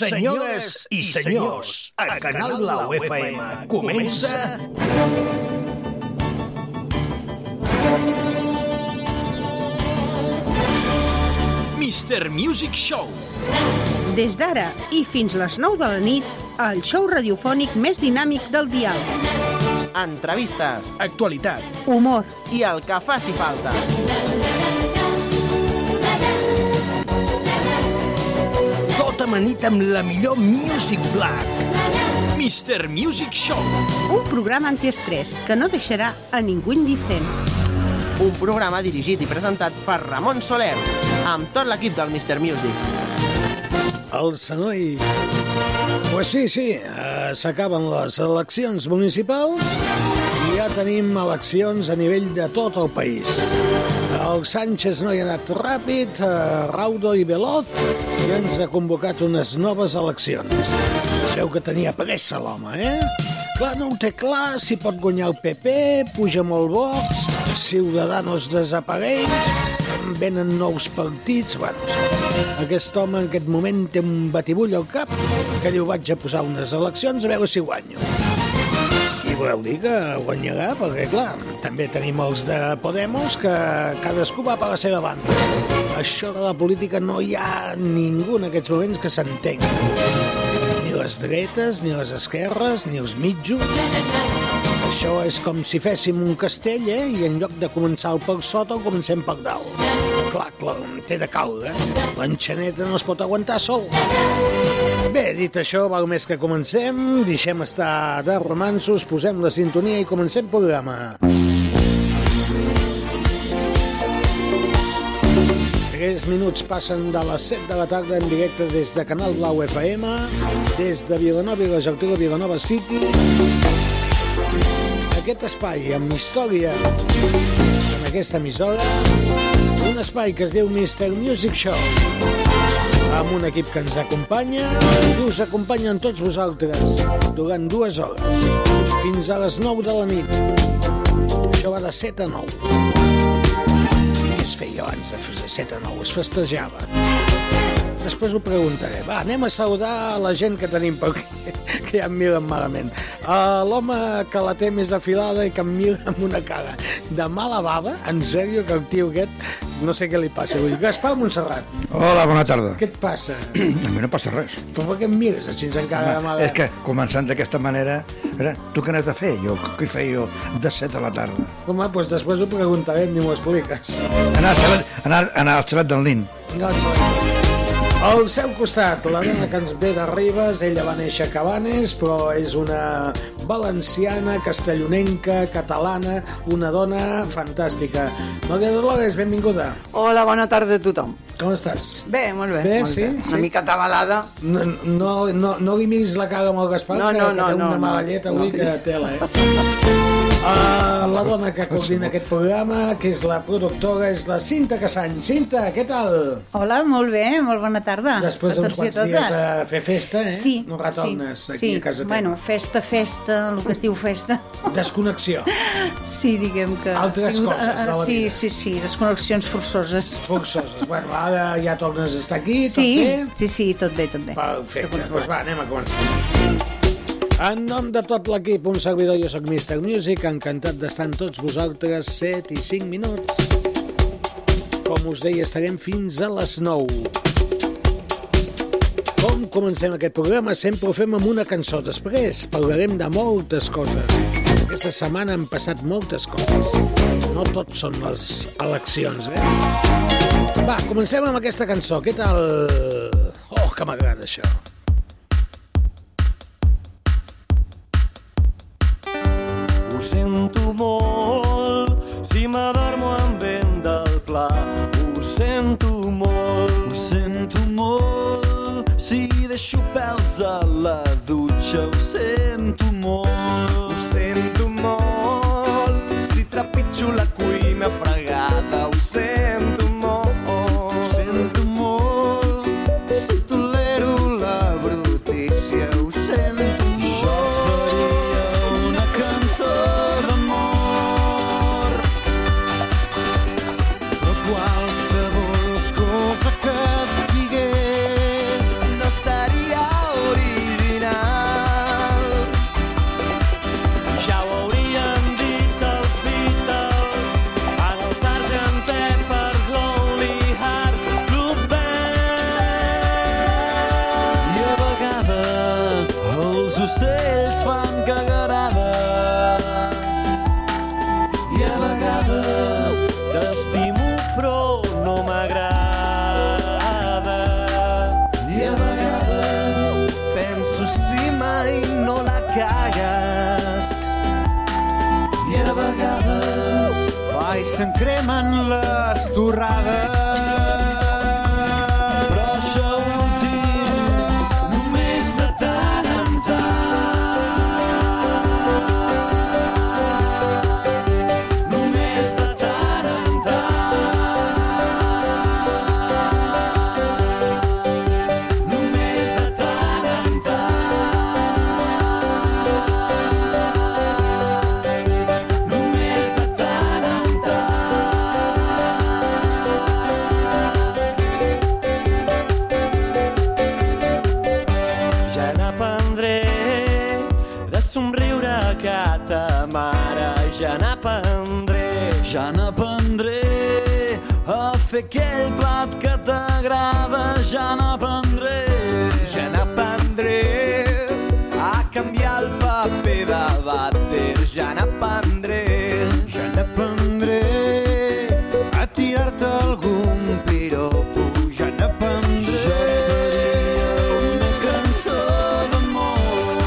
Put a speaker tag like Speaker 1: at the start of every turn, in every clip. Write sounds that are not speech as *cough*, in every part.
Speaker 1: Senyores i senyors, el Canal Blau FM comença...
Speaker 2: Mr. Music Show.
Speaker 3: Des d'ara i fins les 9 de la nit, el show radiofònic més dinàmic del dial.
Speaker 4: entrevistes
Speaker 2: Actualitat.
Speaker 3: Humor,
Speaker 4: i el que faci falta.
Speaker 1: Tot amanit Tota amb la millor Music Black.
Speaker 2: Mr. Music Show.
Speaker 3: un programa antiestrès que no deixarà a ningú indiferent.
Speaker 4: Un programa dirigit i presentat per Ramon Soler, amb tot l'equip del Mr. Music.
Speaker 5: El Sanoi. Pues sí, sí, eh, s'acaben les eleccions municipals i ja tenim eleccions a nivell de tot el país. El Sánchez no hi ha anat ràpid, eh, raudo i veloz, i ens ha convocat unes noves eleccions. Es veu que tenia pressa l'home, eh? Clar, no ho té clar, si pot guanyar el PP, puja molt Vox, Ciudadanos desapareix, venen nous partits, bueno, aquest home en aquest moment té un batibull al cap que diu vaig a posar unes eleccions a veure si guanyo. I voleu dir que guanyarà, perquè clar, també tenim els de Podemos que cadascú va per la seva banda. Això de la política no hi ha ningú en aquests moments que s'entengui. Ni les dretes, ni les esquerres, ni els mitjos. Això és com si féssim un castell, eh? I en lloc de començar el per sota, el comencem per dalt. Clar, clar, té de caure, eh? L'enxaneta no es pot aguantar sol. Bé, dit això, val més que comencem, deixem estar de romansos, posem la sintonia i comencem programa. Tres minuts passen de les 7 de la tarda en directe des de Canal Blau FM, des de Vilanova i la Geltrú, Vilanova City, aquest espai amb història en aquesta emissora un espai que es diu Mr. Music Show amb un equip que ens acompanya i us acompanyen tots vosaltres durant dues hores fins a les 9 de la nit això va de 7 a 9 què es feia abans de 7 a 9? es festejava Després ho preguntaré. Va, anem a saludar a la gent que tenim per aquí, que ja em miren malament. Uh, L'home que la té més afilada i que em mira amb una cara de mala bava, en sèrio, que el tio aquest, no sé què li passa avui. Gaspar Montserrat,
Speaker 6: Hola, bona tarda.
Speaker 5: què et passa?
Speaker 6: *clears throat* A mi no passa res.
Speaker 5: Però per què em mires així encara de mala
Speaker 6: És que, començant d'aquesta manera, era, tu què n'has de fer? Jo, què hi feia jo de 7 de la tarda?
Speaker 5: Home, doncs després ho preguntarem i m'ho expliques.
Speaker 6: Anar al xalet, anar, anar al xalet del Lin.
Speaker 5: No, xaval. Al seu costat, la dona que ens ve de Ribes, ella va néixer a Cabanes, però és una valenciana, castellonenca, catalana, una dona fantàstica. Maria Dolores, benvinguda.
Speaker 7: Hola, bona tarda a tothom.
Speaker 5: Com estàs?
Speaker 7: Bé, molt bé.
Speaker 5: Bé,
Speaker 7: molt
Speaker 5: sí,
Speaker 7: bé. Una
Speaker 5: sí.
Speaker 7: mica atabalada.
Speaker 5: No, no, no, no li miris la cara amb el Gaspar,
Speaker 7: No,
Speaker 5: que-
Speaker 7: no,
Speaker 5: que
Speaker 7: no,
Speaker 5: té
Speaker 7: no,
Speaker 5: una
Speaker 7: no.
Speaker 5: mala llet avui que tela, eh? Uh, la dona que coordina aquest programa, que és la productora, és la Cinta Casany. Cinta, què tal?
Speaker 8: Hola, molt bé, molt bona tarda.
Speaker 5: Després
Speaker 8: a Ah,
Speaker 5: d'uns
Speaker 8: tots i a
Speaker 5: quants dies
Speaker 8: totes.
Speaker 5: de fer festa, eh?
Speaker 8: Sí,
Speaker 5: no retornes
Speaker 8: sí,
Speaker 5: aquí
Speaker 8: sí.
Speaker 5: a casa teva.
Speaker 8: Bueno, festa, festa, el que es diu festa.
Speaker 5: *laughs* Desconnexió,
Speaker 8: Sí, diguem que...
Speaker 5: Altres
Speaker 8: Tinc-
Speaker 5: coses de la
Speaker 8: eh, sí,
Speaker 5: vida.
Speaker 8: sí, sí, desconnexions forçoses.
Speaker 5: forçoses. Bueno, ara ja tornes a estar aquí, tot
Speaker 8: sí,
Speaker 5: bé?
Speaker 8: sí, sí, tot bé, tot bé.
Speaker 5: Perfecte, doncs va, anem a començar. En nom de tot l'equip, un servidor, jo soc Mr. Music, encantat d'estar amb tots vosaltres 7 i 5 minuts. Com us deia, estarem fins a les 9. Com comencem aquest programa? Sempre ho fem amb una cançó. Després parlarem de moltes coses. Aquesta setmana han passat moltes coses. No tot són les eleccions, eh? Va, comencem amb aquesta cançó. Què tal? Oh, que m'agrada això.
Speaker 9: Ho sento molt si m'adormo amb vent del pla. Ho sento molt, ho sento molt si deixo pèls a la dutxa. Ho sento molt, ho sento molt si trepitjo la cuina fregada. Ho sento molt, ho sento molt si tolero la brutícia. Ho sento molt. Jo et faria una cançó d'amor però qualsevol cosa que et digués no seria su cima i no la cagues. I a vegades... Ai, se'n cremen les torrades. Però això últim només de tant en tant. Només de tant en tant. Només de tant en tant. Només de tant en tant. Ja n'aprendré de somriure a cata mare. Ja n'aprendré, ja n'aprendré a fer aquell plat que t'agrada. Ja n'aprendré, ja n'aprendré a canviar el paper de vàter. Ja n'aprendré, ja n'aprendré a tirar-te algun piropo. Ja n'aprendré. Jo et faria una cançó d'amor.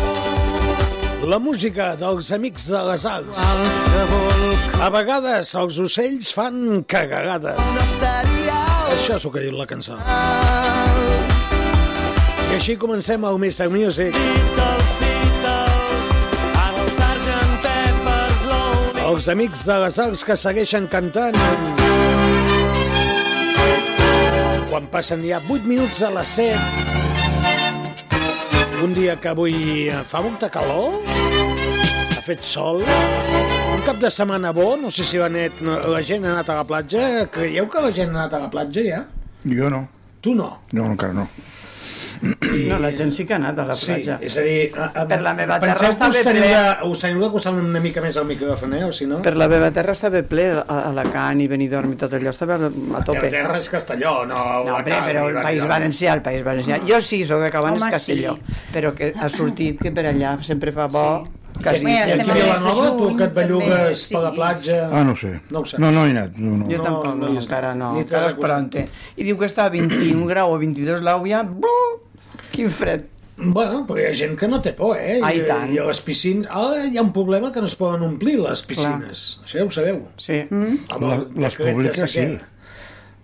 Speaker 5: La música dels Amics de les Arts.
Speaker 9: Qualsevol
Speaker 5: A vegades els ocells fan cagades.
Speaker 9: cosa seria
Speaker 5: Això és el que diu la cançó. I així comencem el Mr. Music.
Speaker 9: Beatles, Beatles, en el Sgt. Pepper's Lonely
Speaker 5: Els amics de les arts que segueixen cantant. Quan passen ja 8 minuts a les 7. Un dia que avui fa molta calor, ha fet sol, un cap de setmana bo, no sé si la, net, no, la gent ha anat a la platja. Creieu que la gent ha anat a la platja ja?
Speaker 6: Jo no.
Speaker 5: Tu no.
Speaker 6: No, encara no.
Speaker 4: No, la gent sí que ha anat a la
Speaker 5: Sí,
Speaker 4: platja.
Speaker 5: és a dir... A, a,
Speaker 4: Per la meva terra
Speaker 5: penseu que
Speaker 4: està
Speaker 5: us
Speaker 4: bé
Speaker 5: teniu
Speaker 4: ple.
Speaker 5: de- Us teniu de costar una mica més al micròfon, eh? O si no...
Speaker 7: Per la meva terra estava ple, a Alacant i Benidorm i tot allò, estava a
Speaker 5: La
Speaker 7: tope.
Speaker 5: terra és castelló, no...
Speaker 7: No,
Speaker 5: la
Speaker 7: hombre,
Speaker 5: carn,
Speaker 7: però
Speaker 5: ni
Speaker 7: el
Speaker 5: la
Speaker 7: País
Speaker 5: carn.
Speaker 7: Valencià, el País Valencià. Jo sí, sóc de Cabanes
Speaker 8: Home,
Speaker 7: Castelló, però que ha sortit que per allà sempre fa bo, quasi
Speaker 8: Bé,
Speaker 5: I
Speaker 8: estem
Speaker 7: sempre.
Speaker 8: a mes de
Speaker 5: aquí a Vilanova, tu
Speaker 8: juny,
Speaker 5: que et bellugues
Speaker 8: també,
Speaker 5: per la
Speaker 8: sí.
Speaker 5: platja...
Speaker 6: Ah, no ho sé.
Speaker 5: No ho saps.
Speaker 6: No, no he anat. No, no.
Speaker 7: Jo
Speaker 5: No,
Speaker 7: tampoc,
Speaker 5: no
Speaker 7: no,
Speaker 5: hi has
Speaker 7: encara no,
Speaker 5: anat. Ni
Speaker 7: encara
Speaker 5: t'has
Speaker 7: és
Speaker 5: acostat.
Speaker 7: pronte. I diu que està a 21 grau o 22 l'àvia, quin fred.
Speaker 5: Bueno, però hi ha gent que no té por, eh?
Speaker 7: Ah, i
Speaker 5: I-
Speaker 7: tant.
Speaker 5: I a les piscines... Ara hi ha un problema que no es poden omplir, les piscines. Això ja ho sabeu.
Speaker 7: Sí,
Speaker 5: Amb
Speaker 6: Les-
Speaker 5: el
Speaker 6: les
Speaker 5: decret de
Speaker 6: públiques, sí.
Speaker 5: sequera.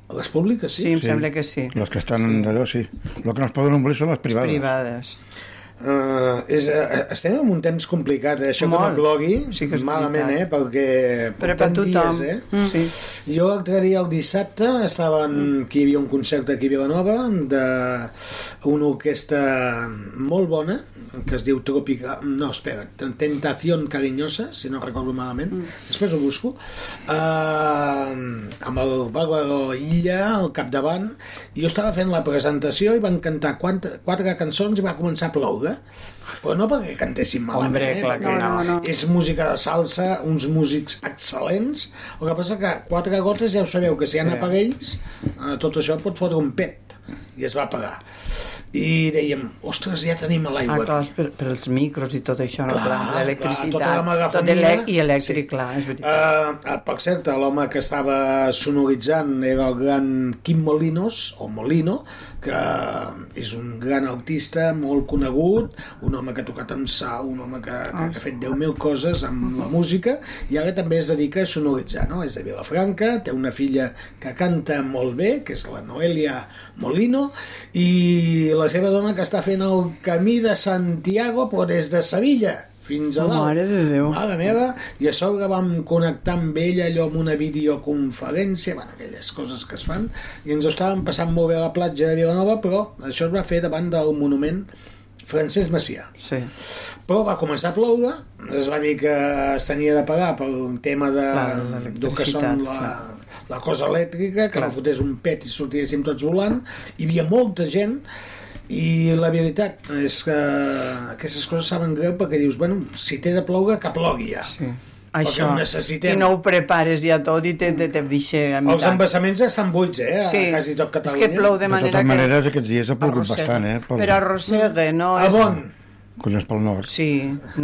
Speaker 5: A Les públiques,
Speaker 7: sí,
Speaker 5: sí.
Speaker 7: em sembla que sí.
Speaker 6: Les que estan sí. d'allò, sí. El que no es poden omplir són les privades.
Speaker 7: Privades.
Speaker 5: Uh, és, uh, estem en un temps complicat, eh? Això
Speaker 7: Molt.
Speaker 5: que no plogui,
Speaker 7: Sí que és
Speaker 5: malament, eh?
Speaker 7: veritat.
Speaker 5: Perquè...
Speaker 7: Però per
Speaker 5: portem
Speaker 7: tothom. Mm.
Speaker 5: Dies, eh?
Speaker 7: Sí.
Speaker 5: Jo l'altre dia, el dissabte, estaven, que hi havia un concert aquí a Vilanova d'una orquestra molt bona, que es diu Tropical... No, espera, Tentación Cariñosa, si no recordo malament,
Speaker 7: Mm.
Speaker 5: després ho busco, uh, amb el Bárbaro Illa al capdavant, i jo estava fent la presentació i van cantar quatre, quatre cançons i va començar a ploure, però no perquè cantessin malament,
Speaker 4: Hombre,
Speaker 5: eh?
Speaker 4: clar que
Speaker 5: perquè
Speaker 4: no.
Speaker 5: és música de salsa, uns músics excel·lents, el que passa que quatre gotes ja ho sabeu, que si hi ha aparells eh, tot això pot fotre un pet i es va pagar i dèiem, ostres, ja tenim a
Speaker 7: Ah,
Speaker 5: l'aigua
Speaker 7: clar, és per, per els micros i tot això, no?
Speaker 5: Clar,
Speaker 7: Clar,
Speaker 5: clar, tota la
Speaker 7: l'electricitat, tot
Speaker 5: megafonia.
Speaker 7: elec i elèctric,
Speaker 5: Sí.
Speaker 7: clar, és veritat.
Speaker 5: Uh, per cert, l'home que estava sonoritzant era el gran Quim Molinos, o Molino, que és un gran autista, molt conegut, un home que ha tocat amb sa, un home que, que, que ha fet 10.000 coses amb la música, i ara també es dedica a sonoritzar, no? És de Vilafranca, té una filla que canta molt bé, que és la Noelia Molino, i la seva dona que està fent el camí de Santiago, però des de Sevilla, fins a dalt.
Speaker 7: Mare de Déu.
Speaker 5: Mare meva, i a sobre vam connectar amb ella allò amb una videoconferència, bueno, aquelles coses que es fan, i ens ho estàvem passant molt bé a la platja de Vilanova, però això es va fer davant del monument Francesc Macià.
Speaker 7: Sí.
Speaker 5: Però va començar a ploure, es va dir que es tenia de pagar per un tema de,
Speaker 7: Clar,
Speaker 5: del que
Speaker 7: l'electricitat,
Speaker 5: són la, la cosa elèctrica, que clar. no fotés un pet i sortíssim tots volant, hi havia molta gent, i la veritat és que aquestes coses saben greu perquè dius, bueno, si té de ploure, que plogui ja.
Speaker 7: Sí.
Speaker 5: Perquè
Speaker 7: Això.
Speaker 5: ho necessitem.
Speaker 7: I no ho prepares ja tot i te, te, te deixa a
Speaker 5: Els
Speaker 7: meitat.
Speaker 5: embassaments estan buits, eh? A quasi tot
Speaker 7: és
Speaker 5: Catalunya.
Speaker 7: que plou de
Speaker 6: De tota
Speaker 7: manera
Speaker 6: totes
Speaker 7: que...
Speaker 6: maneres, aquests dies ha plogut
Speaker 7: arrossega.
Speaker 6: bastant, eh? Pel,
Speaker 7: Però arrossega, no?
Speaker 5: A bon.
Speaker 6: Collons, pel nord.
Speaker 7: Sí,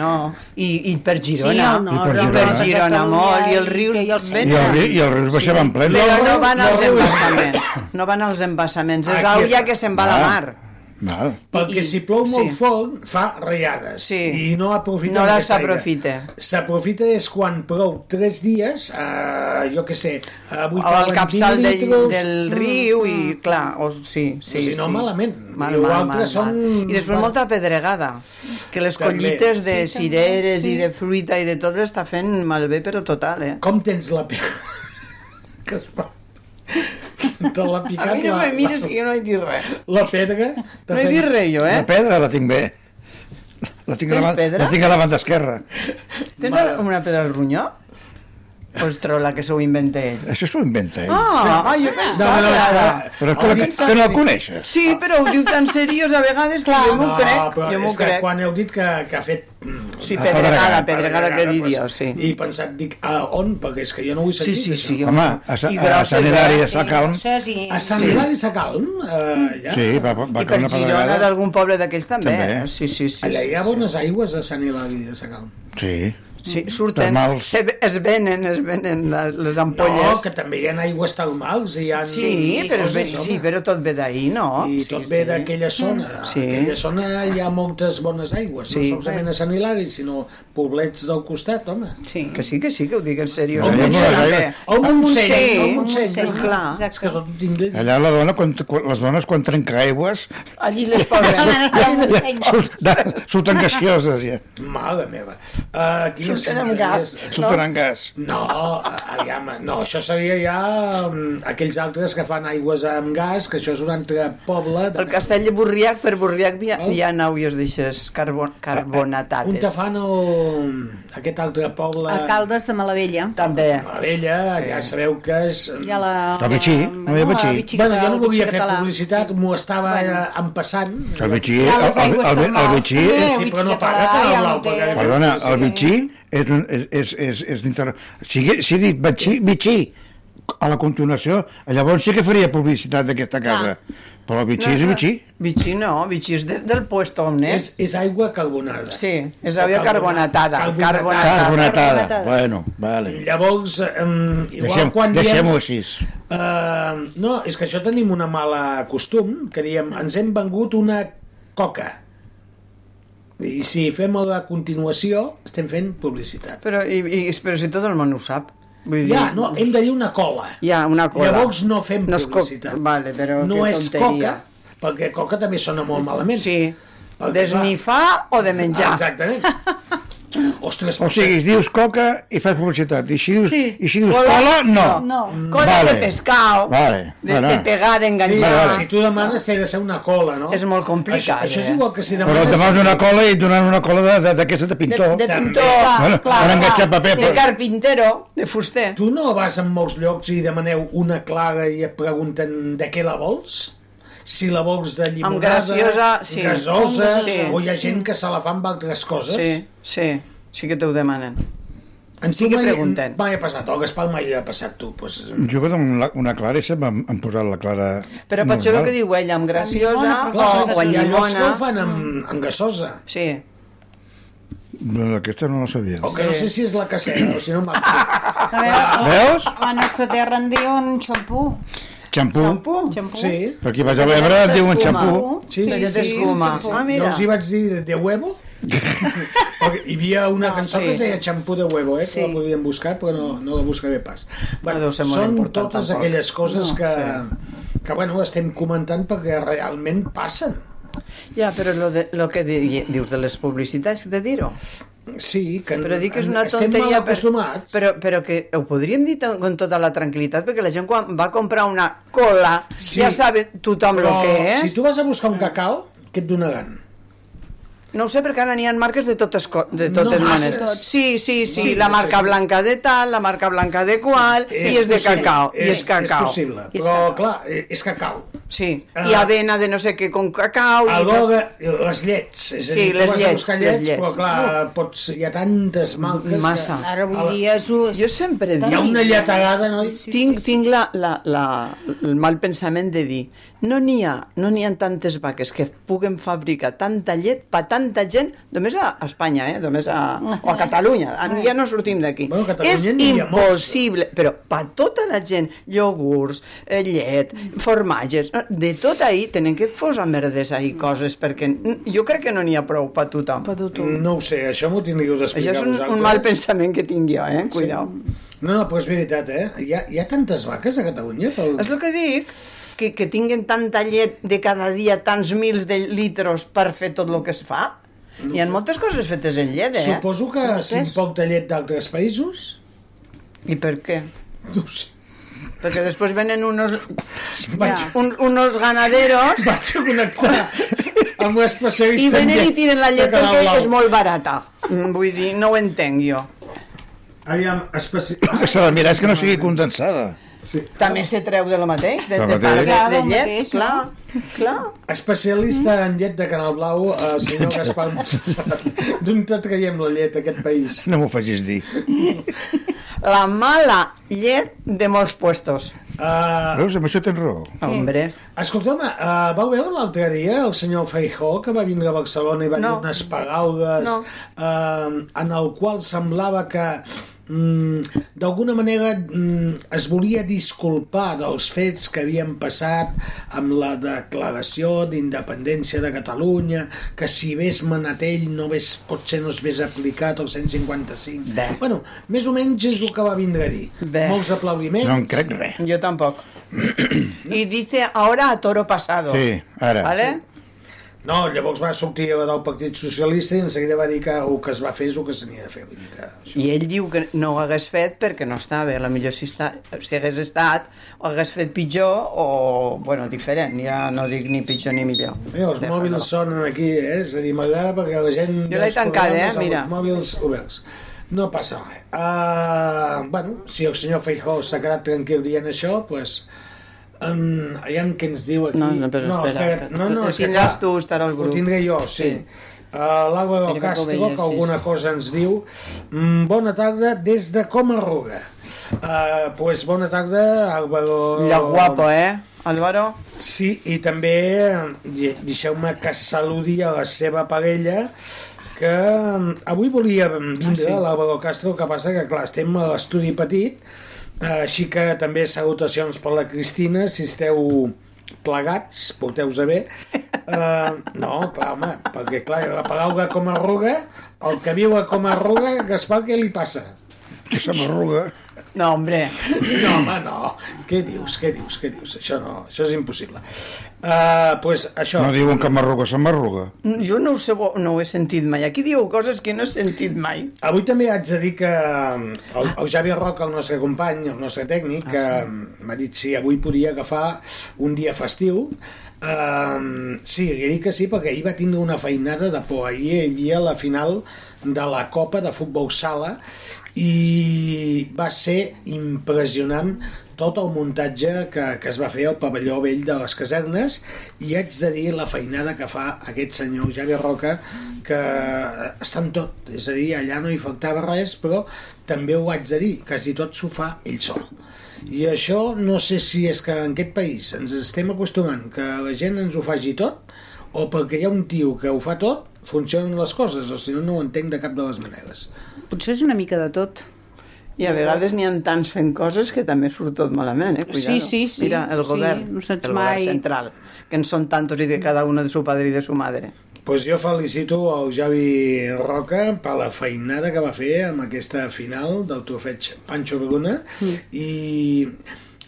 Speaker 7: no. I, I per
Speaker 8: Sí,
Speaker 7: Girona.
Speaker 8: al nord, al
Speaker 6: per Girona.
Speaker 8: nord de
Speaker 7: Per Girona
Speaker 8: Catalunya,
Speaker 7: molt, i el riu-
Speaker 8: que jo
Speaker 6: I
Speaker 8: sé.
Speaker 6: el, ri- I el riu es baixava en plena.
Speaker 7: Però no van
Speaker 5: no
Speaker 7: als
Speaker 5: riu.
Speaker 7: embassaments. No van als embassaments. És
Speaker 5: Aquí
Speaker 7: l'àvia
Speaker 5: està.
Speaker 7: que se'n va a la
Speaker 6: Ah.
Speaker 7: mar.
Speaker 6: Val.
Speaker 5: Perquè
Speaker 7: I-
Speaker 5: si plou molt
Speaker 7: sí.
Speaker 5: fort, fa reiades.
Speaker 7: Sí.
Speaker 5: I no aprofita
Speaker 7: No les
Speaker 5: aquest aire.
Speaker 7: aprofita.
Speaker 5: S'aprofita és quan plou tres dies, eh, jo què sé, avui
Speaker 7: o el
Speaker 5: cauen
Speaker 7: capçal
Speaker 5: 20
Speaker 7: del,
Speaker 5: litros,
Speaker 7: del riu
Speaker 5: Mm,
Speaker 7: i clar, o, sí, sí,
Speaker 5: O sigui, no
Speaker 7: sí.
Speaker 5: malament.
Speaker 7: Mal, mal,
Speaker 5: I
Speaker 7: mal,
Speaker 5: l'altre
Speaker 7: mal.
Speaker 5: són-
Speaker 7: I després molta pedregada, que les
Speaker 5: També.
Speaker 7: collites de
Speaker 3: Sí, també,
Speaker 7: cireres
Speaker 3: sí.
Speaker 7: i de fruita i de tot està fent malbé, però total, eh?
Speaker 5: Com tens la pell? *laughs* que es fa... Te la picat
Speaker 7: A mi no
Speaker 5: la,
Speaker 7: me mires
Speaker 5: la,
Speaker 7: que jo no he dit res.
Speaker 5: la pedra. t'ha
Speaker 7: No he
Speaker 5: fet-
Speaker 7: dit res jo,
Speaker 6: La
Speaker 7: eh?
Speaker 6: pedra la tinc bé. La tinc, a la,
Speaker 7: Tens
Speaker 6: man-
Speaker 7: pedra?
Speaker 6: la tinc a la banda esquerra.
Speaker 7: Tens una pedra al ronyó? Ostres, la que s'ho inventa ell.
Speaker 6: Això s'ho inventa ell.
Speaker 7: Ah, ah jo
Speaker 5: No,
Speaker 7: pensava
Speaker 5: no, no,
Speaker 7: que era...
Speaker 5: no.
Speaker 6: Però escolta, que, que no el coneixes.
Speaker 7: Sí, però ho diu tan seriós a vegades que jo m'ho
Speaker 5: No,
Speaker 7: crec,
Speaker 5: però
Speaker 7: jo m'ho
Speaker 5: és que
Speaker 7: crec.
Speaker 5: quan heu dit que, que ha fet... mm,
Speaker 7: Sí,
Speaker 6: Ah,
Speaker 7: pedregada,
Speaker 6: pedregada,
Speaker 7: pedregada que dic jo, sí.
Speaker 5: I he pensat, dic, a on? Perquè és que jo no ho he
Speaker 7: Sí, sí,
Speaker 5: sentit,
Speaker 7: sí.
Speaker 5: això.
Speaker 6: Home, a, Sa-
Speaker 7: I eh?
Speaker 6: a
Speaker 7: grosses,
Speaker 6: Sant Hilari de Sacalm,
Speaker 8: Grosses i...
Speaker 5: A Sant Hilari sí. Sacalm, eh, allà,
Speaker 6: sí, va, va,
Speaker 7: I per
Speaker 6: va caure una
Speaker 7: Girona
Speaker 6: pedregada.
Speaker 7: d'algun poble d'aquells també.
Speaker 6: També.
Speaker 7: eh? Sí, sí, sí.
Speaker 5: allà
Speaker 7: sí,
Speaker 5: hi ha
Speaker 7: sí.
Speaker 5: bones aigües a Sant Hilari de Sacalm.
Speaker 6: Sí. Doncs
Speaker 7: Sí, surten,
Speaker 6: termals.
Speaker 7: se, es venen, es venen les, les ampolles.
Speaker 5: No, que també hi ha aigües termals i hi ha...
Speaker 7: Sí, però,
Speaker 5: coses,
Speaker 7: ve,
Speaker 5: home.
Speaker 7: sí, però tot ve d'ahir, no?
Speaker 5: I
Speaker 7: sí,
Speaker 5: tot
Speaker 7: sí.
Speaker 5: ve d'aquella zona.
Speaker 7: Sí.
Speaker 5: Sí. Aquella zona Ah, hi ha moltes bones aigües,
Speaker 7: Sí.
Speaker 5: no solament a Sant Hilari, sinó poblets del costat, home.
Speaker 8: Sí.
Speaker 7: Que sí, que sí, que ho dic en sèrio.
Speaker 6: No,
Speaker 7: També.
Speaker 6: no, no, no.
Speaker 5: O un Montseny,
Speaker 7: Montseny,
Speaker 5: o un Montseny,
Speaker 7: Montseny,
Speaker 5: no?
Speaker 7: Mm, clar.
Speaker 5: És que tot ho tinc dit.
Speaker 6: Allà la dona, quan, quan, les dones quan trenca aigües
Speaker 7: Allí les posen.
Speaker 6: surt- de- *laughs* surten gaseoses ja,
Speaker 5: Mare meva. Uh, quines
Speaker 7: Surten amb
Speaker 5: tonteries.
Speaker 7: gas.
Speaker 6: surten en gas.
Speaker 5: No, aviam, no, això seria ja mm, aquells altres que fan aigües amb gas, que això és un altre poble.
Speaker 7: El castell de Burriac, per Burriac hi ha,
Speaker 5: Val.
Speaker 7: hi ha nauies d'aixes carbon, carbonatades.
Speaker 5: Eh, Un tafant o aquest altre poble...
Speaker 8: Alcaldes de Malavella.
Speaker 7: També.
Speaker 5: La vella, sí. ja sabeu que és... mm,
Speaker 8: Hi ha la...
Speaker 6: El Betxí, no hi ha Betxí.
Speaker 5: bueno, jo no volia fer
Speaker 8: català.
Speaker 5: publicitat, m'ho estava eh,
Speaker 8: Bueno.
Speaker 5: bueno. en passant.
Speaker 6: El bitxí,
Speaker 8: Hi ha
Speaker 6: el,
Speaker 8: les
Speaker 6: el,
Speaker 8: aigües
Speaker 6: el, el, el
Speaker 8: termals,
Speaker 6: bitxí
Speaker 8: també,
Speaker 6: és,
Speaker 5: Sí,
Speaker 8: bitxi
Speaker 5: però no
Speaker 8: català,
Speaker 5: paga per
Speaker 8: hi ha
Speaker 5: la
Speaker 8: l'hotel.
Speaker 5: paga.
Speaker 6: perdona, el bitxí és, un, és, és, és, és d'inter... Si, hagués- si he dit bitxí, bitxí, a la continuació, llavors sí que faria publicitat d'aquesta casa. Però el bitxí és bitxí.
Speaker 7: Vichy no, Vichy és de, del puesto on
Speaker 5: És,
Speaker 7: és.
Speaker 5: és aigua carbonada.
Speaker 7: Sí, és aigua carbonatada.
Speaker 5: Carbonatada.
Speaker 6: Ah,
Speaker 7: Carbonatada.
Speaker 6: Carbonatada.
Speaker 8: Carbonatada.
Speaker 6: Bueno, vale.
Speaker 5: Llavors, um, igual
Speaker 6: Deixem-
Speaker 5: quan diem...
Speaker 6: Deixem-ho així.
Speaker 5: Eh, no, és que això tenim una mala costum, que diem, ens hem vengut una coca. I si fem la continuació, estem fent publicitat.
Speaker 7: Però, i, i, però si tot el món ho sap. Vull
Speaker 5: Ja,
Speaker 7: dir,
Speaker 5: no, hem de dir una cola.
Speaker 7: Hi ha una cola.
Speaker 5: Llavors no fem
Speaker 7: No és co-
Speaker 5: publicitat.
Speaker 7: Vale, però
Speaker 5: no
Speaker 7: que
Speaker 5: és
Speaker 7: tonteria.
Speaker 5: coca, perquè coca també sona molt malament.
Speaker 7: Sí.
Speaker 5: Perquè,
Speaker 7: D'esnifar o de menjar.
Speaker 5: Ah, Exactament. Ostres,
Speaker 6: O sigui, dius coca i fas publicitat. I si dius,
Speaker 8: Sí.
Speaker 6: i si dius cola, no.
Speaker 8: No.
Speaker 7: Cola
Speaker 6: Vale.
Speaker 7: de pescau.
Speaker 6: Vale,
Speaker 7: De,
Speaker 6: vale.
Speaker 7: de pegar,
Speaker 5: Mm. Sí,
Speaker 7: d'enganxar.
Speaker 5: però si tu demanes, té de ser una cola, no?
Speaker 7: És molt complicat,
Speaker 5: Això, això és
Speaker 7: eh?
Speaker 5: igual que si
Speaker 6: Però
Speaker 5: demanes...
Speaker 6: et demanen una cola i et donen una cola de- de- d'aquesta de, de
Speaker 7: De,
Speaker 6: pintor.
Speaker 7: de
Speaker 5: També.
Speaker 7: pintor, clar,
Speaker 6: Bueno,
Speaker 7: clar,
Speaker 6: per
Speaker 7: clar.
Speaker 6: enganxar paper,
Speaker 7: De
Speaker 6: però-
Speaker 7: carpintero, de fuster.
Speaker 5: Tu no vas en molts llocs i demaneu una clara i et pregunten de què la vols? Si la vols de
Speaker 7: Amb
Speaker 5: llimonada,
Speaker 7: graciosa, sí.
Speaker 5: gasosa,
Speaker 7: Sí.
Speaker 5: o hi ha gent que se la fa amb altres coses.
Speaker 7: Sí, sí, sí que t'ho demanen.
Speaker 5: En
Speaker 7: Sí que pregunten.
Speaker 5: Mai ha passat, o Gaspar mai ha passat tu. Pues,
Speaker 6: Jo vaig amb la- una clara i sempre em, em posat la clara...
Speaker 7: Però
Speaker 6: normal.
Speaker 7: potser el que diu ell, amb graciosa
Speaker 8: Amb
Speaker 7: o,
Speaker 8: llimona,
Speaker 7: o en
Speaker 5: hi ha llocs que
Speaker 7: llimona.
Speaker 5: ho fan amb, amb gasosa.
Speaker 7: Sí,
Speaker 6: No, Aquesta no la sabia.
Speaker 5: O que no sé si és la casera, o si no m'ha...
Speaker 8: A veure,
Speaker 6: Veus?
Speaker 8: la nostra terra en diuen xampú.
Speaker 6: Xampú.
Speaker 7: xampú.
Speaker 8: Xampú.
Speaker 5: Sí.
Speaker 6: Però aquí vaig a l'Ebre et diuen
Speaker 7: Espuma.
Speaker 6: xampú.
Speaker 5: Sí, sí,
Speaker 7: Aquella
Speaker 5: sí,
Speaker 7: d'escuma.
Speaker 5: sí, sí.
Speaker 7: Ah, mira.
Speaker 5: No els hi vaig dir de- de huevo?
Speaker 6: *laughs*
Speaker 5: Perquè hi havia una
Speaker 7: No,
Speaker 5: no, cançó
Speaker 7: Ah, sí.
Speaker 5: que es deia xampú de huevo, eh?
Speaker 8: Sí.
Speaker 5: Sí. Que la podien buscar, però no, no la buscaré pas. Bueno,
Speaker 7: deu ser molt
Speaker 5: són
Speaker 7: important,
Speaker 5: totes
Speaker 7: tampoc.
Speaker 5: aquelles coses
Speaker 7: No,
Speaker 5: que, que, bueno, estem comentant perquè realment passen.
Speaker 7: Ja, però lo, de, lo que di, dius de les publicitats, de dir-ho.
Speaker 5: Sí, que
Speaker 7: Però dic que és
Speaker 5: en-
Speaker 7: una
Speaker 5: Estem
Speaker 7: tonteria...
Speaker 5: mal acostumats.
Speaker 7: Però, però que ho podríem dir tan- amb tota la tranquil·litat, perquè la gent quan va comprar una cola
Speaker 5: Sí.
Speaker 7: ja sabe tothom el
Speaker 5: Però
Speaker 7: que és.
Speaker 5: si tu vas a buscar un cacau, què et donaran?
Speaker 7: No ho sé, perquè ara n'hi ha marques de totes, co- de totes
Speaker 5: No masses.
Speaker 7: maneres. Sí, sí, sí,
Speaker 5: Sí,
Speaker 7: la
Speaker 5: no
Speaker 7: marca
Speaker 5: sé.
Speaker 7: blanca de tal, la marca blanca de qual, sí, i és de
Speaker 5: possible, eh,
Speaker 7: cacau, i és
Speaker 5: És
Speaker 7: cacau.
Speaker 5: possible,
Speaker 8: I és
Speaker 5: però
Speaker 8: cacau.
Speaker 5: clar, eh, és cacau.
Speaker 7: Sí,
Speaker 5: Ah.
Speaker 7: i avena de no sé què con cacau.
Speaker 5: A
Speaker 7: I tot.
Speaker 5: l'hora, les llets, és a
Speaker 7: Sí,
Speaker 5: dir, tu
Speaker 7: les
Speaker 5: vas a
Speaker 7: llets,
Speaker 5: buscar
Speaker 7: les
Speaker 5: llets,
Speaker 7: llets.
Speaker 5: però clar, pots, hi ha tantes malques...
Speaker 7: Massa.
Speaker 5: Que...
Speaker 8: Ara
Speaker 5: A
Speaker 8: avui
Speaker 5: la-
Speaker 8: dia és... un-
Speaker 7: Jo sempre
Speaker 5: Hi ha
Speaker 7: dic...
Speaker 5: una lletagada, no?
Speaker 7: Tinc, tinc la, la, la, el mal pensament de dir No n'hi ha, no n'hi ha tantes vaques que puguen fabricar tanta llet per tanta gent, només a Espanya, eh? només a, o a Catalunya, A- ja no sortim d'aquí.
Speaker 5: Bueno, a Catalunya
Speaker 7: és
Speaker 5: n'hi ha molts.
Speaker 7: impossible, però per tota la gent, iogurts, eh, llet, formatges, eh, de tot ahir tenen que posar merdes ahir coses, perquè n- jo crec que no n'hi ha prou per tothom.
Speaker 8: Per tothom.
Speaker 5: No ho sé, això m'ho tindríeu
Speaker 7: Això
Speaker 5: d'explicar
Speaker 7: és un,
Speaker 5: vosaltres.
Speaker 7: un mal pensament que tinc jo, eh? Cuidao.
Speaker 5: No, no, però és veritat, eh? Hi ha, hi ha tantes vaques a Catalunya? Pel...
Speaker 7: És el que dic, que, que tinguen tanta llet de cada dia, tants mils de litros per fer tot el que es fa. Hi ha moltes coses fetes en llet, eh?
Speaker 5: Suposo que
Speaker 8: Moltes.
Speaker 5: s'importa llet d'altres països?
Speaker 7: I per què?
Speaker 5: No ho sé.
Speaker 7: Perquè després venen unos,
Speaker 5: Vaig,
Speaker 7: un, unos ganaderos
Speaker 5: *laughs* vaig a connectar amb un especialista
Speaker 7: i
Speaker 5: en
Speaker 7: venen i tiren la llet
Speaker 5: de Canal
Speaker 7: perquè
Speaker 5: Blau.
Speaker 7: és molt barata. Mm, Vull dir, no ho entenc jo.
Speaker 5: Aviam, especi...
Speaker 6: *coughs* Que s'ha de mirar és que no sigui condensada.
Speaker 5: sí.
Speaker 7: També se treu de lo mateix, de,
Speaker 6: Del
Speaker 7: de, part
Speaker 6: mateix.
Speaker 7: de,
Speaker 8: Clar,
Speaker 7: de
Speaker 8: del
Speaker 7: llet,
Speaker 8: mateix,
Speaker 7: clar,
Speaker 8: no?
Speaker 7: clar.
Speaker 5: especialista en llet de Canal Blau, eh,
Speaker 7: *laughs*
Speaker 5: senyor Gaspar Montserrat. D'on te traiem la llet, a aquest país?
Speaker 6: No m'ho facis dir.
Speaker 7: La mala llet de molts puestos.
Speaker 5: Uh,
Speaker 6: Veus, amb això tens raó.
Speaker 7: Hombre.
Speaker 5: escolta'm, uh, vau veure l'altre dia el senyor Feijó que va vindre a Barcelona i va
Speaker 7: No.
Speaker 5: dir unes paraules
Speaker 7: No.
Speaker 5: eh, en el qual semblava que mm, d'alguna manera mm, es volia disculpar dels fets que havien passat amb la declaració d'independència de Catalunya, que si hagués manat ell no hagués, potser no s'hagués aplicat el 155.
Speaker 7: Bé.
Speaker 5: Bueno, més o menys és el que va vindre a dir.
Speaker 7: Bé.
Speaker 5: Molts aplaudiments.
Speaker 6: No en crec res.
Speaker 7: Yo tampoco. y dice ahora a toro pasado.
Speaker 6: Sí, ara.
Speaker 7: ¿Vale?
Speaker 5: No, llavors va sortir del Partit Socialista i en seguida va dir que el que es va fer és el que s'havia de fer. Vull dir que...
Speaker 7: I ell diu que no ho hagués fet perquè no estava. A la millor si, està, si hagués estat, ho hagués fet pitjor o, bueno, diferent. Ja no dic ni pitjor ni millor.
Speaker 5: Eh, els
Speaker 7: De
Speaker 5: mòbils
Speaker 7: valor.
Speaker 5: sonen aquí, eh? És a dir, m'agrada perquè la gent...
Speaker 7: Jo l'he
Speaker 5: dels
Speaker 7: tancat, eh?
Speaker 5: programes,
Speaker 7: Mira.
Speaker 5: Els mòbils oberts. No passa res. Uh, bueno, si el senyor Feijó s'ha quedat tranquil dient això, doncs... Pues, um, aviam què ens diu aquí.
Speaker 7: No, no, però espera,
Speaker 5: espera't.
Speaker 7: que
Speaker 5: No, no,
Speaker 7: ho
Speaker 5: és que
Speaker 7: tindràs
Speaker 5: clar,
Speaker 7: tu, estarà al grup.
Speaker 5: Ho tindré jo, sí.
Speaker 7: Sí.
Speaker 5: sí. Uh, L'Àlvaro
Speaker 7: Mira que
Speaker 5: Castro,
Speaker 7: ho veies,
Speaker 5: que alguna
Speaker 7: sí.
Speaker 5: cosa ens diu. Mm, bona tarda des de Comarruga. Uh, pues bona tarda, Álvaro...
Speaker 7: Lo guapo, eh, Álvaro?
Speaker 5: Sí, i també eh, deixeu-me que saludi a la seva parella que eh, avui volia vindre ah, sí. l'Àlvaro Castro, el que passa que clar, estem a l'estudi petit eh, així que també salutacions per la Cristina si esteu plegats, porteu-vos bé eh, no, clar, home perquè clar, la paraula com a ruga el que viu a com a ruga Gaspar, què li passa?
Speaker 6: Que se m'arruga.
Speaker 7: No, hombre.
Speaker 5: No, home, no. Què dius, què dius, què dius? Això no, això és impossible. Uh, pues això...
Speaker 6: No diuen que m'arruga, se m'arruga.
Speaker 7: Jo no ho, sé, no ho he sentit mai. Aquí diu coses que no he sentit mai.
Speaker 5: Avui també haig de dir que um, el, el Javi Roca, el nostre company, el nostre tècnic, que um, m'ha dit si avui podia agafar un dia festiu. Um, sí, li he dit que sí, perquè ahir va tindre una feinada de por. Ahir hi havia la final de la Copa de Futbol Sala i va ser impressionant tot el muntatge que, que es va fer al pavelló vell de les casernes i haig de dir la feinada que fa aquest senyor Javi Roca que està en tot, és a dir, allà no hi faltava res però també ho haig de dir, quasi tot s'ho fa ell sol i això no sé si és que en aquest país ens estem acostumant que la gent ens ho faci tot o perquè hi ha un tio que ho fa tot funcionen les coses, o si no, no ho entenc de cap de les maneres.
Speaker 8: Potser és una mica de tot.
Speaker 7: I a vegades n'hi ha tants fent coses que també surt tot malament, eh? Cuidado.
Speaker 8: Sí, sí, sí.
Speaker 7: Mira, el
Speaker 8: Sí,
Speaker 7: govern,
Speaker 8: no
Speaker 7: el
Speaker 8: saps
Speaker 7: govern
Speaker 8: mai.
Speaker 7: central, que en són tantos i de cada uno de su padre i de su madre.
Speaker 5: pues jo felicito el Javi Roca per la feinada que va fer amb aquesta final del trofeig Pancho Bruna
Speaker 8: Mm.
Speaker 5: i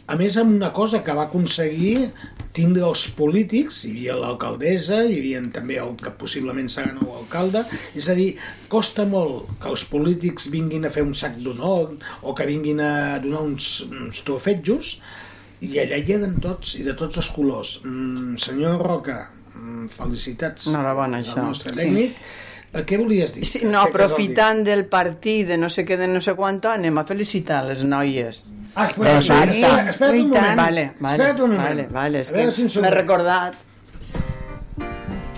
Speaker 5: a més amb una cosa que va aconseguir tindre els polítics, hi havia l'alcaldessa, hi havia també el que possiblement serà nou alcalde, és a dir, costa molt que els polítics vinguin a fer un sac d'honor o que vinguin a donar uns, uns trofetjos, i allà hi eren tots, i de tots els colors. Mm, senyor Roca, mm, felicitats
Speaker 7: Enhorabona,
Speaker 5: al
Speaker 7: això.
Speaker 5: nostre
Speaker 7: Sí.
Speaker 5: tècnic. Eh, Què volies dir?
Speaker 7: Sí, no,
Speaker 5: Què que has dit?
Speaker 7: aprofitant del partit de no sé què de no sé quanto, anem a felicitar les noies.
Speaker 5: Ah, espera,
Speaker 6: Ah, sí.
Speaker 5: espera, espera, espera
Speaker 8: Ui,
Speaker 5: un
Speaker 8: tant.
Speaker 5: moment.
Speaker 7: Vale, vale,
Speaker 5: Espera't un moment.
Speaker 7: vale, vale, és
Speaker 5: A veure si
Speaker 7: que
Speaker 5: ens
Speaker 7: m'he
Speaker 5: surt.
Speaker 7: recordat.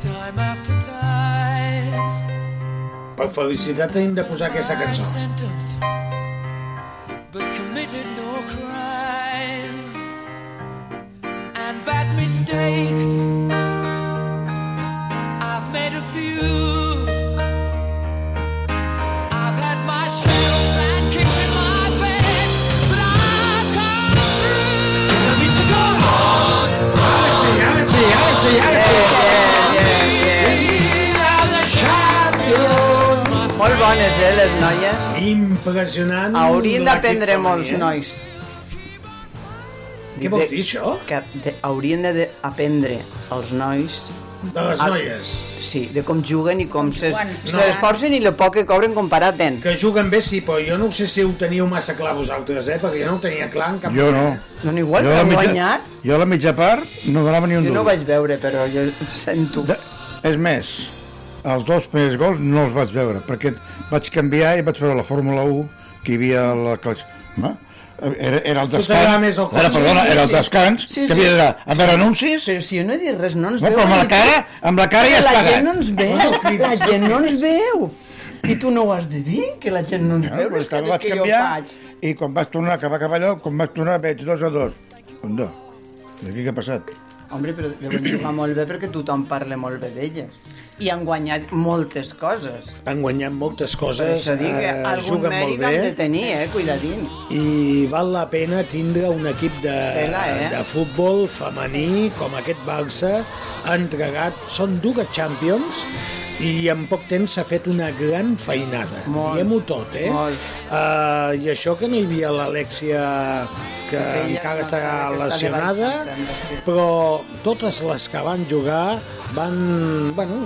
Speaker 9: Time after time,
Speaker 5: Per felicitat hem de posar aquesta
Speaker 9: I
Speaker 5: cançó.
Speaker 9: sent us, but committed no crime. And bad mistakes
Speaker 10: mistakes. I've made a few. I've had my shells and kicks in my face, but I've come through. I need to go on.
Speaker 5: Ara sí, ara sí, ara sí.
Speaker 7: Molt bones, eh, les noies?
Speaker 5: Impressionant.
Speaker 7: Haurien d'aprendre
Speaker 5: gràfic,
Speaker 7: molts
Speaker 5: eh?
Speaker 7: nois.
Speaker 5: Què vol dir, això?
Speaker 7: Que de, haurien d'aprendre els nois
Speaker 5: De les
Speaker 7: Ah.
Speaker 5: noies.
Speaker 7: Sí, de com juguen i com se-
Speaker 8: juguen. No.
Speaker 7: s'esforcen i el poc que cobren comparat amb...
Speaker 5: Que juguen bé, sí, però jo no sé si ho teniu massa clar vosaltres, eh? Perquè jo no ho tenia clar en cap
Speaker 6: Jo no.
Speaker 7: Doncs igual,
Speaker 6: jo,
Speaker 7: que
Speaker 6: a
Speaker 7: han
Speaker 6: mitja-
Speaker 7: guanyat.
Speaker 6: jo a la mitja part no donava ni un
Speaker 7: Jo
Speaker 6: duro.
Speaker 7: no ho vaig veure, però jo sento...
Speaker 6: De... És més, els dos primers gols no els vaig veure, perquè vaig canviar i vaig veure la Fórmula 1 que hi havia a la classe... No? Era, era el
Speaker 5: Tu
Speaker 6: descans,
Speaker 5: t'agrada més el
Speaker 6: era,
Speaker 5: cotxe,
Speaker 6: perdona,
Speaker 5: sí,
Speaker 6: era el
Speaker 5: sí.
Speaker 6: descans,
Speaker 7: Sí,
Speaker 6: que
Speaker 7: sí.
Speaker 6: havia d'anar a veure anuncis,
Speaker 7: Però si jo no he dit res, no ens
Speaker 6: no,
Speaker 7: veu.
Speaker 6: però amb la
Speaker 7: ni tu.
Speaker 6: cara, amb la cara ja
Speaker 7: Que
Speaker 6: es
Speaker 7: la gent
Speaker 6: cagat.
Speaker 7: no ens veu, la gent no ens veu. I tu no ho has de dir, que la gent no ens veu, les
Speaker 6: te'l
Speaker 7: cares que jo faig.
Speaker 6: i quan vas tornar, que va acabar allò, quan vas tornar veig dos a dos. Un dos. I aquí què ha passat?
Speaker 7: Hombre, però deuen jugar molt bé perquè tothom parla molt bé d'elles. I han guanyat moltes coses.
Speaker 5: Han guanyat moltes
Speaker 7: Per
Speaker 5: coses,
Speaker 7: això dic que
Speaker 5: eh,
Speaker 7: algun
Speaker 5: juguen molt
Speaker 7: mèrit
Speaker 5: bé
Speaker 7: han de tenir, eh? Cuidadín.
Speaker 5: i val la pena tindre un equip de,
Speaker 7: Tela, eh?
Speaker 5: de futbol femení com aquest Barça, entregat, són dues Champions i en poc temps s'ha fet una gran feinada.
Speaker 7: Molt.
Speaker 5: Diem-ho tot, eh?
Speaker 7: Molt.
Speaker 5: Uh, I això que no hi havia l'Alexia que
Speaker 7: Que doncs, ella
Speaker 5: encara
Speaker 7: no,
Speaker 5: està
Speaker 7: que està
Speaker 5: lesionada,
Speaker 7: de baixa, sembla, sí.
Speaker 5: però totes les que van jugar van... Bueno,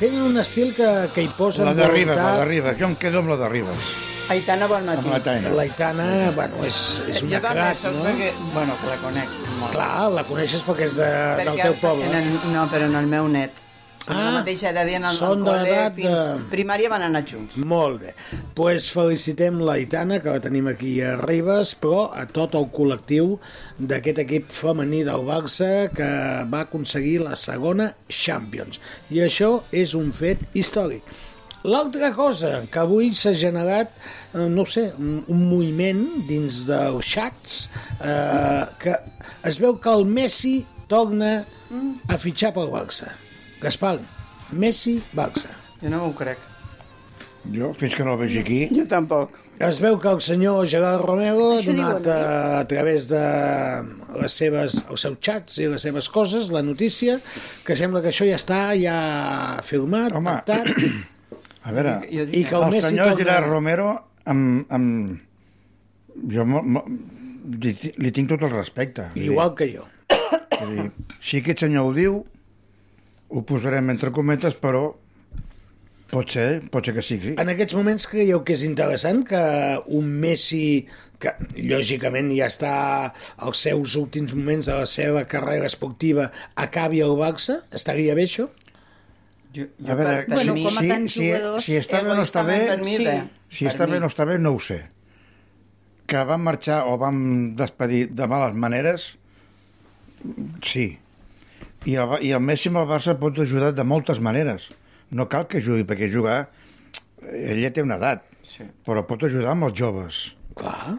Speaker 5: tenen un estil que, que hi posen
Speaker 6: La de Ribes, la de
Speaker 5: voluntat.
Speaker 6: Ribes. Jo em quedo amb la de Ribes,
Speaker 7: Aitana, bon matí.
Speaker 6: amb la Taina.
Speaker 5: L'Aitana, bueno, és, és
Speaker 7: Jo
Speaker 5: una
Speaker 7: també
Speaker 5: crac,
Speaker 7: soc
Speaker 5: no?
Speaker 7: perquè... Bueno, que la conec molt.
Speaker 5: Clar, la coneixes perquè és de, del teu poble.
Speaker 7: En el, no, però en el meu net. Ah,
Speaker 5: Ah,
Speaker 7: la mateixa edat i en el, al
Speaker 5: són de
Speaker 7: col·le
Speaker 5: l'edat
Speaker 7: fins...
Speaker 5: de-
Speaker 7: Primària van anar junts.
Speaker 5: Molt bé. Doncs pues felicitem l'Aitana, que la tenim aquí a Ribes, però a tot el col·lectiu d'aquest equip femení del Barça que va aconseguir la segona Champions. I això és un fet històric. L'altra cosa que avui s'ha generat, eh, no ho sé, un, un moviment dins dels xats eh, que es veu que el Messi torna a fitxar pel Barça. Gaspar, Messi-Barça.
Speaker 7: Jo no m'ho crec.
Speaker 6: Jo, fins que no el vegi aquí,
Speaker 7: Jo tampoc.
Speaker 5: Es veu que el senyor Gerard Romero ha
Speaker 3: Això
Speaker 5: donat
Speaker 3: diuen,
Speaker 5: a, a través de les seves, els seus xats i les seves coses la notícia que sembla que això ja està ja firmat,
Speaker 6: Home.
Speaker 5: pactat
Speaker 6: a veure...
Speaker 7: Jo
Speaker 5: i
Speaker 7: dic,
Speaker 5: que el,
Speaker 6: el
Speaker 5: Messi
Speaker 6: senyor
Speaker 5: torna-
Speaker 6: Gerard Romero amb, amb... jo mo, mo, li, ti- li tinc tot el respecte *coughs* Vull dir-
Speaker 5: igual que jo.
Speaker 6: vull dir, si aquest senyor ho diu ho posarem entre cometes però pot ser, pot ser que sigui
Speaker 5: En aquests moments creieu que és interessant que un Messi, que lògicament ja està als seus últims moments de la seva carrera esportiva, acabi al Barça? Estaria bé això?
Speaker 7: Jo, jo
Speaker 6: a veure,
Speaker 7: per, per
Speaker 6: si,
Speaker 8: Bueno,
Speaker 7: mi,
Speaker 8: com a tants
Speaker 6: si,
Speaker 8: jugadors,
Speaker 6: si està bé o no està bé
Speaker 7: egoistament eh, per mi,
Speaker 8: sí.
Speaker 7: bé.
Speaker 6: si
Speaker 7: Per
Speaker 6: està
Speaker 7: mi.
Speaker 6: bé o no està bé no ho sé que vam marxar o vam despedir de males maneres sí i el, Ba- i el Messi amb el Barça pot ajudar de moltes maneres no cal que jugui perquè jugar ell ja té una edat
Speaker 7: Sí.
Speaker 6: però pot ajudar amb els joves
Speaker 5: Clar.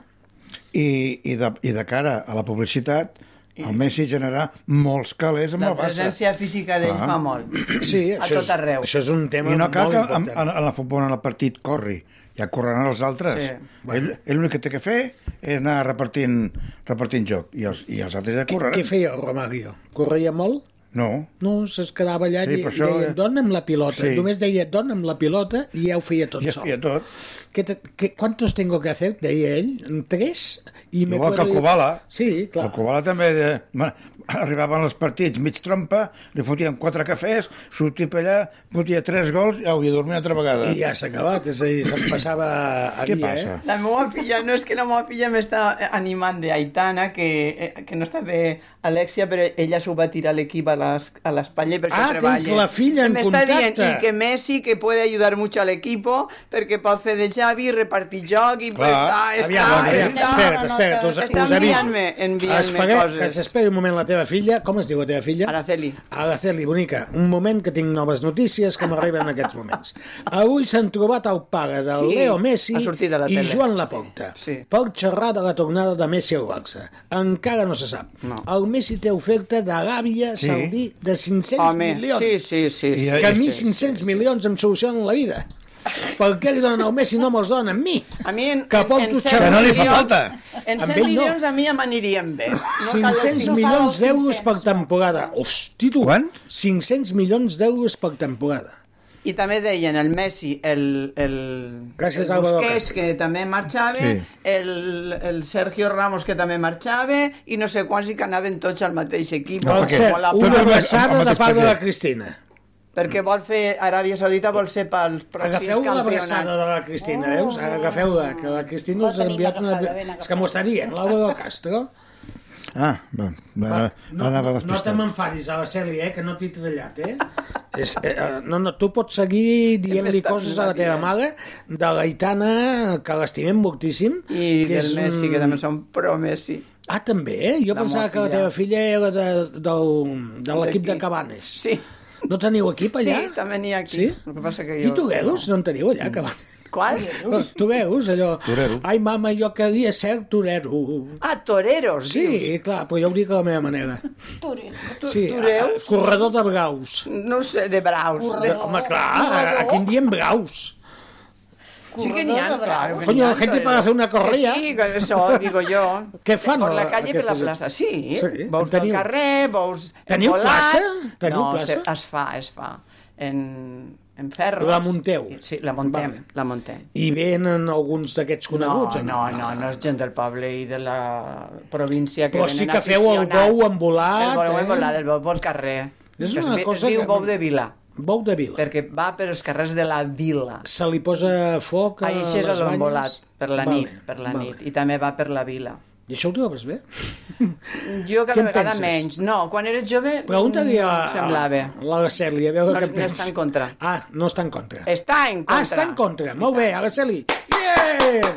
Speaker 6: i, i, de, i de cara a la publicitat el Messi generarà molts calés amb
Speaker 7: La
Speaker 6: el Barça
Speaker 7: presència física d'ell
Speaker 6: Ah.
Speaker 7: fa molt.
Speaker 5: Sí,
Speaker 7: A
Speaker 5: això
Speaker 7: tot arreu.
Speaker 5: És, això és un tema
Speaker 6: I no cal
Speaker 5: molt
Speaker 6: que en,
Speaker 5: important.
Speaker 6: en, en la futbol en el partit corri, ja correran els altres.
Speaker 7: Sí.
Speaker 6: Sí. Ell, ell l'únic que té que fer és anar repartint, repartint joc, i els, i els altres ja correran.
Speaker 5: Què feia el Romario? Corria molt?
Speaker 6: No,
Speaker 5: No, es quedava allà
Speaker 6: Sí,
Speaker 5: sí, i,
Speaker 6: per
Speaker 5: i
Speaker 6: això,
Speaker 5: deia,
Speaker 6: eh?
Speaker 5: dona'm la pilota. Sí.
Speaker 6: Sí.
Speaker 5: Només deia, dona'm la pilota i ja ho feia tot
Speaker 6: ja
Speaker 5: sol.
Speaker 6: feia tot.
Speaker 5: ¿Qué te- qué- ¿Cuántos tengo que hacer? Deia ell, tres. I me
Speaker 6: Igual que
Speaker 5: puedo
Speaker 6: el
Speaker 5: ir-
Speaker 6: Kubala.
Speaker 5: Sí, clar.
Speaker 6: El Kubala també de, ma- arribaven els partits mig trompa, li fotien quatre cafès, sortia per allà, fotia tres gols i au, i a dormir una altra vegada.
Speaker 5: I ja s'ha acabat, és a dir, se'n passava a dia,
Speaker 6: Què
Speaker 5: eh?
Speaker 6: passa?
Speaker 7: eh? La meva filla, no és que la meva filla m'està animant d'Aitana, que, eh, que no està bé Alexia, però ella s'ho va tirar a l'equip a les- a l'espatlla i per això
Speaker 5: Ah, tens
Speaker 7: treballa.
Speaker 5: la filla en
Speaker 7: M'està dient,
Speaker 5: contacte.
Speaker 7: i que Messi, que puede ayudar mucho al equipo, perquè pot fer de Xavi, repartir joc, i
Speaker 6: Clar,
Speaker 7: està,
Speaker 5: Aviam,
Speaker 7: està,
Speaker 5: aviam,
Speaker 7: està...
Speaker 5: espera't, espera't, us,
Speaker 7: Està
Speaker 5: us aviso.
Speaker 7: enviant-me, enviant-me
Speaker 5: Espereu,
Speaker 7: coses.
Speaker 5: que s'esperi un moment la teva teva filla, com es diu la teva filla? Araceli. Araceli, bonica, un moment que tinc noves notícies que m'arriben en aquests
Speaker 7: *laughs*
Speaker 5: moments. Avui s'han trobat el pare del
Speaker 7: Sí,
Speaker 5: Leo Messi
Speaker 7: ha sortit a la
Speaker 5: i
Speaker 7: tele.
Speaker 5: Joan Laporta. Sí. Pot xerrar de la tornada de Messi al Barça. Encara no se sap. No. El Messi té oferta d'Aràbia
Speaker 7: Sí.
Speaker 5: sí. Saudí de 500
Speaker 7: Home,
Speaker 5: milions.
Speaker 7: sí, sí, sí, sí,
Speaker 5: que a mi
Speaker 7: sí,
Speaker 5: 500 milions em solucionen la vida. Per què li donen al Messi i no me'ls donen a mi?
Speaker 7: A mi en,
Speaker 5: Que porto
Speaker 7: en cent
Speaker 5: xerrar. Que no li fa
Speaker 7: milions-
Speaker 5: falta.
Speaker 7: En
Speaker 5: Amb
Speaker 7: 100
Speaker 5: ell no.
Speaker 7: milions a mi ja m'anirien bé. No cal els
Speaker 5: 500
Speaker 7: cinc-
Speaker 5: milions d'euros per temporada. Hosti, tu! Quant? 500 milions d'euros per temporada.
Speaker 7: I també deien el Messi, el, el,
Speaker 5: Gràcies,
Speaker 7: el
Speaker 5: Álvaro
Speaker 7: Busquets, que també marxava,
Speaker 5: Sí.
Speaker 7: el, el Sergio Ramos, que també marxava, i no sé quants, i que anaven tots al mateix equip.
Speaker 5: No, per
Speaker 7: com
Speaker 5: cert,
Speaker 7: la
Speaker 5: una
Speaker 7: Pau.
Speaker 5: abraçada de part de la Cristina.
Speaker 7: Perquè vol fer Aràbia Saudita, vol ser pels pròxims
Speaker 5: Agafeu l'abraçada
Speaker 7: campionats.
Speaker 5: de la Cristina, veus?
Speaker 7: Oh.
Speaker 5: Agafeu-la, que la Cristina us ha enviat una... És que m'ho està dient, Laura del Castro.
Speaker 6: Ah, va, va, va,
Speaker 5: No,
Speaker 6: anava
Speaker 5: no, no
Speaker 6: despistat.
Speaker 5: te m'enfadis, Araceli, eh, que no t'he tallat, eh? És, eh, eh, no, no, tu pots seguir dient-li coses a la teva mare de l'Aitana, que l'estimem moltíssim.
Speaker 7: I
Speaker 5: que
Speaker 7: del
Speaker 5: és
Speaker 7: Messi,
Speaker 5: un-
Speaker 7: que també són pro-Messi.
Speaker 5: Ah, també, eh? Jo
Speaker 7: La
Speaker 5: pensava
Speaker 7: meva
Speaker 5: que la
Speaker 7: filla.
Speaker 5: teva filla era de, del, de l'equip de Cabanes.
Speaker 7: Sí.
Speaker 5: No teniu equip allà?
Speaker 7: Sí, també n'hi ha aquí.
Speaker 5: Sí?
Speaker 7: El que passa que
Speaker 5: I
Speaker 7: jo...
Speaker 5: tu veus? No en teniu allà, Cabanes.
Speaker 7: Qual?
Speaker 5: Tu veus, allò...
Speaker 6: Torero.
Speaker 5: Ai, mama, jo queria ser torero.
Speaker 7: Ah, toreros,
Speaker 5: Sí, clar, però jo ho dic a la meva manera.
Speaker 7: Tu,
Speaker 5: Sí,
Speaker 7: tu
Speaker 5: a-
Speaker 7: veus?
Speaker 5: a- corredor de braus.
Speaker 7: No sé, de braus.
Speaker 5: De, home, clar, a- aquí en diem braus.
Speaker 7: Sí que n'hi ha,
Speaker 5: Corredor de
Speaker 7: clar,
Speaker 5: braus.
Speaker 7: que
Speaker 5: Coño,
Speaker 7: n'hi ha,
Speaker 5: gente
Speaker 7: toreros.
Speaker 5: para hacer una correa.
Speaker 7: Que sí, que això, digo jo.
Speaker 5: Què fan?
Speaker 7: Por la
Speaker 5: a-
Speaker 7: calle, Eh, per la
Speaker 5: aquesta gent?
Speaker 7: plaça. Sí,
Speaker 5: Sí,
Speaker 7: veus
Speaker 5: teniu.
Speaker 7: pel carrer, veus...
Speaker 5: Teniu
Speaker 7: volat.
Speaker 5: plaça? Teniu
Speaker 7: no,
Speaker 5: plaça?
Speaker 7: se- es fa, es fa. En, en ferro.
Speaker 5: La munteu.
Speaker 7: Sí, la muntem, la muntem.
Speaker 5: I venen alguns d'aquests coneguts? o
Speaker 7: no, no, no, no és gent del poble i de la província que
Speaker 5: Però sí
Speaker 7: venen
Speaker 5: que feu el
Speaker 7: aficionats.
Speaker 5: bou envolat,
Speaker 7: El bou
Speaker 5: eh?
Speaker 7: envolat, el bou pel carrer.
Speaker 5: És
Speaker 7: Que es
Speaker 5: una
Speaker 7: di-
Speaker 5: cosa
Speaker 7: Es diu
Speaker 5: que-
Speaker 7: bou de vila.
Speaker 5: Bou de vila.
Speaker 7: Perquè va per els carrers de la vila.
Speaker 5: Se li posa foc a
Speaker 7: Ai,
Speaker 5: les
Speaker 7: això és
Speaker 5: banyes?
Speaker 7: l'envolat, per la
Speaker 5: Vale,
Speaker 7: nit, per la
Speaker 5: vale.
Speaker 7: nit. I també va per la vila.
Speaker 5: I això ho trobes bé?
Speaker 7: Jo
Speaker 5: Què
Speaker 7: cada
Speaker 5: en
Speaker 7: vegada
Speaker 5: penses?
Speaker 7: menys. No, quan eres jove... mm,
Speaker 5: Pregunta-li a,
Speaker 7: no em Semblava.
Speaker 5: a l'Araceli, a veure
Speaker 7: No,
Speaker 5: què
Speaker 7: no
Speaker 5: pensa.
Speaker 7: està en contra.
Speaker 5: Ah, no està en contra.
Speaker 7: Està en contra.
Speaker 5: Ah, està en contra. Molt bé, Araceli. Yeah!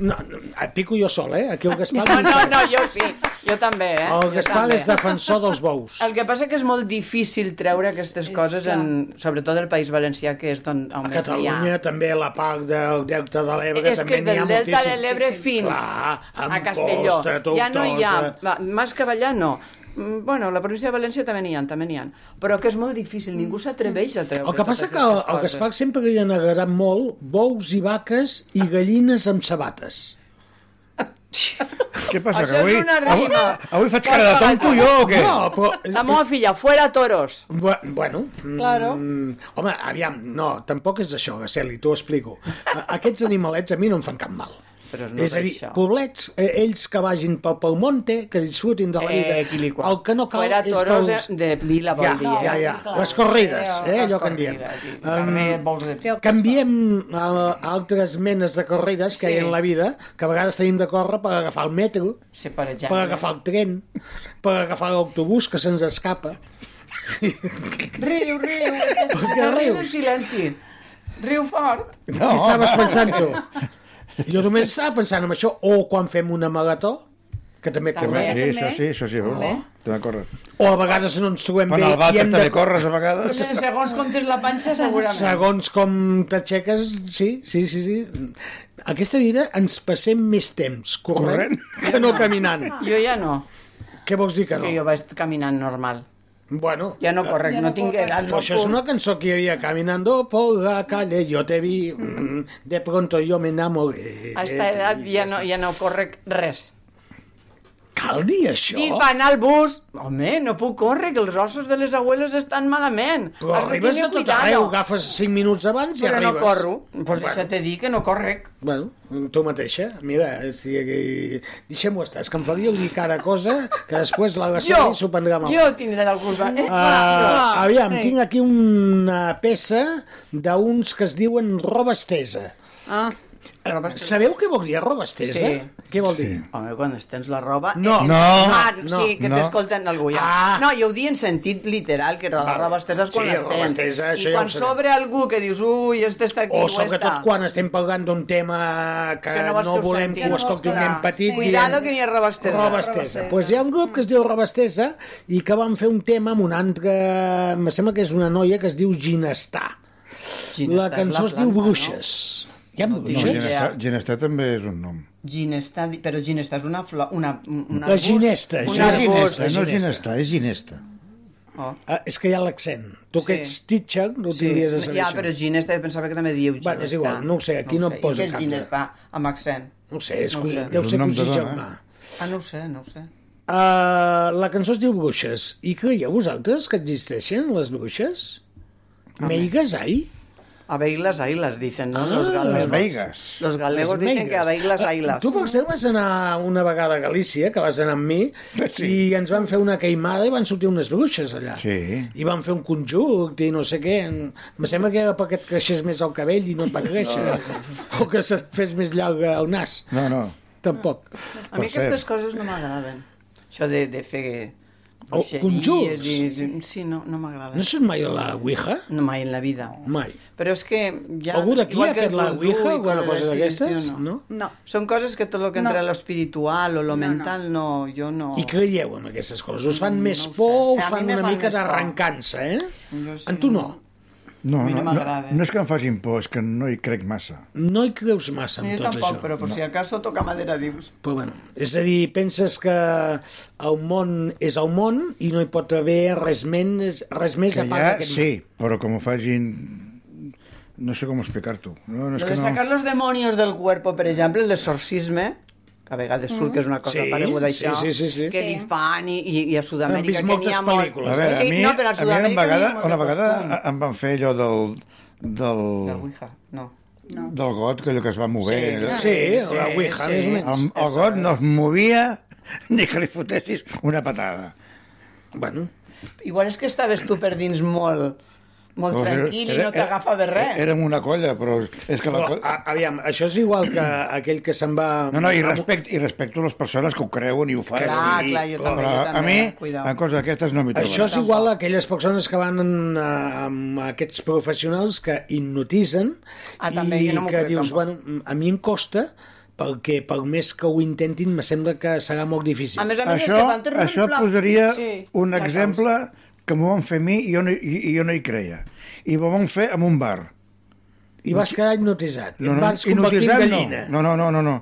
Speaker 5: No, no, et pico jo sol, eh? Aquí el Gaspar...
Speaker 7: *laughs* No, no, no, jo sí. Jo també, eh? Jo
Speaker 5: El Gaspar
Speaker 7: també.
Speaker 5: és defensor dels bous.
Speaker 7: El que passa que és molt difícil treure aquestes coses,
Speaker 5: clar.
Speaker 7: en, sobretot al País Valencià, que és doncs, d'on on
Speaker 5: A
Speaker 7: més n'hi
Speaker 5: Catalunya
Speaker 7: ha.
Speaker 5: també la part del Delta de l'Ebre
Speaker 7: És que
Speaker 5: també n'hi ha
Speaker 7: del Delta de
Speaker 5: moltíssim.
Speaker 7: l'Ebre fins
Speaker 5: Clar,
Speaker 7: a Castelló.
Speaker 5: Amposta,
Speaker 7: ja no hi ha...
Speaker 5: Tortosa.
Speaker 7: Va, Mas Cavallà no. Mm, Bueno, la província de València també n'hi ha, també n'hi ha. Però que és molt difícil, ningú s'atreveix a treure
Speaker 5: Mm. El que passa
Speaker 7: totes
Speaker 5: que al
Speaker 7: aquestes
Speaker 5: al
Speaker 7: coses.
Speaker 5: Gaspar sempre li han agradat molt bous i vaques i gallines amb sabates.
Speaker 6: Què passa,
Speaker 7: Això és una rima.
Speaker 6: avui faig cara de tonto jo o què?
Speaker 5: No, però...
Speaker 7: La meva filla, fuera toros.
Speaker 5: Bu- Bueno, mm,
Speaker 7: Claro.
Speaker 5: home, aviam, no, tampoc és això, Gaceli, t'ho explico. A- Aquests animalets a mi no em fan cap mal.
Speaker 7: Però no
Speaker 5: és a dir,
Speaker 7: d'això.
Speaker 5: poblets, eh, ells que vagin pel, pel monte, que disfrutin de la vida.
Speaker 7: Eh, quiliqua.
Speaker 5: el que no cal
Speaker 7: Fuera
Speaker 5: és que
Speaker 7: toros
Speaker 5: els...
Speaker 7: de vila, vol
Speaker 5: ja,
Speaker 7: dir,
Speaker 5: Ja,
Speaker 7: eh?
Speaker 5: ja,
Speaker 7: Clar.
Speaker 5: Les corrides, eh,
Speaker 7: Les
Speaker 5: allò que en diem.
Speaker 7: corrides, sí.
Speaker 5: Um,
Speaker 7: Carrer,
Speaker 5: canviem a, a altres menes de corrides que
Speaker 7: Sí.
Speaker 5: hi ha en la vida, que a vegades tenim de córrer per agafar el metro,
Speaker 7: Sí, per exemple.
Speaker 5: per agafar el tren, per agafar l'autobús que se'ns
Speaker 7: *laughs*
Speaker 5: escapa.
Speaker 7: Riu, *laughs* riu.
Speaker 5: Per què
Speaker 7: Que riu en
Speaker 5: rius?
Speaker 7: silenci. Riu fort.
Speaker 5: No. Què estaves pensant tu?
Speaker 7: *laughs*
Speaker 5: Jo només estava pensant en això, o quan fem una marató, que també
Speaker 6: També, sí,
Speaker 5: correm.
Speaker 6: això sí, això sí. També. També corres.
Speaker 5: O a vegades no ens trobem
Speaker 6: Bueno,
Speaker 5: bé
Speaker 6: al vàter
Speaker 5: i hem
Speaker 6: també
Speaker 5: de...
Speaker 6: corres a vegades.
Speaker 7: Segons com tens la panxa, segurament.
Speaker 5: Segons com t'aixeques, sí, sí, sí, sí. Aquesta vida ens passem més temps corrent, corrent? que no caminant.
Speaker 7: Jo ja no.
Speaker 5: Què vols dir que no?
Speaker 7: Que jo vaig caminant normal.
Speaker 5: Bueno. eh,
Speaker 7: Ja no correc, Ja no no tinc corres. edat, no
Speaker 5: Però això és
Speaker 7: puc.
Speaker 5: una cançó que hi havia Caminando por la calle, yo te vi, mm, de pronto yo me enamoré.
Speaker 7: A esta edat ja no, ja no correc res.
Speaker 5: Cal dir això?
Speaker 7: I per anar al bus, home, no puc córrer, que els ossos de les abueles estan malament.
Speaker 5: Però
Speaker 7: Has de
Speaker 5: arribes
Speaker 7: tenir
Speaker 5: a tot
Speaker 7: cuidado.
Speaker 5: arreu, agafes 5 minuts abans i
Speaker 7: Però no
Speaker 5: arribes.
Speaker 7: corro. Pues això t'he dit, que no correc.
Speaker 5: Bueno, tu mateixa, mira, si, eh, deixem-ho estar, és que em faria dir cada cosa que després la Gassoli s'ho prendrà mal.
Speaker 7: jo tindré la culpa. Eh?
Speaker 5: Uh, aviam, tinc aquí una peça d'uns que es diuen roba estesa.
Speaker 3: Ah,
Speaker 5: Sabeu què vol dir robastesa?
Speaker 7: Sí.
Speaker 5: Què vol dir?
Speaker 7: Home, quan estens la roba...
Speaker 5: No,
Speaker 7: eh,
Speaker 5: no,
Speaker 7: ah,
Speaker 5: no,
Speaker 7: sí, que
Speaker 5: no.
Speaker 7: t'escolten algú ja.
Speaker 5: Ah.
Speaker 7: No, jo ho dic en sentit literal, que la roba estesa és quan
Speaker 5: Sí, roba
Speaker 7: l'estens.
Speaker 5: estesa, això ja
Speaker 7: I
Speaker 5: ho
Speaker 7: quan
Speaker 5: sabem.
Speaker 7: s'obre algú que dius, ui, este està aquí,
Speaker 5: O
Speaker 7: ho
Speaker 5: sobretot
Speaker 7: està.
Speaker 5: quan estem parlant d'un tema que,
Speaker 7: Que no
Speaker 5: no,
Speaker 7: vols que ho
Speaker 5: volem
Speaker 7: senti.
Speaker 5: que ho
Speaker 7: Que no vols
Speaker 5: escolti un
Speaker 7: que-
Speaker 5: nen petit.
Speaker 7: Sí. Cuidado que n'hi ha roba estesa.
Speaker 5: Roba
Speaker 7: Roba
Speaker 5: estesa.
Speaker 7: estesa.
Speaker 5: Pues hi ha un grup que es diu Roba estesa i que van fer un tema amb una altra... Me sembla que és una noia que es diu Ginestà.
Speaker 7: Ginestà
Speaker 5: la
Speaker 7: és la
Speaker 5: cançó es diu
Speaker 7: planta, no?
Speaker 5: Bruixes. Hi ha
Speaker 6: No,
Speaker 5: bruixes?
Speaker 6: Ginestà, Ginestà també és un nom.
Speaker 7: Ginestà, di- però ginestà és una flor, una... una
Speaker 5: La ginesta.
Speaker 7: Un
Speaker 5: ginesta.
Speaker 7: arbust.
Speaker 6: Ginesta, no és Ginestà, és Ginesta.
Speaker 7: Oh.
Speaker 5: Ah, és que hi ha l'accent. Tu que
Speaker 7: Sí.
Speaker 5: ets teacher no
Speaker 7: Sí,
Speaker 5: t'hauries de saber
Speaker 7: ja,
Speaker 5: això.
Speaker 7: però ginesta, jo pensava que també dieu ginesta.
Speaker 5: Bueno, és igual, no ho sé, aquí no
Speaker 7: ho
Speaker 5: et
Speaker 7: sé.
Speaker 5: posa
Speaker 7: I què
Speaker 5: cap
Speaker 7: és ginesta amb accent?
Speaker 5: No ho sé, és,
Speaker 7: No ho
Speaker 5: cosí-
Speaker 7: sé.
Speaker 5: deu
Speaker 6: És un
Speaker 5: ser
Speaker 6: nom de
Speaker 5: cosí
Speaker 6: dona, eh?
Speaker 5: germà.
Speaker 7: Ah, no ho sé, no ho sé.
Speaker 5: Uh, la cançó es diu Bruixes. I creieu vosaltres que existeixen les bruixes? Meigues, ai?
Speaker 7: A Beilas Ailas, dicen, no? los
Speaker 5: Ah,
Speaker 7: galegos.
Speaker 6: Las Vegas.
Speaker 7: Los galegos
Speaker 5: Les
Speaker 7: dicen que a Beilas
Speaker 5: Ah,
Speaker 7: Ailas.
Speaker 5: Tu, per cert, vas anar una vegada a Galícia, que vas anar amb mi, sí.
Speaker 6: Sí.
Speaker 5: i ens van fer una queimada i van sortir unes bruixes allà.
Speaker 6: Sí.
Speaker 5: I van fer un conjunt i no sé què. En- Em sembla que era perquè et creixés més el cabell i no et va créixer. O que se't fes més llarg el nas.
Speaker 6: No, no.
Speaker 5: Tampoc.
Speaker 7: A mi
Speaker 6: per cert.
Speaker 7: aquestes coses no m'agraden. Això de, de fer
Speaker 5: Oh,
Speaker 7: bruixeries
Speaker 5: conjurs.
Speaker 7: i- Sí, no, no m'agrada.
Speaker 5: No saps mai a la Ouija?
Speaker 7: No mai en la vida.
Speaker 5: Mai.
Speaker 7: Però és que ja...
Speaker 5: Algú d'aquí
Speaker 7: igual
Speaker 5: ha
Speaker 7: que el
Speaker 5: fet la
Speaker 7: vudú
Speaker 5: Ouija
Speaker 7: i
Speaker 5: o alguna
Speaker 7: coses
Speaker 5: cosa
Speaker 7: així, sí o
Speaker 5: d'aquestes? No?
Speaker 8: No.
Speaker 7: Són coses que tot el que
Speaker 8: No.
Speaker 7: entra a lo espiritual o lo
Speaker 8: No, no.
Speaker 7: mental, no, jo no...
Speaker 5: I creieu en aquestes coses? Us fan
Speaker 7: Mm,
Speaker 5: més
Speaker 7: no ho sé.
Speaker 5: por, us
Speaker 7: A mi
Speaker 5: fan
Speaker 7: me
Speaker 5: una
Speaker 7: fan
Speaker 5: mica
Speaker 7: més por.
Speaker 5: d'arrencança, eh?
Speaker 7: Jo sí,
Speaker 5: En tu no.
Speaker 6: No,
Speaker 7: A mi
Speaker 6: no,
Speaker 7: no
Speaker 6: no, no,
Speaker 7: m'agrada.
Speaker 6: és que em facin por, és que no hi crec massa.
Speaker 5: No hi creus massa en
Speaker 7: Jo
Speaker 5: tot
Speaker 7: tampoc,
Speaker 5: això.
Speaker 7: però per si acaso toca madera, dius.
Speaker 5: Però bueno, és a dir, penses que el món és el món i no hi pot haver res, menys, res més
Speaker 6: Que
Speaker 5: a part
Speaker 6: ja,
Speaker 5: d'aquest món.
Speaker 6: sí, però com ho facin... No sé com explicar-t'ho. No, no, és
Speaker 7: Lo
Speaker 6: que
Speaker 7: de
Speaker 6: no...
Speaker 7: sacar los demonios del cuerpo, per exemple, l'exorcisme, que a vegades surt que és una cosa
Speaker 5: Sí,
Speaker 7: pareguda a
Speaker 5: sí,
Speaker 7: això,
Speaker 5: sí, sí, sí.
Speaker 7: que li fan i, i, i a
Speaker 5: Hem
Speaker 7: Sud-amèrica
Speaker 5: vist
Speaker 7: que n'hi
Speaker 5: moltes
Speaker 7: ha molt...
Speaker 5: pel·lícules.
Speaker 6: A veure, a
Speaker 7: sí,
Speaker 6: mi,
Speaker 7: no, però a
Speaker 6: a mi una
Speaker 7: Sud-amèrica
Speaker 6: vegada,
Speaker 7: n'hi ha molt
Speaker 6: una
Speaker 7: de
Speaker 6: vegada
Speaker 7: costum.
Speaker 6: em van fer allò del... del...
Speaker 7: La Ouija, no.
Speaker 6: del got, que allò que es va mover. allò-
Speaker 5: Sí, la Ouija
Speaker 7: sí.
Speaker 5: més o menys.
Speaker 6: El, el got no es movia ni que li fotessis una patada.
Speaker 5: Bueno,
Speaker 7: Igual és que estaves tu per dins molt, molt
Speaker 6: Però
Speaker 7: tranquil i
Speaker 6: era-
Speaker 7: no t'agafava res.
Speaker 6: Érem una colla, però és Eh, que la
Speaker 5: però,
Speaker 6: colla...
Speaker 5: a, aviam, això és igual que aquell que se'n va...
Speaker 6: No, no, i respecto, i respecto les persones que ho creuen i ho fan.
Speaker 5: Que
Speaker 7: Clar,
Speaker 5: sí,
Speaker 7: clar, jo
Speaker 5: però
Speaker 7: també,
Speaker 6: Però
Speaker 7: jo
Speaker 6: a, a
Speaker 7: també.
Speaker 6: mi,
Speaker 7: Cuidao.
Speaker 6: en coses d'aquestes no m'hi trobaràs.
Speaker 5: Això és igual a aquelles persones que van en, eh, amb aquests professionals que hipnotitzen
Speaker 7: Ah, també,
Speaker 5: i
Speaker 7: jo no m'ho
Speaker 5: que
Speaker 7: crec,
Speaker 5: dius,
Speaker 7: tampoc.
Speaker 5: bueno, a mi em costa perquè per més que ho intentin me sembla que serà molt difícil.
Speaker 7: A més a més, és
Speaker 6: això,
Speaker 7: que van tornar un
Speaker 6: això
Speaker 7: pla...
Speaker 6: posaria
Speaker 7: Sí.
Speaker 6: un
Speaker 7: Tacaus.
Speaker 6: exemple que m'ho van fer a mi i jo no, i, i jo no hi creia. I m'ho van fer en un bar.
Speaker 5: I vas quedar hipnotitzat. No,
Speaker 6: No,
Speaker 5: no,
Speaker 6: no,
Speaker 5: vas convertir en
Speaker 6: hipnotitzant
Speaker 5: gallina.
Speaker 6: No, no, no, no, no.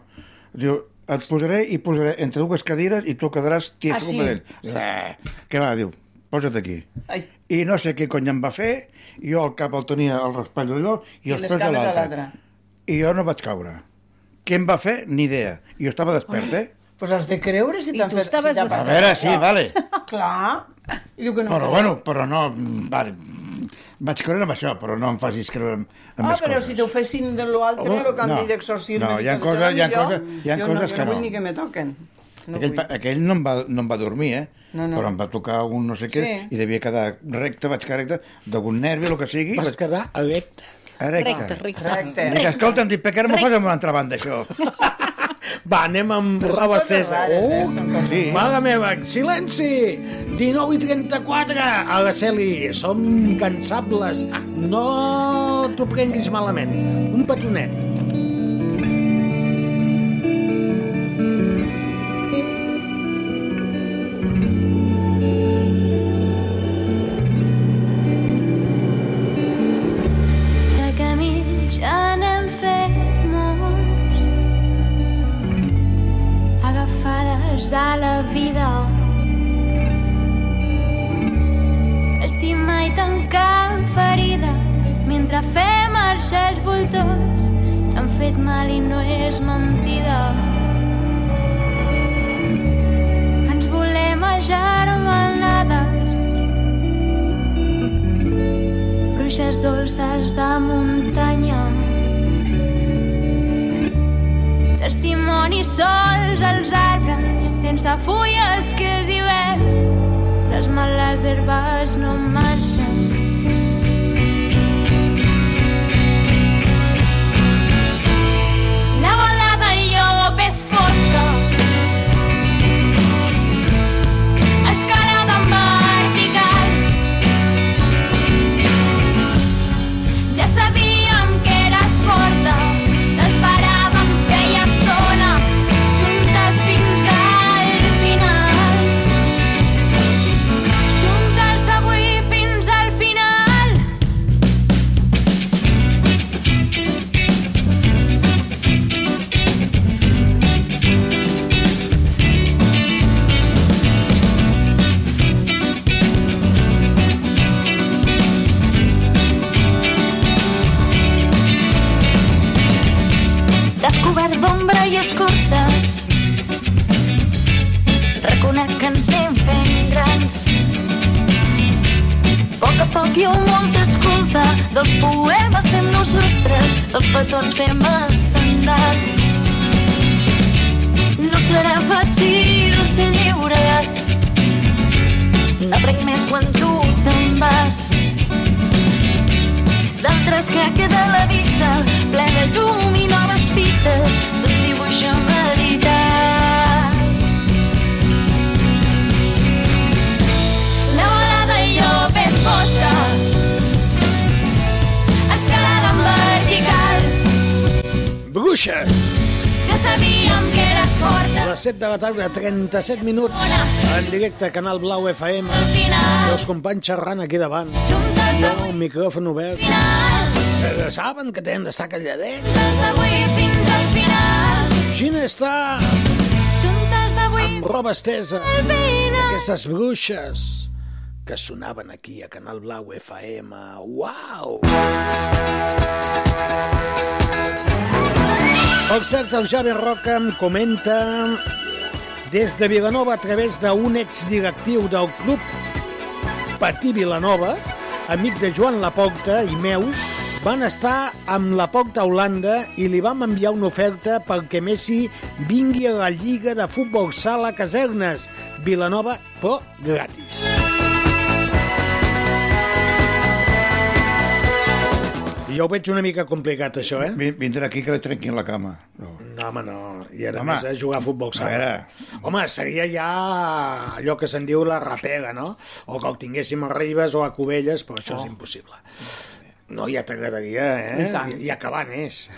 Speaker 6: Diu, et posaré i posaré entre dues cadires i tu quedaràs tiet
Speaker 7: Ah, sí?
Speaker 6: completament. Ah, Què va, diu, posa't aquí.
Speaker 7: Ai,
Speaker 6: I no sé què cony em va fer, jo el cap el tenia al raspall allò i,
Speaker 7: i
Speaker 6: els
Speaker 7: les
Speaker 6: peus a
Speaker 7: cames a
Speaker 6: l'altre.
Speaker 7: l'altre.
Speaker 6: I jo no vaig caure. Què em va fer? Ni idea. Jo estava despert, eh?
Speaker 7: Pues has de creure si
Speaker 8: I
Speaker 7: t'han
Speaker 8: tu
Speaker 7: fet...
Speaker 8: estaves
Speaker 7: si t'ha
Speaker 6: A
Speaker 8: despert.
Speaker 7: passat
Speaker 6: veure, sí,
Speaker 7: això.
Speaker 6: vale.
Speaker 7: Clar. I diu que no.
Speaker 6: Però bueno, però no... Vale, vaig creure en això, però no em facis creure en, en
Speaker 7: Ah,
Speaker 6: més
Speaker 7: però
Speaker 6: coses.
Speaker 7: si t'ho fessin de l'altre,
Speaker 6: Home,
Speaker 7: el que han
Speaker 6: Oh, no.
Speaker 7: dit d'exorcisme...
Speaker 6: No,
Speaker 7: i
Speaker 6: hi ha
Speaker 7: tot, jo
Speaker 6: coses-
Speaker 7: no,
Speaker 6: hi ha
Speaker 7: jo-
Speaker 6: coses- hi ha
Speaker 7: jo
Speaker 6: coses
Speaker 7: no,
Speaker 6: que
Speaker 7: Jo no
Speaker 6: no.
Speaker 7: vull ni que me toquen. No
Speaker 6: Aquell,
Speaker 7: vull.
Speaker 6: pa- aquell no, em va, no em va dormir, eh?
Speaker 7: No, no.
Speaker 6: Però em va tocar un no sé què
Speaker 7: Sí.
Speaker 6: i devia quedar recte, vaig quedar recte, d'algun nervi, el que sigui.
Speaker 5: Vas
Speaker 6: vaig
Speaker 5: quedar erecte.
Speaker 6: quedar
Speaker 8: Recte, recte.
Speaker 7: Recte.
Speaker 6: Dic, escolta'm, dic, per què no m'ho fas amb una altra banda, això?
Speaker 5: Va, anem amb
Speaker 7: Però són
Speaker 5: roba
Speaker 7: coses
Speaker 5: estesa.
Speaker 7: rares, eh?
Speaker 5: Oh,
Speaker 7: Són coses
Speaker 5: sí. Mare meva, silenci! 19 i 34, a la Celi. Som incansables. Ah, No t'ho prenguis malament. Un petonet.
Speaker 11: De camí ja n'hem fet molts Agafades a la vida Estimar i tancar ferides Mentre fem marxar els voltors T'han fet mal i no és mentida Ens volem agermanades bruixes dolces de muntanya. Testimonis sols als arbres, sense fulles que és hivern. Les males herbes no marxen. Ja sabíem que eres forta, t'esperàvem feia estona, juntes fins al final. Juntes d'avui fins al final. descobert d'ombra i escorces. Reconec que ens anem fent grans. A poc a poc hi ha un món que escolta, dels poemes fem-nos ostres, dels petons fem estandats. No serà fàcil ser lliures, n'aprenc més quan tu te'n vas d'altres que queda a la vista, ple de llum i noves fites, se'n dibuixa en veritat. La volada i jo més fosca, escalada en vertical,
Speaker 5: Bruixes!
Speaker 11: ja sabíem que eres forta.
Speaker 5: A les 7 de la tarda, 37 minuts, en directe, Canal Blau FM. Els companys xerrant aquí davant. Jo, el micròfon obert. Se saben que tenen d'estar calladets.
Speaker 11: Juntes d'avui fins al final,
Speaker 5: Gina està
Speaker 11: juntes d'avui
Speaker 5: amb roba estesa. Aquestes bruixes que sonaven aquí a Canal Blau FM. Uau! Per cert, el Javi Roca em comenta des de Vilanova a través d'un exdirectiu del club Patí Vilanova, amic de Joan Laporta i meu, van estar amb la Porta a Holanda i li vam enviar una oferta perquè Messi vingui a la Lliga de Futbol Sala Casernes, Vilanova, però gratis. *laughs* Jo ho veig una mica complicat, això, eh?
Speaker 6: Vin- Vindrà aquí que li trenquin la cama. No.
Speaker 5: No, home, no. I a
Speaker 6: Home.
Speaker 5: més a jugar a futbol
Speaker 6: A
Speaker 5: sala.
Speaker 6: veure.
Speaker 5: Home, seria ja allò que se'n diu la rapega, no? O que el tinguéssim a Ribes o a Cubelles, però això oh. és impossible. No, ja t'agradaria, eh?
Speaker 7: I tant.
Speaker 5: I, I a Cabanes.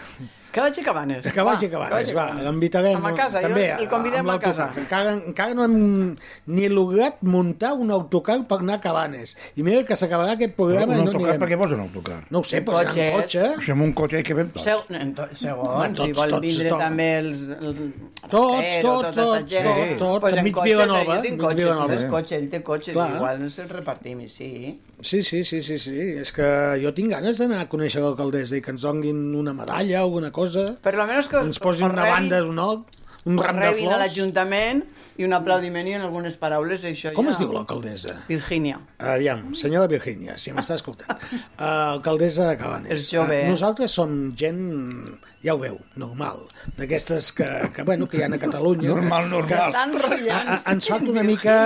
Speaker 7: Que vagi acabant. és.
Speaker 5: Que
Speaker 7: Va,
Speaker 5: vagi a Cabanes,
Speaker 7: vagi
Speaker 5: va.
Speaker 7: acabant.
Speaker 5: L'invitarem.
Speaker 7: Amb a casa,
Speaker 5: també,
Speaker 7: jo el convidem
Speaker 5: amb
Speaker 7: a casa.
Speaker 5: l'autocars. Encara, encara no hem ni lograt muntar un autocar per anar a Cabanes. I mira que s'acabarà aquest programa
Speaker 6: Un
Speaker 5: i no
Speaker 6: autocar,
Speaker 5: anirem.
Speaker 6: per què vols un autocar?
Speaker 5: No ho sé,
Speaker 7: Un
Speaker 5: però serà
Speaker 7: cotxe.
Speaker 5: un cotxe.
Speaker 6: Si amb un cotxe hi que ben tot.
Speaker 7: Seu, en to- segons,
Speaker 5: Home,
Speaker 7: si
Speaker 5: tots,
Speaker 7: vol
Speaker 5: tots,
Speaker 7: vindre
Speaker 5: tots.
Speaker 7: també els... El,
Speaker 5: Tots,
Speaker 7: Rastero, tota
Speaker 5: tots,
Speaker 7: aquesta
Speaker 5: tots,
Speaker 7: gent.
Speaker 5: tots, tots.
Speaker 7: Pues en
Speaker 5: Enmig
Speaker 7: cotxe,
Speaker 5: Vilanova,
Speaker 7: jo tinc
Speaker 5: enmig
Speaker 7: cotxe,
Speaker 5: Vilanova.
Speaker 7: tu tens cotxe, ell té cotxe,
Speaker 5: Clar.
Speaker 7: igual ens el repartim i sí.
Speaker 5: Sí, sí, sí, sí, sí. És que jo tinc ganes d'anar a conèixer l'alcaldessa i que ens donguin una medalla o alguna cosa.
Speaker 7: Per lo menos que
Speaker 5: Ens posin
Speaker 7: que
Speaker 5: una
Speaker 7: rebin-
Speaker 5: banda d'honor, un
Speaker 7: que
Speaker 5: ram de
Speaker 7: rebin a
Speaker 5: flors.
Speaker 7: l'Ajuntament i un aplaudiment i en algunes paraules, això
Speaker 5: Com
Speaker 7: ja...
Speaker 5: es diu l'alcaldessa?
Speaker 7: Virgínia.
Speaker 5: Aviam, senyora Virgínia, si m'està escoltant.
Speaker 7: *laughs*
Speaker 5: Uh, alcaldessa de Cabanes. Ah,
Speaker 7: És jove, eh?
Speaker 5: Nosaltres som gent, ja ho veu, normal. D'aquestes que, que, bueno, que hi ha a Catalunya.
Speaker 6: Normal, normal.
Speaker 7: S'està enrotllant.
Speaker 5: A, a, ens falta una mica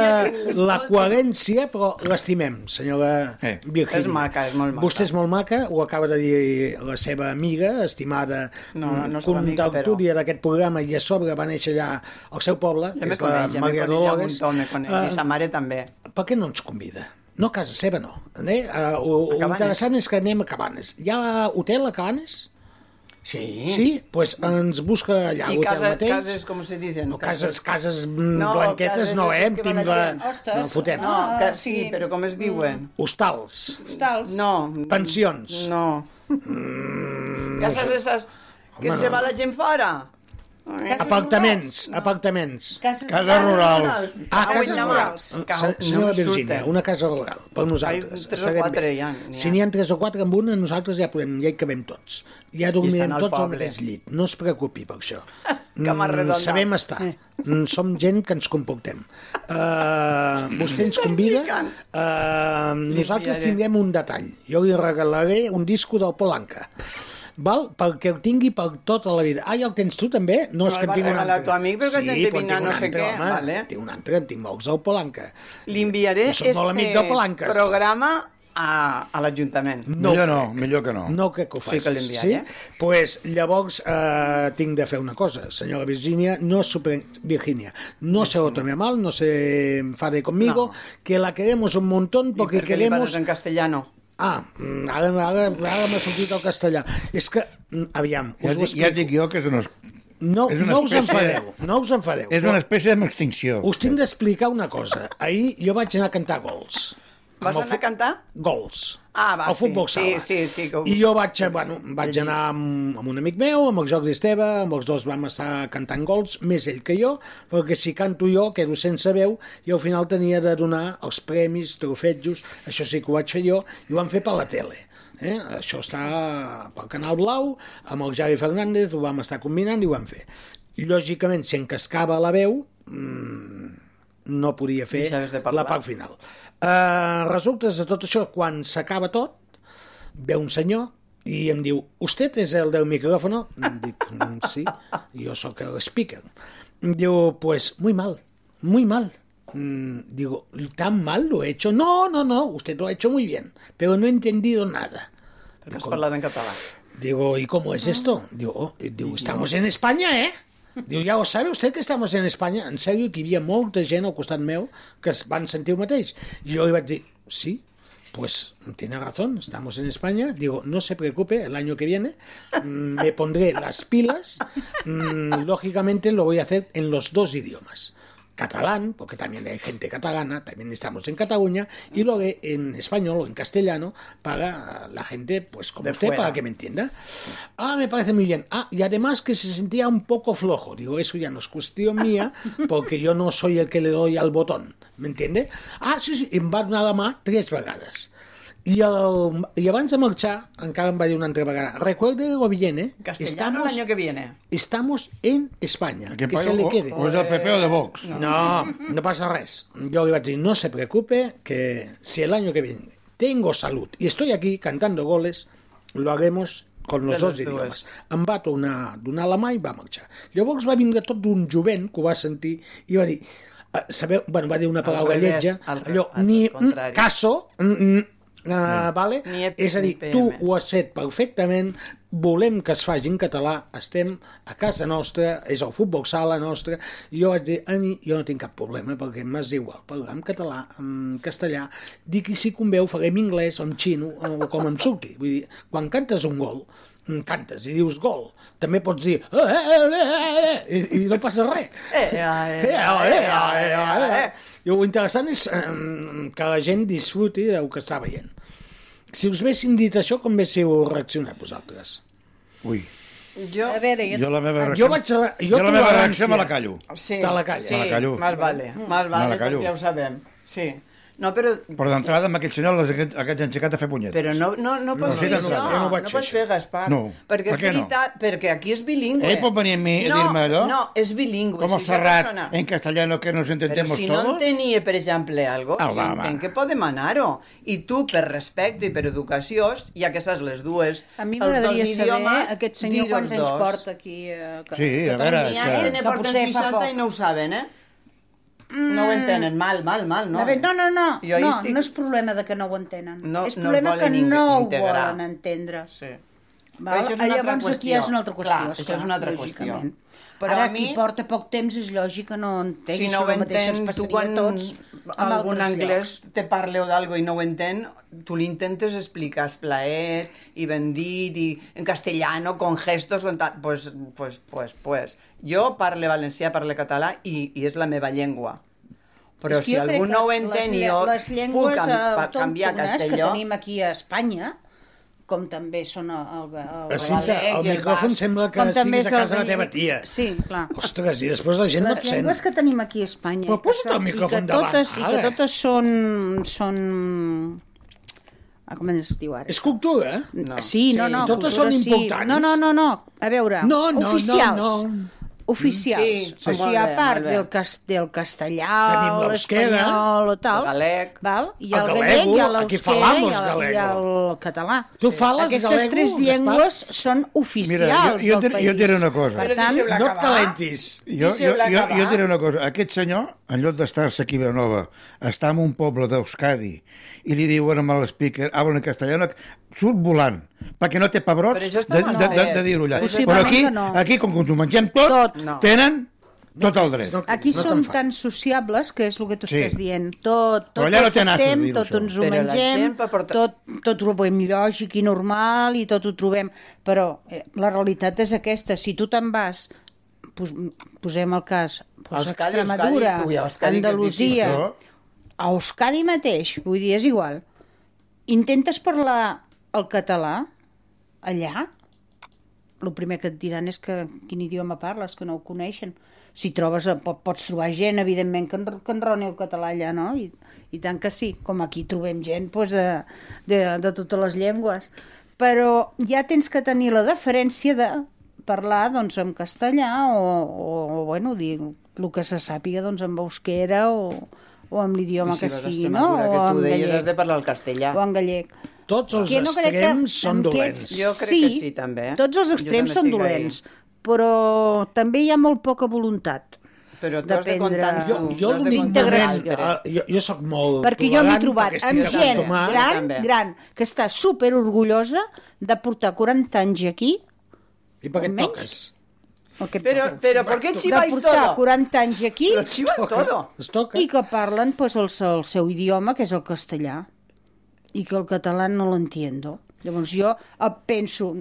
Speaker 5: la coherència, però l'estimem, senyora
Speaker 6: Eh.
Speaker 5: Virgínia.
Speaker 7: És maca, és molt maca.
Speaker 5: Vostè és molt maca, ho acaba de dir la seva amiga, estimada
Speaker 7: No, no, no és una amiga,
Speaker 5: conductòria d'aquest programa i a sobre va néixer allà al seu poble,
Speaker 7: Jo me
Speaker 5: que és la
Speaker 7: coneix, ja me coneix,
Speaker 5: Maria
Speaker 7: ja un
Speaker 5: Dolores.
Speaker 7: montón me coneix,
Speaker 5: Eh,
Speaker 7: i sa mare també.
Speaker 5: per què no ens convida? No, a casa seva no. Eh? Uh, o, o
Speaker 7: Cabanes.
Speaker 5: interessant és que anem a Cabanes. Hi ha hotel a Cabanes?
Speaker 7: Sí.
Speaker 5: Sí? Doncs pues ens busca allà
Speaker 7: I
Speaker 5: l'hotel
Speaker 7: casa,
Speaker 5: mateix.
Speaker 7: cases, com se dicen?
Speaker 5: No, cases, cases
Speaker 7: No,
Speaker 5: no, blanquetes
Speaker 7: cases
Speaker 5: no, eh? Em
Speaker 7: que van
Speaker 5: timbla...
Speaker 7: allà.
Speaker 8: Hostes.
Speaker 5: No, fotem.
Speaker 7: No,
Speaker 5: No.
Speaker 7: que,
Speaker 8: Ah,
Speaker 7: sí,
Speaker 8: sí.
Speaker 7: però com es diuen?
Speaker 5: Hostals.
Speaker 8: Hostals.
Speaker 7: No.
Speaker 5: Pensions.
Speaker 7: No. Cases
Speaker 5: Mm.
Speaker 7: esas que
Speaker 5: Home,
Speaker 7: se
Speaker 5: no.
Speaker 7: va la gent fora.
Speaker 8: Cases
Speaker 5: Apartaments.
Speaker 8: rurals.
Speaker 5: Apartaments.
Speaker 8: Cases,
Speaker 6: Cases rurals.
Speaker 5: Ah,
Speaker 7: Cauen
Speaker 5: cases
Speaker 7: la mà.
Speaker 5: rurals.
Speaker 7: Cau,
Speaker 5: Se- Senyora
Speaker 7: no em
Speaker 5: Virgínia,
Speaker 7: surten.
Speaker 5: una casa rural, per nosaltres.
Speaker 7: Ai, tres o
Speaker 5: estarem
Speaker 7: quatre
Speaker 5: bé.
Speaker 7: ja n'hi ha.
Speaker 5: Si n'hi ha tres o quatre amb una, nosaltres ja podem, ja hi cabem tots. Ja dormirem
Speaker 7: estan al
Speaker 5: tots al
Speaker 7: poble.
Speaker 5: mateix llit. No es preocupi per
Speaker 7: *laughs*
Speaker 5: això.
Speaker 7: Cama
Speaker 5: Mm,
Speaker 7: redonda.
Speaker 5: Sabem estar. Mm, Som gent que ens comportem. Uh, vostè ens convida.
Speaker 7: picant.
Speaker 5: Uh, nosaltres
Speaker 7: enviaré.
Speaker 5: tindrem un detall. Jo li regalaré un disco del Polanca. Val? Perquè el tingui per tota la vida. Ah, ja el tens tu també? No, és
Speaker 7: el
Speaker 5: que en
Speaker 7: vas
Speaker 5: tinc un
Speaker 7: regalar
Speaker 5: altre.
Speaker 7: a tu amic, però que has
Speaker 5: però
Speaker 7: d'endevinar
Speaker 5: tinc un
Speaker 7: no sé
Speaker 5: altre,
Speaker 7: què,
Speaker 5: home.
Speaker 7: vale.
Speaker 5: Tinc un altre, en tinc molts del Polanca.
Speaker 7: Li enviaré
Speaker 5: Jo soc molt amic de Palanques.
Speaker 7: programa a, a l'Ajuntament.
Speaker 5: No
Speaker 6: millor
Speaker 5: ho
Speaker 6: no,
Speaker 5: crec.
Speaker 6: millor que no.
Speaker 5: No crec que ho facis.
Speaker 7: Sí que l'enviaré.
Speaker 5: Sí? Pues, llavors, eh, tinc de fer una cosa, senyora Virginia, no supre... Virginia, no se lo tome mal, no se enfade conmigo,
Speaker 7: No.
Speaker 5: que la queremos un montón
Speaker 7: ¿Y por
Speaker 5: porque
Speaker 7: qué le
Speaker 5: queremos...
Speaker 7: paras en castellano?
Speaker 5: Ah, mm, ara, ara, ara m'ha sortit el castellà. És que, mm, aviam,
Speaker 6: Ja,
Speaker 5: us ho
Speaker 6: dic- ja
Speaker 5: explico.
Speaker 6: dic jo que és una,
Speaker 5: No,
Speaker 6: és una
Speaker 5: no us
Speaker 6: espècie-
Speaker 5: enfadeu, no us enfadeu.
Speaker 6: és una espècie d'extinció.
Speaker 5: Eh, Us tinc d'explicar una cosa. Ahir jo vaig anar a cantar gols.
Speaker 7: Vas anar a cantar?
Speaker 5: Gols.
Speaker 7: Ah, va,
Speaker 5: al futbol
Speaker 7: sí.
Speaker 5: sala.
Speaker 7: Sí, sí, sí. Que... ho-
Speaker 5: I jo vaig, eh, bueno, vaig anar amb, amb un amic meu, amb el Jordi Esteve, amb els dos vam estar cantant gols, més ell que jo, perquè si canto jo, quedo sense veu, i al final tenia de donar els premis, trofetjos, això sí que ho vaig fer jo, i ho vam fer per la tele. Eh? Això està pel Canal Blau, amb el Javi Fernández, ho vam estar combinant i ho vam fer. Lògicament, si em cascava la veu, mmm, no podia fer
Speaker 7: Deixaves de parlar.
Speaker 5: la part final. Uh, resultes de tot això, quan s'acaba tot, ve un senyor i em diu, «Usted és el del micrófono?» Em dic, «Mm, sí, jo sóc el speaker. Em diu, «Pues muy mal, muy mal». Mm, digo, ¿tan mal lo he hecho? No, no, no, usted lo ha hecho muy bien, pero no he entendido nada.
Speaker 7: Perquè has parlat en català.
Speaker 5: Digo, ¿y cómo es esto? Digo, oh, digo estamos en España, ¿eh? Diu, ja ho sabe usted que estamos en Espanya? En sèrio, que hi havia molta gent al costat meu que es van sentir el mateix. I jo li vaig dir, sí, pues tiene razón, estamos en España. Digo, no se preocupe, el año que viene mm, me pondré las pilas. Mm, Lógicamente lo voy a hacer en los dos idiomas. Catalán, porque también hay gente catalana, también estamos en Cataluña, y lo haré en español o en castellano para la gente, pues como
Speaker 7: De
Speaker 5: usted,
Speaker 7: fuera.
Speaker 5: para que me entienda. Ah, me parece muy bien. Ah, y además que se sentía un poco flojo. Digo, eso ya no es cuestión mía, porque yo no soy el que le doy al botón. ¿Me entiende? Ah, sí, sí, em va donar la mà tres vegades. I, el, I abans de marxar, encara em va dir una altra vegada, recuerde lo viene,
Speaker 7: Castellano el año que viene.
Speaker 5: estamos en España, que,
Speaker 6: Que
Speaker 5: se
Speaker 6: paga-
Speaker 5: le
Speaker 6: o-
Speaker 5: quede.
Speaker 6: o és del PP o de Vox.
Speaker 5: No, no pasa res. Yo le iba a decir, no se preocupe, que si el año que viene tengo salud y estoy aquí cantando goles, lo haremos con los
Speaker 7: De
Speaker 5: dos
Speaker 7: les dues.
Speaker 5: idiomes. Em va tornar a donar la mà i va marxar. Llavors va vindre tot un jovent que ho va sentir i va dir, eh, sabeu, bueno, va dir una paraula
Speaker 7: revés,
Speaker 5: lletja,
Speaker 7: al re-
Speaker 5: allò,
Speaker 7: al
Speaker 5: ni mm,
Speaker 7: contrari.
Speaker 5: caso, mm, mm, Uh, vale?
Speaker 7: Ni EP,
Speaker 5: És a
Speaker 7: ni
Speaker 5: dir,
Speaker 7: PM.
Speaker 5: tu ho has fet perfectament, volem que es faci en català, estem a casa nostra, és el futbol sala nostra, i jo vaig dir, a mi jo no tinc cap problema, perquè m'és igual, parlar en català, en castellà, dic i si conveu faré en anglès o en xino, o com em surti. Vull dir, quan cantes un gol, mm, cantes i dius gol, també pots dir eh, eh, eh, eh, eh, i, i no passa res.
Speaker 7: Eh, eh, eh,
Speaker 5: Eh, eh, eh, eh, eh,
Speaker 7: eh, eh.
Speaker 5: eh. I el interessant és eh, que la gent disfruti del que està veient. Si us haguessin dit això, com haguéssiu reaccionat vosaltres?
Speaker 6: Ui,
Speaker 7: Jo...
Speaker 3: A veure, jo...
Speaker 6: jo la meva
Speaker 5: Jo vaig... a
Speaker 6: reacció,
Speaker 5: la- Jo,
Speaker 6: jo la meva
Speaker 5: tolerància.
Speaker 6: reacció me la callo.
Speaker 7: Sí,
Speaker 5: Te la calles.
Speaker 7: Sí,
Speaker 6: Me la callo.
Speaker 7: Mal vale, mal
Speaker 6: Me
Speaker 7: vale,
Speaker 6: la callo.
Speaker 7: perquè ja ho sabem. Sí. No, però,
Speaker 6: Però d'entrada amb aquest senyor les aquest, aquest enxecat a fer punyetes.
Speaker 7: però no, no, no pots
Speaker 6: no,
Speaker 7: fer
Speaker 6: no,
Speaker 7: això.
Speaker 6: no,
Speaker 5: jo no
Speaker 7: No,
Speaker 5: vaig fer
Speaker 7: pots
Speaker 5: això.
Speaker 7: fer, Gaspar.
Speaker 6: No.
Speaker 7: Perquè
Speaker 6: Per
Speaker 7: és
Speaker 6: què no?
Speaker 7: veritat, perquè aquí és bilingüe.
Speaker 6: Ell pot venir a mi i
Speaker 7: no,
Speaker 6: dir-me allò?
Speaker 7: No, és bilingüe.
Speaker 6: Com
Speaker 7: és
Speaker 6: el
Speaker 7: una
Speaker 6: Serrat,
Speaker 7: persona-
Speaker 6: en castellano que nos
Speaker 7: Però
Speaker 6: entendemos
Speaker 7: si no
Speaker 6: todos.
Speaker 7: entenia, per exemple, algo,
Speaker 6: Ah,
Speaker 7: jo
Speaker 6: va, va.
Speaker 7: entenc que pot demanar-ho. I tu, per respecte i per educació, ja que saps les dues,
Speaker 8: A mi
Speaker 7: els dos
Speaker 8: m'agradaria saber
Speaker 7: idiomes,
Speaker 8: aquest senyor
Speaker 7: dir-ho
Speaker 8: quants
Speaker 7: els
Speaker 8: anys
Speaker 7: dos.
Speaker 8: porta aquí. Eh, que,
Speaker 6: Sí, a
Speaker 8: Catalunya,
Speaker 6: veure,
Speaker 7: N'hi ha
Speaker 6: que-
Speaker 7: que ne
Speaker 8: que
Speaker 7: porten
Speaker 8: potser fa
Speaker 7: 60 i
Speaker 8: poc. Mm.
Speaker 7: no ho saben, eh? No ho entenen, mal, mal, mal, no.
Speaker 8: A veure, no, no, no,
Speaker 7: Jo hi
Speaker 8: no,
Speaker 7: estic-
Speaker 8: no és problema de que no ho entenen.
Speaker 7: No-
Speaker 8: és
Speaker 7: no el
Speaker 8: problema que
Speaker 7: volen ing-
Speaker 8: no ho
Speaker 7: integrar.
Speaker 8: volen entendre.
Speaker 7: Sí. Però
Speaker 8: Val? Ah,
Speaker 7: això és una altra
Speaker 8: Llavors aquí
Speaker 7: qüestió.
Speaker 8: ja és una altra qüestió.
Speaker 7: Clar, això és una altra qüestió.
Speaker 8: lògicament.
Speaker 7: Però
Speaker 8: Ara,
Speaker 7: a mi-
Speaker 8: qui porta poc temps és lògic que no entengui.
Speaker 7: Si no ho entén, tu quan
Speaker 8: tots, amb
Speaker 7: algun
Speaker 8: altres
Speaker 7: anglès te parle o d'algo i no ho entén, tu li intentes explicar esplaer i ben dit i en castellano, con gestos, con tal... Pues, pues, pues, pues. Jo parle valencià, parle català i, i és la meva llengua. Però
Speaker 8: És que
Speaker 7: si
Speaker 8: jo crec
Speaker 7: algú
Speaker 8: que
Speaker 7: no ho entén
Speaker 8: les,
Speaker 7: i
Speaker 8: lle-
Speaker 7: jo
Speaker 8: les
Speaker 7: puc
Speaker 8: llengües
Speaker 7: cam- pa- canviar a
Speaker 8: autòctones que
Speaker 7: castelló...
Speaker 8: tenim aquí a Espanya, com també són el, el, el,
Speaker 5: Eh, Cinta,
Speaker 7: Valec
Speaker 5: el
Speaker 7: i el
Speaker 5: micròfon
Speaker 7: basc.
Speaker 5: sembla que
Speaker 8: com també
Speaker 5: estiguis
Speaker 8: és
Speaker 5: a casa de
Speaker 8: el
Speaker 5: la teva tia.
Speaker 8: Sí, clar.
Speaker 5: Ostres, i després la gent
Speaker 8: Les
Speaker 5: absent.
Speaker 8: llengües que tenim aquí a Espanya.
Speaker 5: Però
Speaker 8: que
Speaker 5: posa't
Speaker 8: són-
Speaker 5: el
Speaker 8: i que
Speaker 5: micròfon davant,
Speaker 8: totes- I que
Speaker 5: ara.
Speaker 8: totes són... són... Ah, com es diu ara?
Speaker 5: És cultura, eh?
Speaker 8: No. Sí, no,
Speaker 5: Sí,
Speaker 8: no.
Speaker 5: totes
Speaker 8: cultura
Speaker 5: són
Speaker 8: sí.
Speaker 5: importants.
Speaker 8: No, no, no, no. A veure,
Speaker 5: No, no, Mm, no,
Speaker 8: oficials.
Speaker 5: no.
Speaker 8: Oficials.
Speaker 7: Sí,
Speaker 8: o
Speaker 7: sí.
Speaker 8: sigui,
Speaker 7: Molt
Speaker 8: a
Speaker 7: bé,
Speaker 8: part
Speaker 7: molt bé.
Speaker 8: del, cas, del castellà,
Speaker 5: Tenim
Speaker 8: o
Speaker 5: l'euskera,
Speaker 8: l'espanyol o tal,
Speaker 7: el gallec.
Speaker 8: val? i
Speaker 5: El
Speaker 8: el,
Speaker 5: galego,
Speaker 8: gallec, i
Speaker 5: aquí
Speaker 8: l'euskera,
Speaker 5: falamos
Speaker 8: i, el- i
Speaker 5: galego.
Speaker 8: el català.
Speaker 5: Tu fales
Speaker 8: Aquestes
Speaker 5: galego,
Speaker 8: tres
Speaker 5: Gaspar?
Speaker 8: llengües són
Speaker 6: Mira,
Speaker 8: oficials
Speaker 6: jo, jo,
Speaker 8: del
Speaker 6: dir-
Speaker 8: país.
Speaker 6: jo et diré una cosa.
Speaker 7: Però
Speaker 8: Per tant,
Speaker 7: deixeu-la
Speaker 5: No et
Speaker 7: acabar.
Speaker 5: calentis.
Speaker 6: Jo, jo,
Speaker 7: Deixeu-la
Speaker 6: jo,
Speaker 7: acabar.
Speaker 6: jo et diré una cosa. Aquest senyor, en lloc d'estar-se aquí a Vilanova, està en un poble d'Euskadi i li diuen amb l'speaker, habla en castellano, surt volant, perquè no té
Speaker 7: Però
Speaker 6: pebrots de,
Speaker 7: això està
Speaker 6: de,
Speaker 7: mal
Speaker 6: de, de,
Speaker 7: fet.
Speaker 6: dir-ho allà.
Speaker 7: Però
Speaker 8: això
Speaker 6: Però
Speaker 8: està
Speaker 6: aquí,
Speaker 8: mal fet.
Speaker 6: aquí com que ens ho mengem tot,
Speaker 8: Tot.
Speaker 7: No.
Speaker 6: tenen Tot el dret.
Speaker 8: Aquí
Speaker 6: No
Speaker 8: som
Speaker 6: te'n fa.
Speaker 8: tan sociables que és el que tu
Speaker 6: Sí.
Speaker 8: estàs dient. Tot, tot
Speaker 6: Però allà
Speaker 8: ho
Speaker 6: no té nassos,
Speaker 8: acceptem,
Speaker 6: dir-ho,
Speaker 8: tot
Speaker 6: això.
Speaker 8: ens ho
Speaker 7: Però la
Speaker 8: mengem,
Speaker 7: gent va portar-
Speaker 8: tot, tot ho veiem lògic i normal i tot ho trobem. Però eh, la realitat és aquesta. Si tu te'n vas, pos, posem el cas, pues,
Speaker 7: Euskadi,
Speaker 8: Extremadura,
Speaker 7: Euskadi, ui, Euskadi, que eh? és
Speaker 8: Andalusia,
Speaker 7: difícil.
Speaker 8: a Euskadi mateix, vull dir, és igual. Intentes parlar el català allà, el primer que et diran és que quin idioma parles, que no ho coneixen. Si trobes, eh, po- pots trobar gent, evidentment, que, en, que enroni el català allà, no? I, I tant que sí, com aquí trobem gent doncs, de, de, de totes les llengües. Però ja tens que tenir la deferència de parlar doncs, en castellà o, o, o bueno, dir el que se sàpiga doncs, en euskera o, o amb l'idioma que sigui, no? O
Speaker 7: Que
Speaker 8: en
Speaker 7: tu deies,
Speaker 8: gallec.
Speaker 7: has de parlar el castellà.
Speaker 8: O en gallec.
Speaker 5: Tots els
Speaker 8: Que no crec que-
Speaker 5: extrems són
Speaker 8: amb
Speaker 5: dolents.
Speaker 8: aquests-
Speaker 7: Jo crec que sí, també. eh?
Speaker 8: Tots els
Speaker 7: Jo
Speaker 8: extrems
Speaker 7: també
Speaker 8: són
Speaker 7: estic ahí.
Speaker 8: dolents, però també hi ha molt poca voluntat.
Speaker 7: Però tu has de
Speaker 8: D'aprendre-
Speaker 7: comptar amb
Speaker 8: Jo-
Speaker 7: tu, tu
Speaker 8: jo
Speaker 7: has de
Speaker 8: l'únic
Speaker 7: comptar amb
Speaker 8: moment-
Speaker 7: l'altre.
Speaker 5: Ah, jo, jo sóc molt
Speaker 8: Perquè jo m'he
Speaker 5: tolerant,
Speaker 8: trobat
Speaker 5: perquè
Speaker 8: amb
Speaker 5: estic
Speaker 8: gent
Speaker 5: acostumat.
Speaker 8: gran,
Speaker 7: també.
Speaker 8: gran, que està super orgullosa de portar 40 anys aquí,
Speaker 5: I per què et
Speaker 8: Almenys.
Speaker 5: toques?
Speaker 8: o que
Speaker 7: Pero, pero, ¿por qué
Speaker 8: de
Speaker 7: chiváis
Speaker 8: portar
Speaker 7: todo?
Speaker 8: 40 anys aquí
Speaker 7: Lo chivan todo.
Speaker 5: Es toca.
Speaker 8: i que parlen pues, el, seu- el seu idioma, que és el castellà, i que el català no l'entiendo. Llavors jo eh, penso,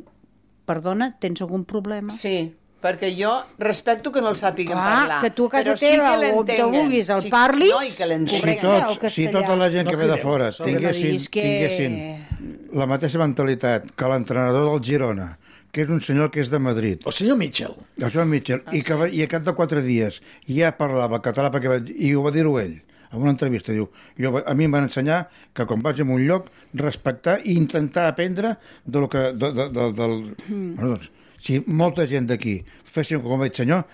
Speaker 8: perdona, tens algun problema?
Speaker 7: Sí, perquè jo respecto que no el sàpiguen
Speaker 8: Clar,
Speaker 7: parlar.
Speaker 8: que tu a casa
Speaker 7: però
Speaker 8: teva
Speaker 7: que
Speaker 8: o on te
Speaker 7: l'entenguen.
Speaker 8: vulguis el
Speaker 7: Sí,
Speaker 8: parlis,
Speaker 7: No, i que
Speaker 6: Si,
Speaker 7: l'entenguin.
Speaker 8: correcte. el
Speaker 6: tots, si
Speaker 8: eh, castellà.
Speaker 6: tota la gent
Speaker 5: No
Speaker 6: que ve de
Speaker 5: crideu,
Speaker 6: fora
Speaker 5: sobre-
Speaker 6: tinguessin,
Speaker 8: diguis que-
Speaker 6: tinguessin la mateixa mentalitat que l'entrenador del Girona, que és un senyor que és de Madrid,
Speaker 5: O senyor Mitchell.
Speaker 6: el senyor Mitchell,
Speaker 8: Ah,
Speaker 6: i, que, va- i a cap de quatre dies ja parlava català perquè va, i ho va dir-ho ell en una entrevista, diu, jo, va- a mi em van ensenyar que quan vaig a un lloc, respectar i intentar aprendre de lo que, de, de, de, del...
Speaker 8: Hmm.
Speaker 6: Bueno, doncs, si molta gent d'aquí fessin com aquest senyor,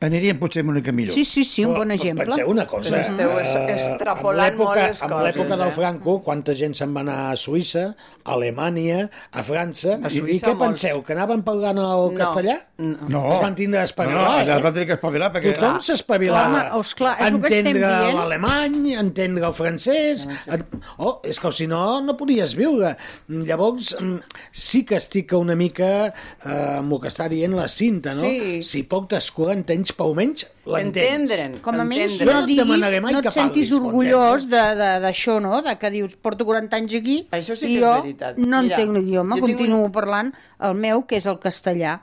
Speaker 6: aniríem potser una mica millor.
Speaker 8: Sí, sí, sí, un bon
Speaker 5: Però
Speaker 8: exemple.
Speaker 5: Penseu una cosa.
Speaker 7: Però esteu
Speaker 5: eh,
Speaker 7: es- extrapolant
Speaker 5: amb l'època-
Speaker 7: molt les
Speaker 5: Amb
Speaker 7: coses,
Speaker 5: l'època del
Speaker 7: eh?
Speaker 5: Franco, quanta gent se'n va anar a Suïssa, a Alemanya, a França...
Speaker 7: A
Speaker 5: I, I
Speaker 7: Suïssa,
Speaker 5: què
Speaker 7: molts.
Speaker 5: penseu, que anaven parlant el
Speaker 7: No,
Speaker 5: castellà?
Speaker 7: no.
Speaker 6: No.
Speaker 5: Es van tindre d'espavilar,
Speaker 6: No, no,
Speaker 5: eh?
Speaker 6: es van tindre d'espavilar perquè...
Speaker 5: Tothom s'espavilar.
Speaker 8: Home, doncs clar, és el que estem
Speaker 5: entendre
Speaker 8: dient. Ah,
Speaker 5: l'alemany, entendre el francès... En... Oh, és que si no, no podies viure. Llavors, mm, sí que estic una mica eh, amb el que està dient la cinta, no?
Speaker 7: Sí.
Speaker 5: Si poc t'escura, entens, però almenys l'entens.
Speaker 7: Entendre'n.
Speaker 8: Com a menys
Speaker 5: Jo
Speaker 8: no
Speaker 5: no et
Speaker 8: diguis,
Speaker 5: demanaré mai
Speaker 8: no et
Speaker 5: que parlis,
Speaker 8: sentis
Speaker 5: m'entens?
Speaker 8: orgullós
Speaker 7: eh?
Speaker 8: de- de- d'això, no? De que dius, porto 40 anys aquí
Speaker 7: Això sí que
Speaker 8: i
Speaker 7: és
Speaker 8: jo
Speaker 7: veritat.
Speaker 8: no
Speaker 7: Mira,
Speaker 8: entenc l'idioma,
Speaker 7: jo tinc
Speaker 8: continuo
Speaker 7: un-
Speaker 8: parlant el meu, que és el castellà.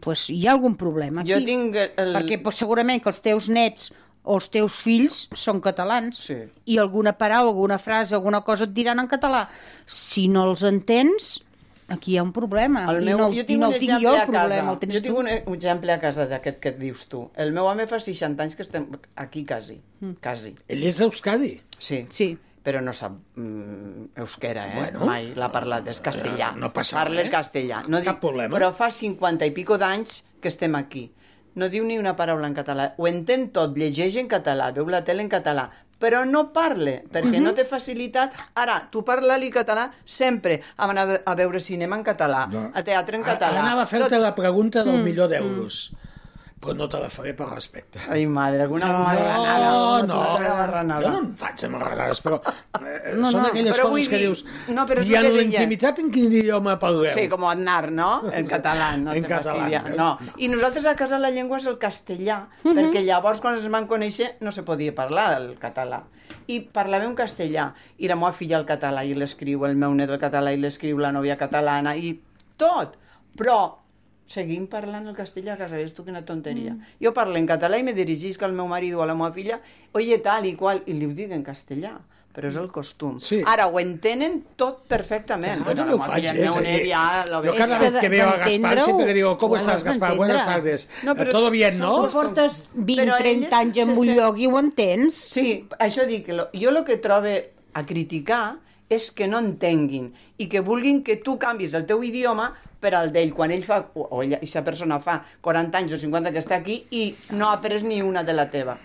Speaker 8: Pues, hi ha algun problema aquí?
Speaker 7: Jo tinc el-
Speaker 8: Perquè pues, segurament que els teus nets o els teus fills són catalans
Speaker 7: Sí.
Speaker 8: i alguna paraula, alguna frase, alguna cosa et diran en català. Si no els entens, aquí hi ha un problema.
Speaker 7: El
Speaker 8: I
Speaker 7: meu,
Speaker 8: no,
Speaker 7: jo
Speaker 8: i
Speaker 7: tinc
Speaker 8: no
Speaker 7: un
Speaker 8: el tinc
Speaker 7: exemple
Speaker 8: jo, el
Speaker 7: a
Speaker 8: problema,
Speaker 7: casa.
Speaker 8: el tens
Speaker 7: Jo tinc
Speaker 8: tu.
Speaker 7: un, un exemple a casa d'aquest que et dius tu. El meu home fa 60 anys que estem aquí quasi,
Speaker 8: Mm.
Speaker 7: quasi,
Speaker 5: Ell és d'Euskadi.
Speaker 7: sí.
Speaker 8: Sí.
Speaker 7: Però no sap mm, euskera, eh?
Speaker 5: Bueno.
Speaker 7: Mai l'ha parlat, és castellà.
Speaker 5: no passa
Speaker 7: Parla
Speaker 5: res.
Speaker 7: el castellà. No
Speaker 5: Cap problema.
Speaker 7: Però fa 50 i pico d'anys que estem aquí. No diu ni una paraula en català. Ho entén tot, llegeix en català, veu la tele en català, però no parle, perquè no té facilitat. Ara, tu parla-li català sempre. Hem anat a veure cinema en català,
Speaker 6: No.
Speaker 7: a teatre en
Speaker 5: Ara
Speaker 7: català.
Speaker 5: Ah, Anava a fer-te
Speaker 7: tot.
Speaker 5: la pregunta
Speaker 8: Mm,
Speaker 5: del milió d'euros, però no te la faré per respecte.
Speaker 7: Ai, madre, alguna no,
Speaker 5: No,
Speaker 7: marranada.
Speaker 5: no,
Speaker 7: alguna marranada.
Speaker 5: jo no em faig amb marranades, però
Speaker 7: Ah.
Speaker 5: eh,
Speaker 8: No,
Speaker 5: són
Speaker 8: no,
Speaker 5: aquelles
Speaker 7: però
Speaker 5: coses
Speaker 7: vull
Speaker 5: que
Speaker 7: dir-
Speaker 5: dius...
Speaker 7: no, però és el
Speaker 5: I en
Speaker 7: que
Speaker 5: la
Speaker 7: deia.
Speaker 5: intimitat en quin idioma parleu?
Speaker 7: Sí, com Aznar, ¿no? En català, no
Speaker 5: En
Speaker 7: te
Speaker 5: català,
Speaker 7: fastidia.
Speaker 5: eh?
Speaker 7: No. I nosaltres a casa la llengua és el castellà, perquè llavors quan ens van conèixer no se podia parlar el català. I parlàvem castellà, i la meva filla el català, i l'escriu el meu net el català, i l'escriu la nòvia catalana, i tot. Però seguim parlant el castellà, que sabés tu quina tonteria. Jo parlo en català i me dirigisc al meu marit o a la meva filla, oye, tal i qual, i li ho dic en castellà però és el costum.
Speaker 5: Sí.
Speaker 7: Ara ho entenen tot perfectament.
Speaker 5: Jo
Speaker 7: Però
Speaker 5: també ho
Speaker 7: la meva
Speaker 5: faig,
Speaker 7: filla, el
Speaker 5: eh?
Speaker 7: meu net
Speaker 5: sí.
Speaker 7: ja lo
Speaker 5: Jo
Speaker 7: veig.
Speaker 5: cada
Speaker 8: És que
Speaker 5: vez que veo a Gaspar
Speaker 8: d'entendre-ho,
Speaker 5: siempre le digo,
Speaker 8: ho
Speaker 5: ¿cómo
Speaker 8: has
Speaker 5: estás, Gaspar?
Speaker 8: d'entendre.
Speaker 5: Buenas tardes. Eh,
Speaker 7: No, però
Speaker 5: ¿Todo
Speaker 7: és-
Speaker 5: bien,
Speaker 7: són
Speaker 5: no?
Speaker 7: coses-
Speaker 8: Portes
Speaker 7: Però
Speaker 8: 20-30
Speaker 7: elles
Speaker 8: anys en
Speaker 7: se
Speaker 8: un
Speaker 7: sent-
Speaker 8: lloc i ho entens.
Speaker 7: Sí, això dic, que lo, jo el que trobe a criticar és que no entenguin i que vulguin que tu canvis el teu idioma per al d'ell, quan ell fa, o o ella, aquesta persona fa 40 anys o 50 que està aquí i no ha après ni una de la teva.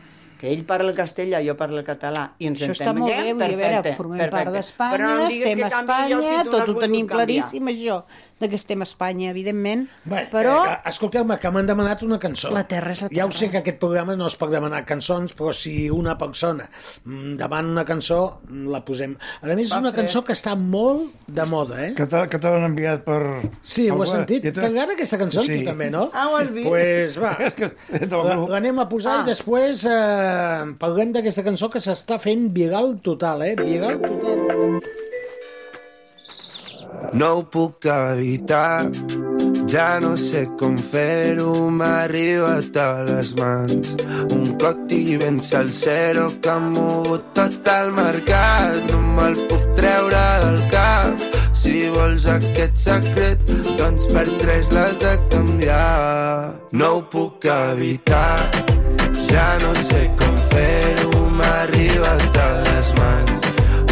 Speaker 7: que ell parla el castellà, jo parlo el català, i ens
Speaker 8: Això està
Speaker 7: entenem.
Speaker 8: molt bé, vull dir, a veure,
Speaker 7: Perfecte,
Speaker 8: formem part
Speaker 7: perfecte.
Speaker 8: d'Espanya,
Speaker 7: Però no em diguis
Speaker 8: estem
Speaker 7: que
Speaker 8: a
Speaker 7: canviï els
Speaker 8: Espanya,
Speaker 7: títols,
Speaker 8: tot ho
Speaker 7: vull
Speaker 8: tenim
Speaker 7: canviar.
Speaker 8: claríssim, això, de que estem a Espanya, evidentment,
Speaker 5: Bé,
Speaker 8: però...
Speaker 5: eh, Escolteu-me, que m'han demanat una cançó.
Speaker 8: La terra és la
Speaker 5: Ja ho sé que aquest programa no es pot demanar cançons, però si una persona mm, demana una cançó, mm, la posem. A més, és
Speaker 6: Va
Speaker 5: una
Speaker 6: fer.
Speaker 5: cançó que està molt de moda, eh?
Speaker 6: Que te, que te l'han enviat per...
Speaker 5: Sí,
Speaker 6: per
Speaker 5: ho has
Speaker 6: web.
Speaker 5: sentit?
Speaker 6: I te-
Speaker 5: T'agrada aquesta cançó, sí. tu també, no?
Speaker 7: Ah, ho has vist?
Speaker 6: *laughs*
Speaker 5: Pues va,
Speaker 6: És que-
Speaker 5: la- l'anem a posar ah. i després eh, parlem d'aquesta cançó que s'està fent viral total, eh? Viral total.
Speaker 12: No ho puc evitar, ja no sé com fer-ho, m'ha arribat a les mans. Un coti ben salsero que ha mogut tot el mercat, no me'l puc treure del cap. Si vols aquest secret, doncs per tres l'has de canviar. No ho puc evitar, ja no sé com fer-ho, m'ha arribat a les mans.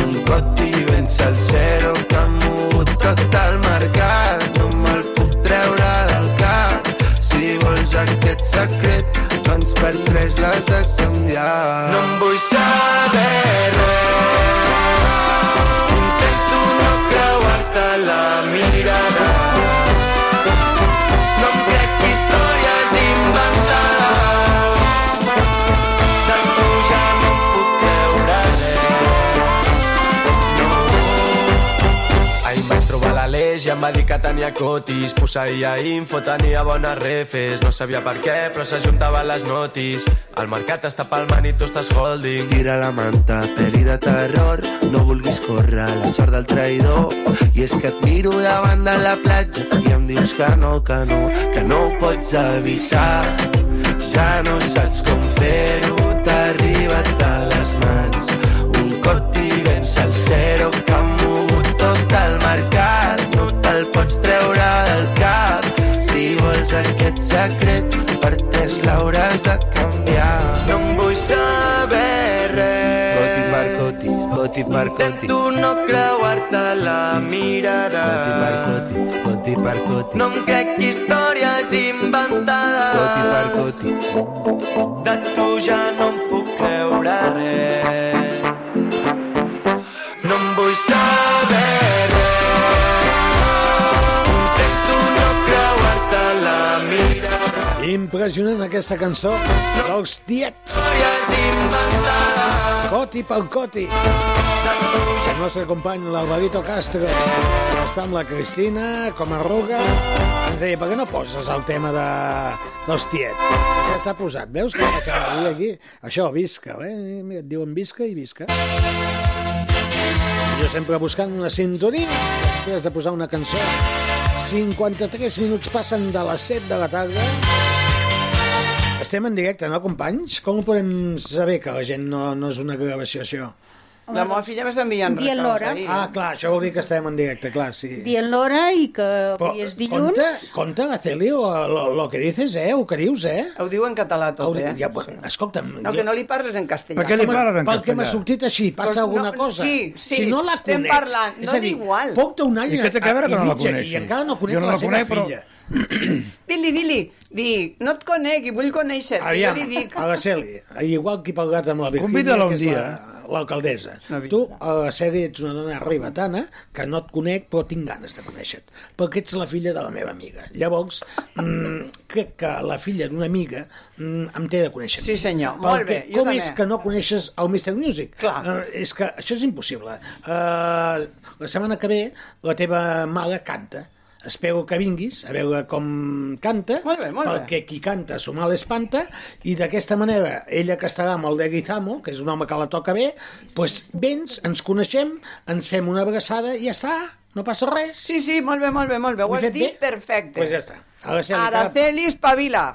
Speaker 12: Un coti ben salsero que ha mogut tot el mercat No me'l puc treure del cap Si vols aquest secret Doncs per tres l'has de canviar No em vull saber res Intento no creuar-te la mirada No em crec històries inventades De tu ja no em puc creure res
Speaker 13: Ahir em vaig trobar l'Aleix i em va dir que tenia cotis. Posseïa info, tenia bones refes. No sabia per què, però s'ajuntaven les notis. El mercat està palmant i tu estàs holding.
Speaker 12: Tira la manta, pel·li de terror, no vulguis córrer la sort del traïdor. I és que et miro davant de la platja i em dius que no, que no, que no ho pots evitar. Ja no saps com fer-ho, t'ha arribat a les mans. Un cot i ben salsero que ha mogut tot el mercat. No te'l pots treure del cap. Si vols aquest secret, per tres l'hauràs de canviar. No em vull saber res. Boti Marcotis, Boti Marcotis. Intento no creuar-te la mirada. Boti Marcotis, Boti Marcotis. No em crec històries inventades. Boti Marcotis. De tu ja no em puc creure res. No em vull saber res. Intento no creuar-te la mirada.
Speaker 5: Impressionant aquesta cançó dels tiets. Coti pel Coti. El nostre company, l'Alvarito Castro, que està amb la Cristina, com a ruga, ens deia, per què no poses el tema de... dels tiets? Ja està posat, veus? Que passa avui aquí? Això, visca, eh? Mira, et diuen visca i visca. Jo sempre buscant una sintonia, després de posar una cançó. 53 minuts passen de les 7 de la tarda. Estem en directe, no, companys? Com ho podem saber que la gent no, no és una gravació, això?
Speaker 7: La meva filla m'està enviant
Speaker 8: Dient
Speaker 7: records
Speaker 8: l'hora.
Speaker 7: ahir.
Speaker 5: Ah, clar, això vol dir que estem en directe, clar, sí.
Speaker 8: Dient l'hora i que avui és dilluns.
Speaker 5: Compte, compte la tele, o lo, lo que dices, eh? O que dius, eh?
Speaker 7: Ho diu en català tot,
Speaker 5: Hauria-
Speaker 7: eh?
Speaker 5: ja, bueno, escolta'm...
Speaker 7: No, que no li parles en castellà.
Speaker 5: Pel que m'ha sortit així, passa
Speaker 7: Doncs no,
Speaker 5: alguna cosa.
Speaker 7: sí, sí,
Speaker 5: si no la
Speaker 7: estem
Speaker 5: conec.
Speaker 7: parlant, no
Speaker 5: és a dir,
Speaker 7: d'igual.
Speaker 5: Puc donar
Speaker 6: I què té a
Speaker 7: Ah,
Speaker 6: veure que no la coneixi?
Speaker 5: I encara no conec
Speaker 6: Jo no
Speaker 5: la,
Speaker 6: la
Speaker 5: seva
Speaker 6: conec, però-
Speaker 5: filla. *clears throat*
Speaker 7: Dili, dili, di, no et conec i vull conèixer. I jo
Speaker 5: Aviam,
Speaker 7: li dic,
Speaker 5: a la Celi, igual que he parlat amb la Virgínia,
Speaker 6: Convida-la un
Speaker 5: que és
Speaker 6: dia,
Speaker 5: la- l'alcaldessa. Tu, a la Celi, ets una dona ribetana, que no et conec, però tinc ganes de conèixer-te, perquè ets la filla de la meva amiga. Llavors, mm, crec que la filla d'una amiga mm, em té de conèixer. a mi.
Speaker 7: Sí, senyor,
Speaker 5: Perquè
Speaker 7: molt bé, jo
Speaker 5: Com
Speaker 7: també.
Speaker 5: és que no coneixes el Mr. Music? Clar. és que això és impossible. Eh, la setmana que ve, la teva mare canta. Espero que vinguis a veure com canta, molt bé,
Speaker 7: molt bé.
Speaker 5: perquè qui canta su mal espanta, i d'aquesta manera, ella que estarà amb el de Guizamo, que és un home que la toca bé, doncs vens, ens coneixem, ens fem una abraçada i ja està, no passa res.
Speaker 7: sí, sí, molt bé, molt bé, molt bé, ho
Speaker 5: Ho he
Speaker 7: has
Speaker 5: fet
Speaker 7: dit
Speaker 5: bé?
Speaker 7: perfecte.
Speaker 5: Pues ja està. Araceli,
Speaker 7: Araceli espavila.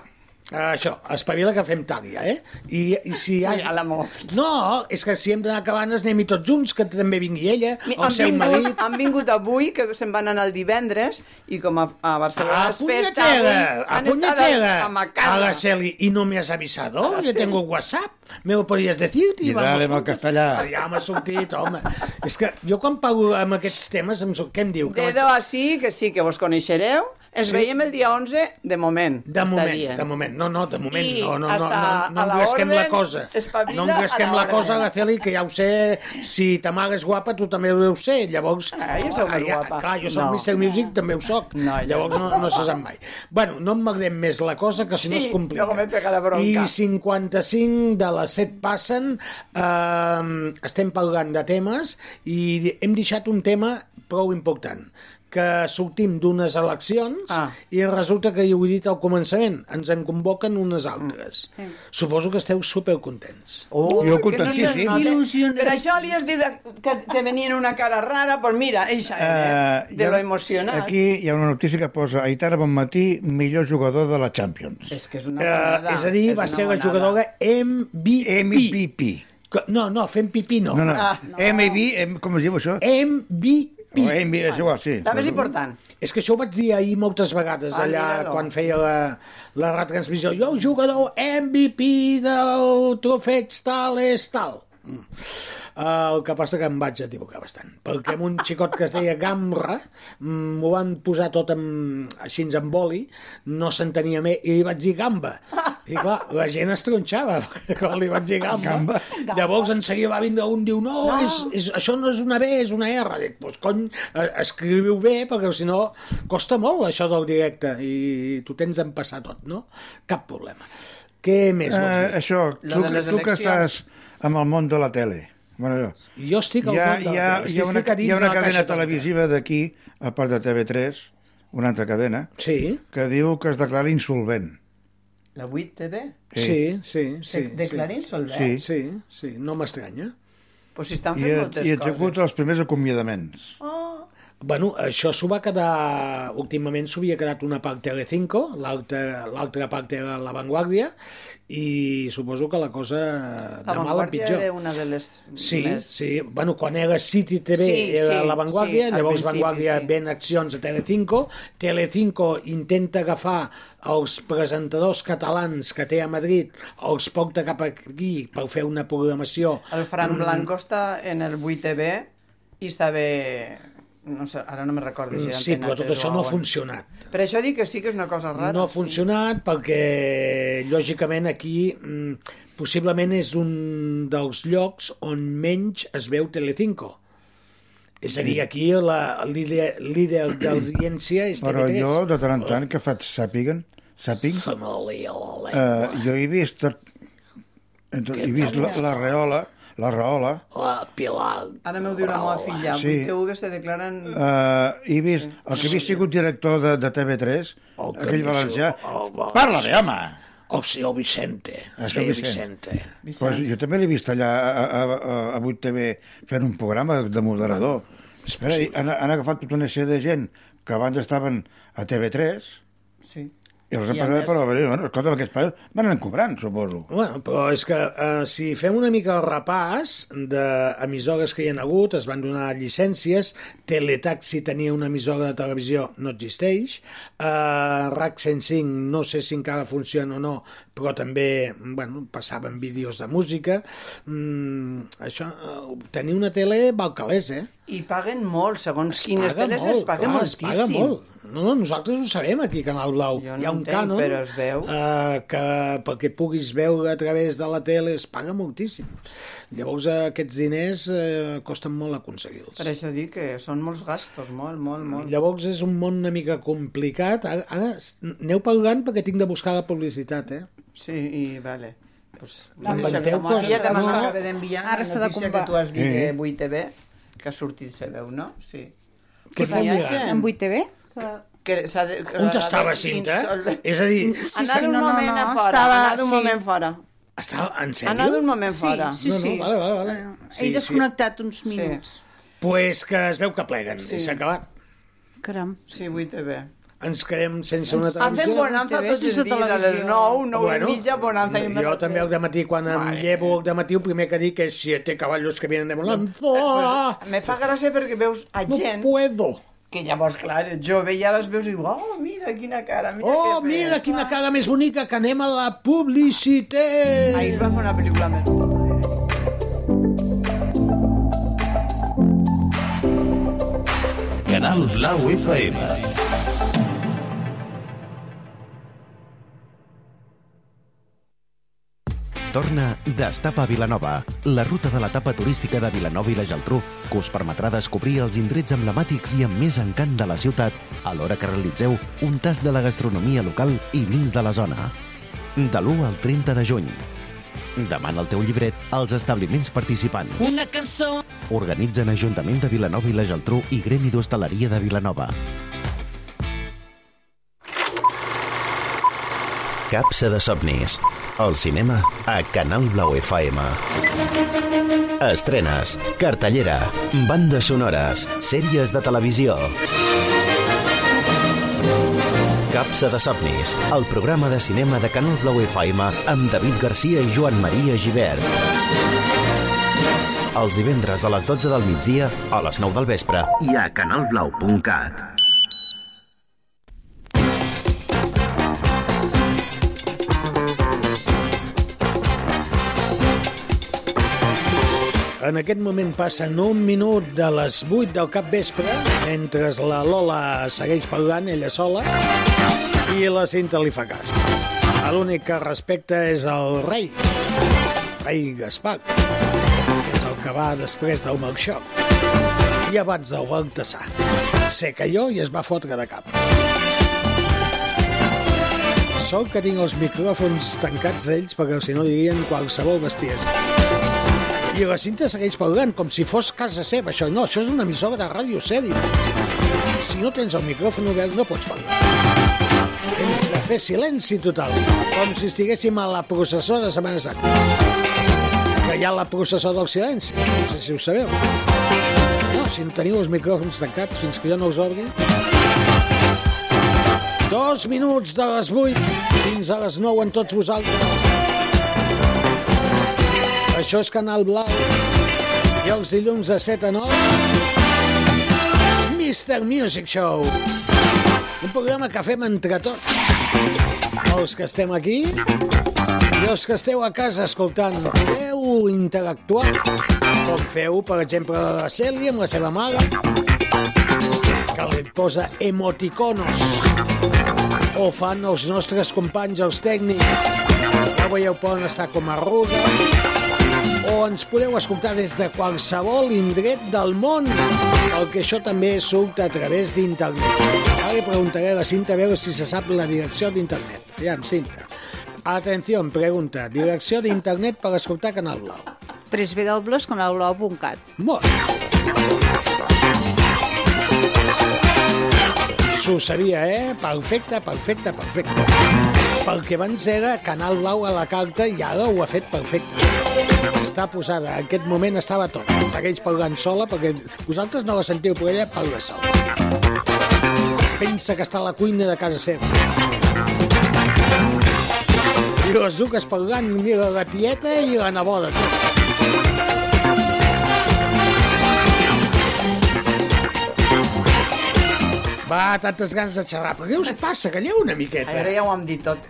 Speaker 5: Ah, Això, espavila que fem tàlia, eh? I, i si hi ha...
Speaker 7: Ai, a la meva
Speaker 5: No, és que si hem d'anar acabant, anem-hi tots junts, que també vingui ella,
Speaker 7: Mi-
Speaker 5: el
Speaker 7: Han
Speaker 5: seu marit...
Speaker 7: vingut, han vingut avui, que se'n van anar el divendres, i com a, a Barcelona
Speaker 5: A
Speaker 7: és festa avui,
Speaker 5: puñetera, a
Speaker 7: han estat
Speaker 5: puñetera,
Speaker 7: a Macarra.
Speaker 5: a la Celi, y no me has avisado, yo tengo WhatsApp, me lo podías decir,
Speaker 6: I dale amb el castellà.
Speaker 5: *laughs* Ja m'ha sortit, home. És que jo quan parlo amb aquests temes, em surt, què em diu? Que
Speaker 7: Dedo així, que sí, que vos coneixereu, Ens sí. veiem el dia 11, de moment.
Speaker 5: De moment, de moment. No, no, de moment.
Speaker 7: I
Speaker 5: no, no, no, no,
Speaker 7: hasta
Speaker 5: no, no
Speaker 7: a la
Speaker 5: engresquem la
Speaker 7: orden,
Speaker 5: cosa.
Speaker 7: espavila
Speaker 5: No engresquem
Speaker 7: a
Speaker 5: la,
Speaker 7: la
Speaker 5: la cosa,
Speaker 7: orden.
Speaker 5: Araceli, que ja ho sé, si ta mare és guapa, tu també ho deus ser. Llavors, ah,
Speaker 7: jo sóc molt guapa.
Speaker 5: Clar, jo soc
Speaker 7: No.
Speaker 5: no. Mr. Music, també ho soc. No, Llavors no, no se sap mai. Bueno, no emmagrem més la cosa, que si no
Speaker 7: Sí,
Speaker 5: es complica.
Speaker 7: luego me pega la bronca.
Speaker 5: I 55 de les 7 passen, eh, estem parlant de temes i hem deixat un tema prou important que sortim d'unes eleccions ah. i resulta que, ja ho he dit al començament, ens en convoquen unes altres. Mm. Suposo que esteu supercontents.
Speaker 6: Oh, jo contentíssim.
Speaker 7: Per això li has dit que te venien una cara rara, pues mira, eixa era,
Speaker 6: Eh,
Speaker 7: de
Speaker 6: hi ha-
Speaker 7: lo emocionat.
Speaker 6: Aquí hi ha una notícia que posa Aitana Bonmatí, millor jugador de la Champions.
Speaker 7: És que és una
Speaker 5: Eh, és a dir, va ser la jugadora MVP. MVP. No, no, fent pipí no.
Speaker 6: No, no. Ah, no.
Speaker 5: MVP,
Speaker 6: com es diu això? Oh,
Speaker 5: MVP.
Speaker 6: O MVP, és igual, sí. La més
Speaker 7: important.
Speaker 5: És que això ho vaig dir ahir moltes vegades,
Speaker 6: Ah,
Speaker 5: allà
Speaker 6: mira-lo.
Speaker 5: quan feia la, la retransmissió. Jo, jugador MVP del trofeig tal és tal. Mm. El que passa que em vaig equivocar bastant, perquè amb un xicot que es deia Gamra mm, m'ho van posar tot amb, així en boli, no s'entenia més, i li vaig dir Gamba. I clar, la gent es tronxava *laughs* quan li vaig dir Gamba. Gamba. Llavors en seguida va vindre un, diu, no, no. És, és, això no és una B, és una R. Dic, pues, cony, eh, escriviu bé, perquè si no costa molt això del directe, i tu tens d'empassar tot, no? Cap problema. Què més vols dir?
Speaker 6: Eh, això,
Speaker 5: La
Speaker 6: tu,
Speaker 5: de les
Speaker 6: tu que
Speaker 5: eleccions.
Speaker 6: estàs amb el món de la tele. Bueno, jo.
Speaker 5: Jo estic al
Speaker 6: hi ha,
Speaker 5: món de la
Speaker 6: hi ha,
Speaker 5: tele, si
Speaker 6: hi ha una,
Speaker 5: estic a dins
Speaker 6: hi ha
Speaker 5: de
Speaker 6: una
Speaker 5: la
Speaker 6: cadena
Speaker 5: caixa tonta.
Speaker 6: televisiva d'aquí, a part de TV3, una altra cadena,
Speaker 5: sí.
Speaker 6: que diu que es declara insolvent.
Speaker 7: La 8 TV?
Speaker 5: Sí, sí, sí.
Speaker 7: De- declara
Speaker 5: sí.
Speaker 7: insolvent?
Speaker 5: Sí, sí, sí, no m'estranya.
Speaker 7: Pues si estan
Speaker 6: I,
Speaker 7: fent
Speaker 6: i
Speaker 7: moltes coses.
Speaker 6: executa els primers acomiadaments.
Speaker 7: Oh.
Speaker 5: Bueno, això s'ho va quedar... Últimament s'ho havia quedat una part Telecinco, l'altra l'altra part era La Vanguardia, i suposo que la cosa
Speaker 7: La
Speaker 5: de mal en
Speaker 7: Vanguardia
Speaker 5: pitjor.
Speaker 7: era una de les
Speaker 5: Sí,
Speaker 7: més...
Speaker 5: sí. Bueno, quan era City TV
Speaker 7: Sí,
Speaker 5: sí, era
Speaker 7: sí,
Speaker 5: La Vanguardia,
Speaker 7: sí,
Speaker 5: sí,
Speaker 7: al
Speaker 5: llavors
Speaker 7: principi,
Speaker 5: Vanguardia
Speaker 7: sí.
Speaker 5: ven accions a Telecinco, Telecinco intenta agafar els presentadors catalans que té a Madrid, els porta cap aquí per fer una programació...
Speaker 7: El Fran
Speaker 5: Mm,
Speaker 7: Blanco està en el 8 TV i estava... No sé, ara no me recordo si era
Speaker 5: Mm, Sí,
Speaker 7: Antena
Speaker 5: però tot
Speaker 7: tres
Speaker 5: això
Speaker 7: o
Speaker 5: no ha
Speaker 7: on.
Speaker 5: funcionat.
Speaker 7: Per això dic que sí que és una cosa rara.
Speaker 5: no ha funcionat perquè, lògicament, aquí mm, possiblement és un dels llocs on menys es veu Telecinco. És a dir, aquí la, el líder, líder d'audiència és
Speaker 6: Però
Speaker 5: TV3.
Speaker 6: jo, de tant en tant, que faig sàpiguen, sàpig,
Speaker 5: Se me lia la
Speaker 6: eh,
Speaker 5: lengua.
Speaker 6: jo he vist, he vist la, la reola, la reola,
Speaker 5: La Pilar. eh?
Speaker 7: Ara m'ho diu la meva filla.
Speaker 6: Sí.
Speaker 7: Sí. 8 TV se declaren...
Speaker 6: Uh, he vist, el que havia sigut director de, de TV3,
Speaker 5: El
Speaker 6: aquell
Speaker 5: Camisó,
Speaker 6: valencià...
Speaker 5: el València.
Speaker 6: Parla bé, home!
Speaker 5: Oh, El senyor Vicente.
Speaker 6: El
Speaker 5: El
Speaker 6: senyor
Speaker 5: senyor
Speaker 6: Vicente.
Speaker 5: Vicente.
Speaker 6: Pues jo també l'he vist allà a, a, a, a 8TV fent un programa de moderador. Espera, i han, han agafat tota una sèrie de gent que abans estaven a TV3
Speaker 7: Sí.
Speaker 6: i els han
Speaker 5: I a
Speaker 6: passat
Speaker 5: més-
Speaker 6: per la barrera. Bueno, escolta, aquests pares van anar cobrant, suposo.
Speaker 5: Bueno, però és que eh, si fem una mica el repàs d'emissores que hi ha hagut, es van donar llicències, Teletaxi tenia una emissora de televisió, no existeix, eh, RAC 105 no sé si encara funciona o no, però també bueno, passaven vídeos de música. Mm, això, eh, tenir una tele balcalés, eh?
Speaker 7: I paguen molt, segons quines
Speaker 5: paga
Speaker 7: teles
Speaker 5: molt,
Speaker 7: es paga
Speaker 5: clar, es
Speaker 7: moltíssim.
Speaker 5: paga molt. No, no, nosaltres ho sabem aquí a Canal Blau.
Speaker 7: Jo
Speaker 5: Hi
Speaker 7: no
Speaker 5: ha un
Speaker 7: entenc,
Speaker 5: cànon
Speaker 7: però es veu.
Speaker 5: eh, que perquè puguis veure a través de la tele es paga moltíssim. Llavors eh, aquests diners eh, costen molt aconseguir-los.
Speaker 7: Per això dic que són molts gastos, molt, molt, molt.
Speaker 5: Llavors és un món una mica complicat. Ara, ara s- aneu pagant perquè tinc de buscar la publicitat, eh?
Speaker 7: Sí, i vale. Pues,
Speaker 5: Inventeu coses.
Speaker 7: Ja te
Speaker 5: no?
Speaker 7: m'acaba d'enviar
Speaker 8: Ara
Speaker 7: la
Speaker 8: s'ha de
Speaker 7: notícia
Speaker 8: combar.
Speaker 7: que tu has dit
Speaker 5: Sí.
Speaker 7: de 8TV, que ha sortit, se veu, no? Sí.
Speaker 5: Què estàs mirant?
Speaker 8: En 8TV? Ah,
Speaker 7: Que s'ha de... que
Speaker 5: On
Speaker 7: la-
Speaker 5: estava,
Speaker 7: la-
Speaker 5: Cinta?
Speaker 7: insolvent.
Speaker 5: És a dir...
Speaker 7: Sí, Anar d'un moment a fora, anar d'un moment fora.
Speaker 5: Estava, en sèrio?
Speaker 7: Anar d'un moment fora.
Speaker 8: Sí, sí,
Speaker 5: no, no,
Speaker 8: sí.
Speaker 5: vale, vale, vale.
Speaker 8: He desconnectat uns minuts.
Speaker 5: Pues que es veu que pleguen
Speaker 7: Sí.
Speaker 5: sí. i s'ha acabat.
Speaker 8: Caram.
Speaker 7: Sí, 8TV.
Speaker 5: Ens quedem sense una televisió.
Speaker 7: Hacen bonanza
Speaker 8: TV,
Speaker 7: tots els
Speaker 8: sense
Speaker 7: dies, a les
Speaker 8: televisió.
Speaker 7: 9, 9
Speaker 5: Bueno,
Speaker 7: bueno, i mitja, bonanza. i
Speaker 5: Jo també al matí, quan em llevo al matí, el primer que dic és siete caballos que vienen de Molanzo.
Speaker 7: Eh, Pues, me fa gràcia perquè veus a
Speaker 5: No
Speaker 7: gent...
Speaker 5: puedo.
Speaker 7: Que llavors, clar, ets jove i ara es veus i dius, oh, mira quina cara, mira
Speaker 5: Oh,
Speaker 7: què
Speaker 5: mira, quina cara més bonica, que anem a la publicitat.
Speaker 7: Ahir va fer una pel·lícula més
Speaker 14: Canal Blau FM. Torna Destapa Vilanova, la ruta de l'etapa turística de Vilanova i la Geltrú, que us permetrà descobrir els indrets emblemàtics i amb més encant de la ciutat, alhora que realitzeu un tast de la gastronomia local i vins de la zona. De l'1 al 30 de juny. Demana el teu llibret als establiments participants.
Speaker 10: Una cançó.
Speaker 14: Organitzen Ajuntament de Vilanova i la Geltrú i Gremi d'Hostaleria de Vilanova.
Speaker 15: Capsa de somnis. El cinema a Canal Blau FM. Estrenes, cartellera, bandes sonores, sèries de televisió. Capsa de somnis. El programa de cinema de Canal Blau FM amb David Garcia i Joan Maria Givert. Els divendres a les 12 del migdia, a les 9 del vespre i a canalblau.cat.
Speaker 5: En aquest moment passen un minut de les 8 del capvespre, mentre la Lola segueix parlant ella sola i la Cinta li fa cas. L'únic que respecta és el rei, rei Gaspar, que és el que va després del Melchoc i abans del Baltasar. Sé que jo i es va fotre de cap. Sort que tinc els micròfons tancats d'ells perquè si no dirien qualsevol bestiesa. I la cinta segueix parlant, com si fos casa seva. Això no, això és una emissora de ràdio sèria. Si no tens el micròfon obert, no pots parlar. Tens de fer silenci total, com si estiguéssim a la processó de Setmana Santa. Que hi ha la processó del silenci, no sé si ho sabeu. No, si no teniu els micròfons tancats fins que jo no us obri... Dos minuts de les 8 fins a les 9 en tots vosaltres. Això és Canal Blau. I els dilluns de 7 a 9, Mr. Music Show. Un programa que fem entre tots. Els que estem aquí i els que esteu a casa escoltant. Podeu interactuar, com feu, per exemple, la Cèlia amb la seva mare, que li posa emoticonos, o fan els nostres companys, els tècnics. Ja veieu, poden estar com a arruga, o ens podeu escoltar des de qualsevol indret del món, el que això també surt a través d'internet. Ara li preguntaré a la Cinta a veure si se sap la direcció d'internet. Aviam, Cinta. Atenció, pregunta. Direcció d'internet per escoltar Canal Blau.
Speaker 8: www.canalblau.cat
Speaker 5: Molt S'ho sabia, eh? Perfecte, perfecte, perfecte. Perquè abans era Canal Blau a la carta i ara ho ha fet perfecte. Està posada, en aquest moment estava tot. Segueix parlant sola perquè vosaltres no la sentiu, però ella parla sola. Es pensa que està a la cuina de casa seva. I les duques parlant, mira la tieta i la neboda. Va, tantes ganes de xerrar. Però què us passa? Calleu una miqueta.
Speaker 7: Ara ja ho hem dit tot.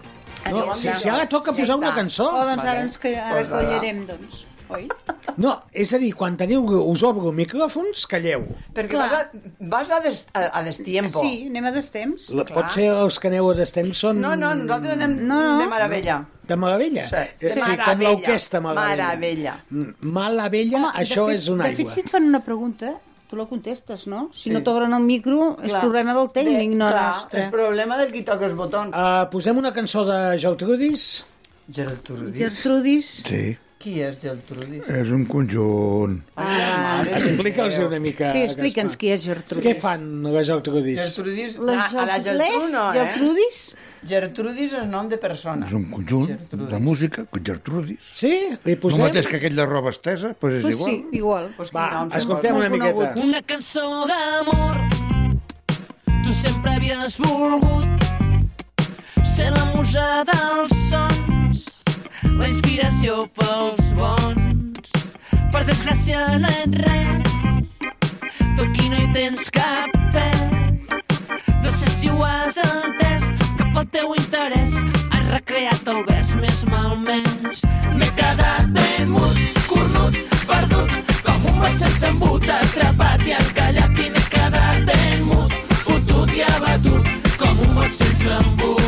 Speaker 5: No, si, si ara toca
Speaker 8: Sí,
Speaker 5: posar una
Speaker 8: està.
Speaker 5: cançó...
Speaker 8: Oh, doncs ara ens que, ara
Speaker 5: Pues
Speaker 8: que ho
Speaker 5: ara.
Speaker 8: llarem, doncs. Oi?
Speaker 5: No, és a dir, quan teniu, us obro micròfons, calleu.
Speaker 7: Perquè vas a, vas a, des, a, a destiempo.
Speaker 8: Sí, anem a destemps.
Speaker 5: La, potser els que aneu a destem són...
Speaker 7: No, no, nosaltres anem no,
Speaker 8: Ah,
Speaker 7: no. de meravella.
Speaker 5: De Malavella?
Speaker 7: Sí, de
Speaker 5: com
Speaker 7: meravella.
Speaker 5: l'orquesta Malavella.
Speaker 7: Maravella.
Speaker 5: Mm, Malavella,
Speaker 8: Home, de
Speaker 5: això
Speaker 8: fet-
Speaker 5: és una
Speaker 8: De fet,
Speaker 5: aigua.
Speaker 8: si et fan una pregunta, tu la contestes, no? Si
Speaker 5: Sí.
Speaker 8: no t'obren el micro, és
Speaker 7: Clar.
Speaker 8: problema del tècnic,
Speaker 7: De-
Speaker 8: no
Speaker 7: clar,
Speaker 8: nostre.
Speaker 7: és problema del qui toca els botons.
Speaker 5: Uh, posem una cançó de Gertrudis.
Speaker 7: Gertrudis.
Speaker 8: Gertrudis.
Speaker 6: Sí,
Speaker 7: Qui és Gertrudis?
Speaker 6: és un conjunt.
Speaker 8: Ah,
Speaker 5: Explica'ls una mica.
Speaker 8: Sí, explica'ns qui és Gertrudis.
Speaker 5: Què fan les Gertrudis?
Speaker 7: Gertrudis,
Speaker 8: Les
Speaker 7: a, a la Gertrú
Speaker 8: Gertrudis,
Speaker 7: no, eh?
Speaker 8: Gertrudis?
Speaker 7: Gertrudis és nom de persona.
Speaker 6: És un conjunt de música, con Gertrudis.
Speaker 5: Sí? Li posem?
Speaker 6: No mateix que aquell de roba estesa, doncs és igual.
Speaker 8: igual.
Speaker 7: Pues
Speaker 5: Va, escoltem una miqueta.
Speaker 10: Una cançó d'amor. Tu sempre havies volgut ser la musa dels sons, la inspiració pels bons. Per desgràcia no ets res, tu aquí no hi tens cap pes. No sé si ho has entès, que pel teu interès has recreat el vers més malmès. M'he quedat ben mut, cornut, perdut, com un vaig sense embut, atrapat i encallat i m'he quedat ben mut, fotut i abatut, com un vaig sense embut.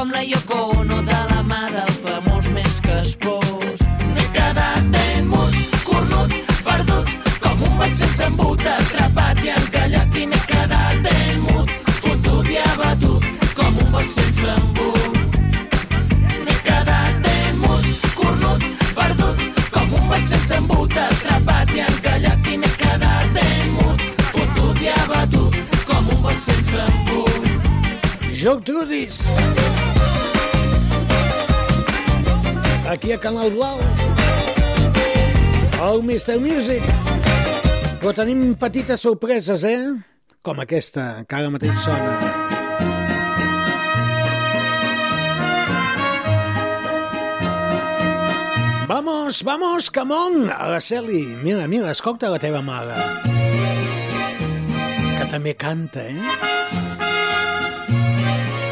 Speaker 10: amb la Yoko Ono de la mà del famós més que espós. M'he quedat ben mut, cornut, perdut, com un ball sense embut, atrapat i encallat i m'he quedat ben mut, fotut i abatut, com un ball sense embut. M'he quedat ben mut, cornut, perdut, com un ball sense embut, atrapat i encallat i m'he quedat ben mut, fotut i abatut, com un ball sense embut.
Speaker 5: Joc Trudis. Aquí a Canal Blau. El Mr. Music. Però tenim petites sorpreses, eh? Com aquesta, que ara mateix sona. Vamos, vamos, Camón! Araceli, mira, mira, escolta la teva mare. Que també canta, eh?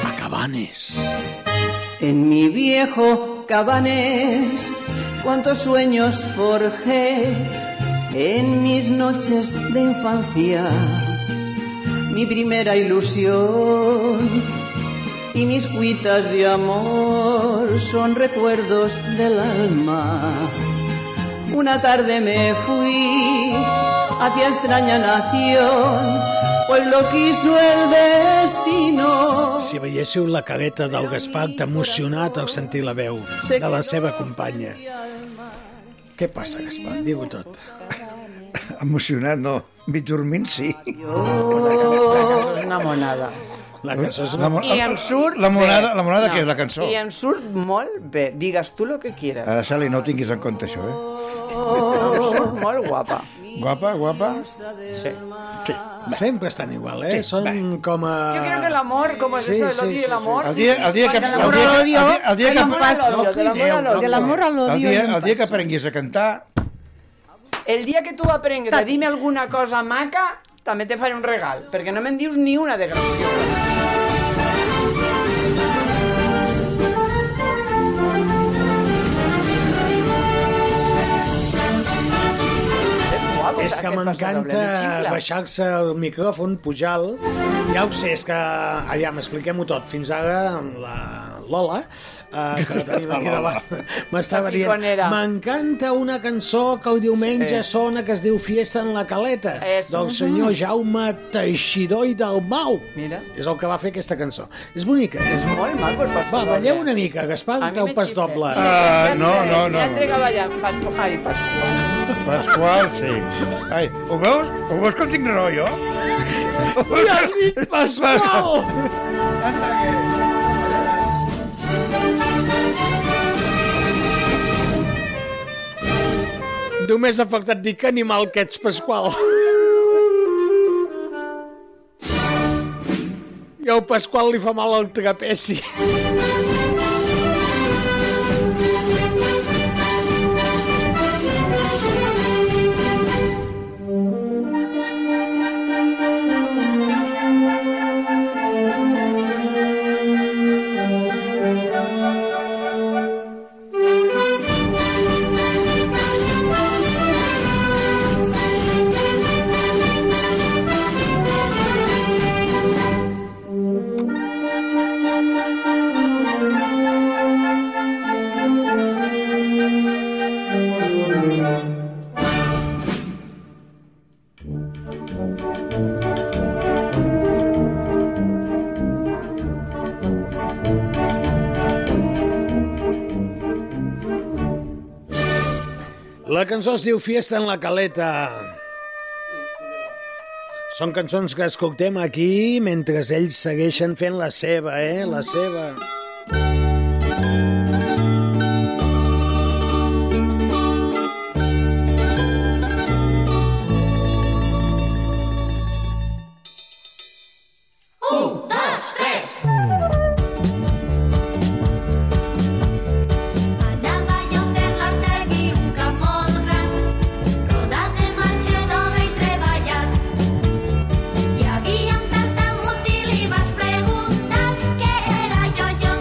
Speaker 5: A Cabanes.
Speaker 16: En mi viejo cabanés, cuántos sueños forjé en mis noches de infancia, mi primera ilusión y mis cuitas de amor son recuerdos del alma. Una tarde me fui hacia extraña nación, pues lo quiso el destino.
Speaker 5: Si veiéssiu la careta del Gaspar, t'ha emocionat al sentir la veu de la seva companya. Què passa, Gaspar? Diu tot.
Speaker 6: Emocionat, no. Mig dormint, sí.
Speaker 7: És una monada.
Speaker 5: La cançó és
Speaker 6: una...
Speaker 7: I em surt
Speaker 6: La monada,
Speaker 7: bé.
Speaker 6: la monada
Speaker 7: No.
Speaker 6: què és, la cançó? Ah,
Speaker 7: I em surt molt bé. Digues tu lo que quieras.
Speaker 6: Araceli, Eh, no ho tinguis en compte, això, eh?
Speaker 7: Em surt molt guapa.
Speaker 6: Guapa, guapa?
Speaker 7: Sí.
Speaker 6: sí.
Speaker 5: Sempre estan igual, eh? Són com a...
Speaker 7: Yo creo que el amor, como es
Speaker 5: Sí,
Speaker 7: eso,
Speaker 5: sí,
Speaker 7: el odio
Speaker 5: sí,
Speaker 7: y el
Speaker 5: sí.
Speaker 7: amor...
Speaker 6: El dia, el dia que...
Speaker 7: Del amor al odio, del amor al odio, del amor al odio.
Speaker 6: El dia, el dia que aprenguis a cantar...
Speaker 7: El dia que tu aprengues a dir-me alguna cosa maca, també te faré un regal, perquè no me'n dius ni una de graciosa. doncs
Speaker 5: És que m'encanta baixar-se el micròfon, pujar-lo. Ja ho sé, és que... Aviam, expliquem-ho tot. Fins ara, amb la Lola, eh, que la
Speaker 7: *laughs*
Speaker 5: tenim aquí
Speaker 1: La Lola.
Speaker 5: davant, m'estava
Speaker 1: La
Speaker 5: dient...
Speaker 1: piconera.
Speaker 5: M'encanta una cançó que el diumenge sí. sona que es diu Fiesta en la Caleta,
Speaker 1: Eso.
Speaker 5: del
Speaker 1: Mhm.
Speaker 5: senyor Jaume Teixidor i Dalmau.
Speaker 7: Mira.
Speaker 5: És el que va fer aquesta cançó. És bonica. És
Speaker 7: molt maco el pas
Speaker 5: Va,
Speaker 7: doble.
Speaker 5: balleu una mica, Gaspar, que el pas doble.
Speaker 6: Ah, no, no, no.
Speaker 7: Ja entrega a ballar. Pasqu... Ai, Pasqu...
Speaker 6: Pasqual, sí. Ai, ho veus? Ho veus com tinc raó, jo?
Speaker 1: Ja he dit Pasqual!
Speaker 5: Només ha faltat dir que animal que ets, Pasqual. I al Pasqual li fa mal el trapeci. La cançó es diu Fiesta en la Caleta. Són cançons que escoltem aquí mentre ells segueixen fent la seva, eh? La seva.
Speaker 1: Un, dos, tres!
Speaker 11: Allà veiem per l'Artegui un camp molt gran, rodat de marxa d'obra i treballat. Hi havia un tartamut i li vas preguntar què era jo i el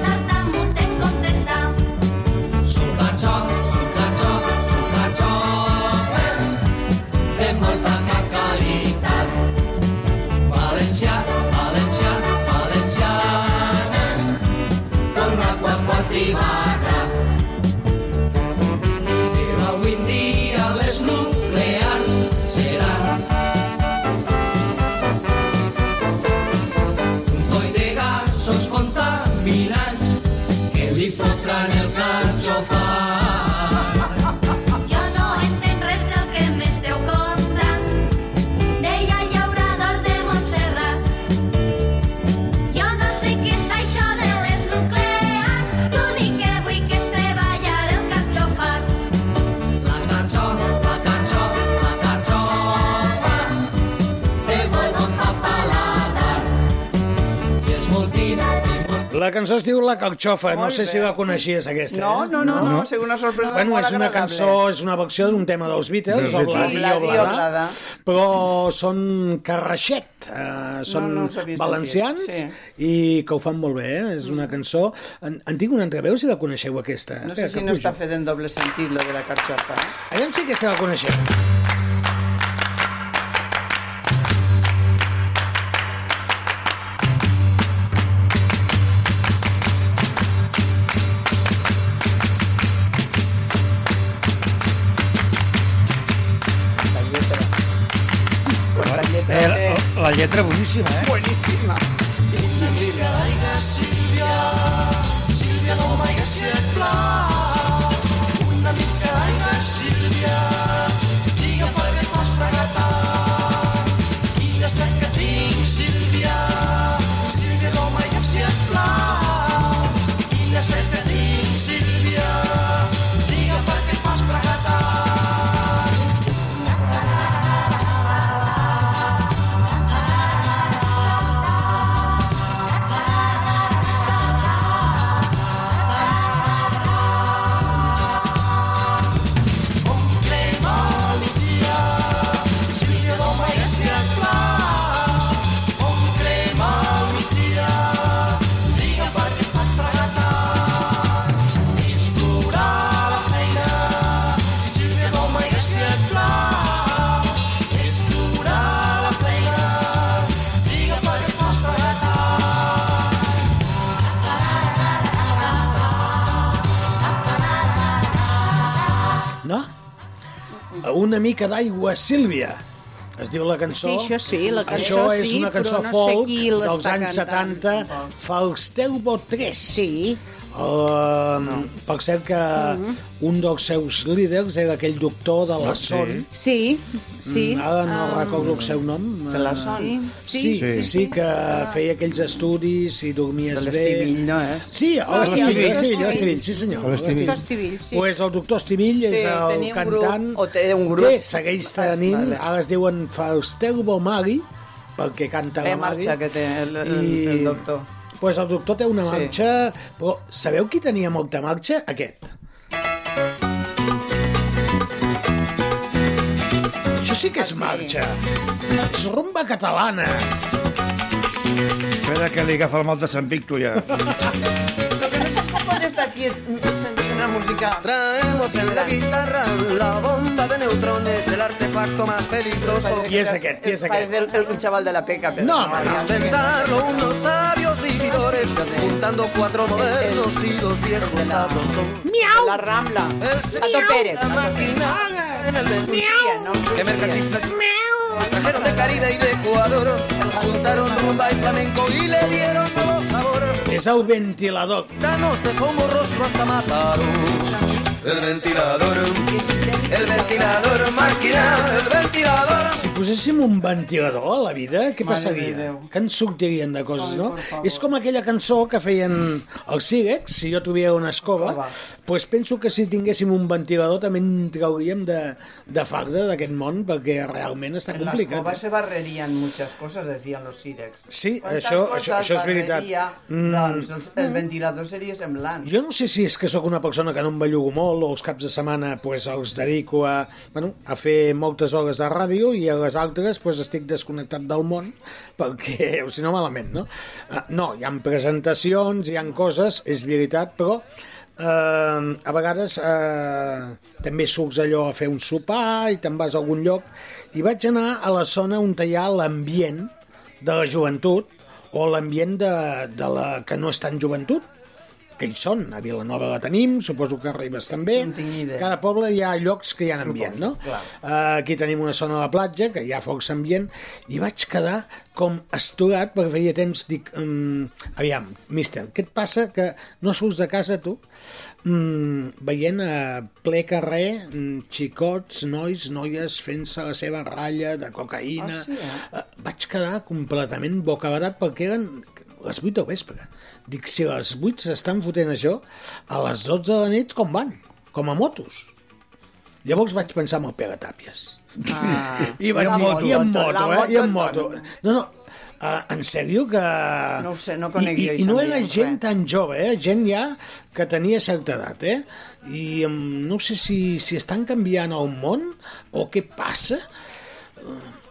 Speaker 5: La cançó es diu La Calxofa, no
Speaker 7: Molt
Speaker 5: sé si la coneixies aquesta.
Speaker 7: No,
Speaker 5: eh?
Speaker 7: no, no, no, sé una sorpresa
Speaker 5: Bueno,
Speaker 7: molt
Speaker 5: és una
Speaker 7: agradable.
Speaker 5: cançó, és una versió d'un tema dels Beatles,
Speaker 7: Sí,
Speaker 5: o
Speaker 7: sí, sí.
Speaker 5: Bladí o
Speaker 7: Bladí o Bladà.
Speaker 5: Bladà, però són carraixet, eh, són
Speaker 7: No, no us havia sentit,
Speaker 5: valencians
Speaker 7: sí.
Speaker 5: i que ho fan molt bé, eh? és una cançó... En, en tinc una entreveu si la coneixeu aquesta.
Speaker 6: eh,
Speaker 7: No sé
Speaker 5: Espera,
Speaker 7: si
Speaker 5: que
Speaker 7: no
Speaker 5: pujo.
Speaker 7: està fent en doble sentit, lo de la carxofa. eh?
Speaker 5: Aviam si aquesta la coneixem.
Speaker 6: La lletra, eh, la, la lletra boníssima, eh?
Speaker 7: Buenísima.
Speaker 17: Que caiga Sílvia, Sílvia no m'haiga semblat. Una mica d'aigua, Sílvia, digue'm per què fas regatar. Quina set que tinc, Sílvia, Sílvia no m'haiga semblat. Quina set que tinc, Sílvia, digue'm per què fas regatar.
Speaker 5: No? Una mica d'aigua, Sílvia. Es diu la cançó.
Speaker 8: Sí, això sí, la cançó
Speaker 5: Això és
Speaker 8: sí,
Speaker 5: una cançó
Speaker 8: però no sé
Speaker 5: folk
Speaker 8: qui l'està
Speaker 5: dels anys
Speaker 8: cantant,
Speaker 5: 70, Falsteubo 3. Sí. Uh, no. Per cert que mm. un dels seus líders era aquell doctor de
Speaker 8: Ah,
Speaker 5: la
Speaker 8: Sí.
Speaker 5: Son.
Speaker 8: Sí, sí.
Speaker 5: Mm, Ara no
Speaker 8: em,
Speaker 5: recordo el seu nom.
Speaker 8: de la Son.
Speaker 5: Sí,
Speaker 8: Sí,
Speaker 5: sí,
Speaker 8: sí.
Speaker 5: sí, sí que feia aquells estudis i
Speaker 7: De
Speaker 5: dormies bé.
Speaker 7: l'Estivill, no, eh?
Speaker 5: Sí,
Speaker 7: No,
Speaker 5: el Estivill,
Speaker 7: Estivill,
Speaker 5: l'Estivill,
Speaker 7: Estivill.
Speaker 5: l'Estivill, sí senyor.
Speaker 7: El Estivill.
Speaker 8: Estivill, sí.
Speaker 5: Pues el doctor Estivill
Speaker 7: Sí,
Speaker 5: és el
Speaker 7: tenia un grup,
Speaker 5: cantant...
Speaker 7: o té un grup.
Speaker 5: Té, segueix tenint,
Speaker 7: Vale.
Speaker 5: ara es diuen Fausteu Bomari, perquè canta
Speaker 7: Té
Speaker 5: la Mari.
Speaker 7: marxa que té el, el,
Speaker 5: i-
Speaker 7: el doctor.
Speaker 5: Pues el doctor té una
Speaker 7: Sí.
Speaker 5: marxa, però sabeu qui tenia molta marxa? Aquest. Això sí que
Speaker 7: Ah,
Speaker 5: és marxa. És rumba catalana.
Speaker 6: Espera que li agafa el mal de Sant Víctor, ja.
Speaker 7: Com des d'aquí sentint una música?
Speaker 17: Traemos en la guitarra la bomba de neutrones, el artefacto más peligroso.
Speaker 5: Qui és aquest? Qui és
Speaker 7: aquest? El, el, el xaval de la peca. Però
Speaker 17: No, Inventarlo unos sabios vividores, juntando cuatro modernos y dos viejos sabrosos.
Speaker 7: Miau! La Rambla. Tato Pérez.
Speaker 17: La maquinaria en el Miau. De mercachifles. Miau. Trajeron de Caribe y de Ecuador, juntaron rumba y flamenco y le dieron nuevo sabor.
Speaker 5: És el ventilador.
Speaker 17: Danos de somos rostro hasta matar. El ventilador, el ventilador máquina, el ventilador.
Speaker 5: Si poséssim un ventilador a la vida, què passaria? Que ens sortirien de coses, no? És com aquella cançó que feien els Sirex, si jo tuviera una escova, doncs pues penso que si tinguéssim un ventilador també en trauríem de, de farda d'aquest món, perquè realment està
Speaker 7: En las
Speaker 5: complicat. eh?
Speaker 7: escobas se barrerían muchas cosas, decían los sírex.
Speaker 5: Sí,
Speaker 7: ¿Cuántas
Speaker 5: això-
Speaker 7: cosas
Speaker 5: això- això és veritat.
Speaker 7: barreria?
Speaker 5: Mm.
Speaker 7: Doncs el, el ventilador seria semblant.
Speaker 5: Jo no sé si és que sóc una persona que no em bellugo molt o els caps de setmana pues, els dedico a, bueno, a fer moltes hores de ràdio i a les altres pues, estic desconnectat del món perquè, o si no, malament, no? Uh, no, hi han presentacions, hi han coses, és veritat, però Uh, a vegades uh, també surts allò a fer un sopar i te'n vas a algun lloc i vaig anar a la zona on hi ha l'ambient de la joventut o l'ambient de, de la que no és tan joventut que hi són. A Vilanova la tenim, suposo que arribes també. Cada poble hi ha llocs que hi ha ambient, no?
Speaker 1: clar.
Speaker 5: Eh, Aquí tenim una zona de la platja, que hi ha força ambient, i vaig quedar com esturat, perquè feia temps, dic, um, aviam, mister, què et passa que no surts de casa, tu? Mm, veient a ple carrer mm, xicots, nois, noies fent-se la seva ratlla de cocaïna...
Speaker 7: Ah, sí, eh?
Speaker 5: Eh, vaig quedar completament bocabadat perquè eren les 8 del vespre. Dic, si a les 8 s'estan fotent això, a les 12 de la nit com van? Com a motos. Llavors vaig pensar en el Pere Tàpies.
Speaker 7: Ah,
Speaker 5: I vaig dir, i en moto, eh? I en moto. No, no, Ah, en sèrio que...
Speaker 7: No ho sé, no conec
Speaker 5: I,
Speaker 7: jo
Speaker 5: i, I no
Speaker 7: Islàndia,
Speaker 5: era gent tan jove, eh? Gent ja que tenia certa edat, eh? I em, no sé si, si estan canviant el món o què passa.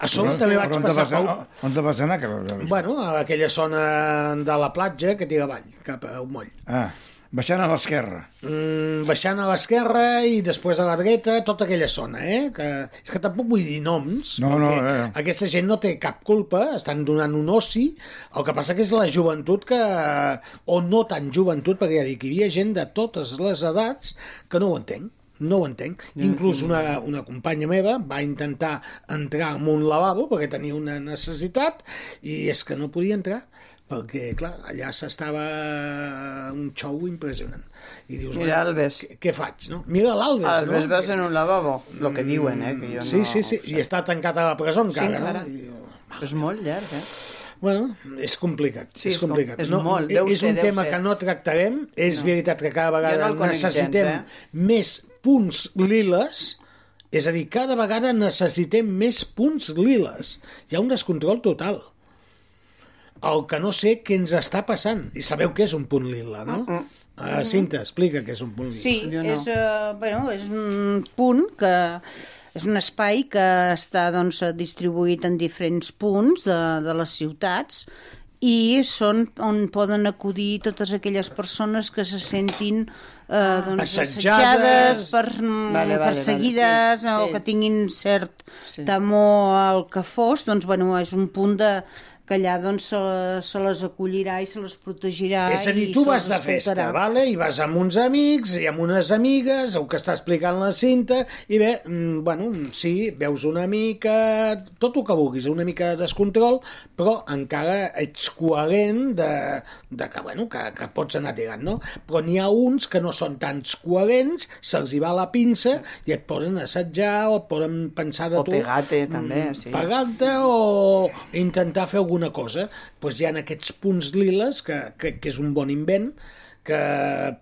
Speaker 5: A sols també vaig
Speaker 6: Però on te
Speaker 5: passar...
Speaker 6: vas
Speaker 5: Pau,
Speaker 6: anar- On te vas anar? Que... vas veure?
Speaker 5: bueno, a aquella zona de la platja que tira avall, cap a un moll.
Speaker 6: Ah, baixant a l'esquerra.
Speaker 5: Mm, baixant a l'esquerra i després a la dreta, tota aquella zona, eh? Que, és que tampoc vull dir noms,
Speaker 6: No, eh. no,
Speaker 5: perquè
Speaker 6: no, no.
Speaker 5: aquesta gent no té cap culpa, estan donant un oci, el que passa que és la joventut que... o no tan joventut, perquè ja dic, hi havia gent de totes les edats que no ho entenc, no ho entenc. Inclús una, una companya meva va intentar entrar en un lavabo perquè tenia una necessitat i és que no podia entrar perquè, clar, allà s'estava un xou impressionant. I dius,
Speaker 7: Mira,
Speaker 5: bueno,
Speaker 7: Alves.
Speaker 5: Què, què faig, no? Mira l'Albes,
Speaker 7: Al
Speaker 5: no?
Speaker 7: vas en un lavabo, lo que diuen, eh? Que jo
Speaker 5: sí,
Speaker 7: no...
Speaker 5: sí, sí, i està tancat a la presó encara,
Speaker 7: encara.
Speaker 5: no? I,
Speaker 7: És molt llarg, eh?
Speaker 5: Bueno, és complicat,
Speaker 7: Sí,
Speaker 5: és
Speaker 7: és com-
Speaker 5: complicat.
Speaker 7: és
Speaker 5: no,
Speaker 7: molt, deu
Speaker 5: és
Speaker 7: ser,
Speaker 5: un
Speaker 7: deu
Speaker 5: tema
Speaker 7: ser.
Speaker 5: que no tractarem, és no. veritat que cada
Speaker 7: Jo
Speaker 5: vegada
Speaker 7: no el conec gens,
Speaker 5: necessitem
Speaker 7: eh?
Speaker 5: més punts liles, és a dir, cada vegada necessitem més punts liles. Hi ha un descontrol total. El que no sé què ens està passant. I sabeu què és un punt lila, no? Mm Uh, Cinta, explica què és un punt lila.
Speaker 8: Sí, és, eh, bueno, és un punt que... És un espai que està doncs, distribuït en diferents punts de, de les ciutats i són on poden acudir totes aquelles persones que se sentin eh, doncs, assetjades,
Speaker 7: Assetjades.
Speaker 8: per, mm,
Speaker 7: Vale, vale, vale,
Speaker 8: perseguides
Speaker 7: sí,
Speaker 8: o
Speaker 7: sí.
Speaker 8: que tinguin cert temor al que fos, doncs bueno, és un punt de que allà doncs, se, se les acollirà i se les protegirà.
Speaker 5: És a dir,
Speaker 8: i
Speaker 5: tu
Speaker 8: se
Speaker 5: vas
Speaker 8: les
Speaker 5: de festa,
Speaker 8: escoltarà.
Speaker 5: vale? i vas amb uns amics i amb unes amigues, el que està explicant la cinta, i bé, mm, bueno, mm, sí, veus una mica, tot el que vulguis, una mica de descontrol, però encara ets coherent de, de que, bueno, que, que pots anar tirant, no? Però n'hi ha uns que no són tants coherents, se'ls hi va la pinça i et poden assetjar o et poden pensar de
Speaker 7: O
Speaker 5: tu...
Speaker 7: pegar-te, també,
Speaker 5: mm,
Speaker 7: sí.
Speaker 5: Pegar-te o intentar fer alguna cosa. Doncs hi ha aquests punts liles, que crec que és un bon invent, que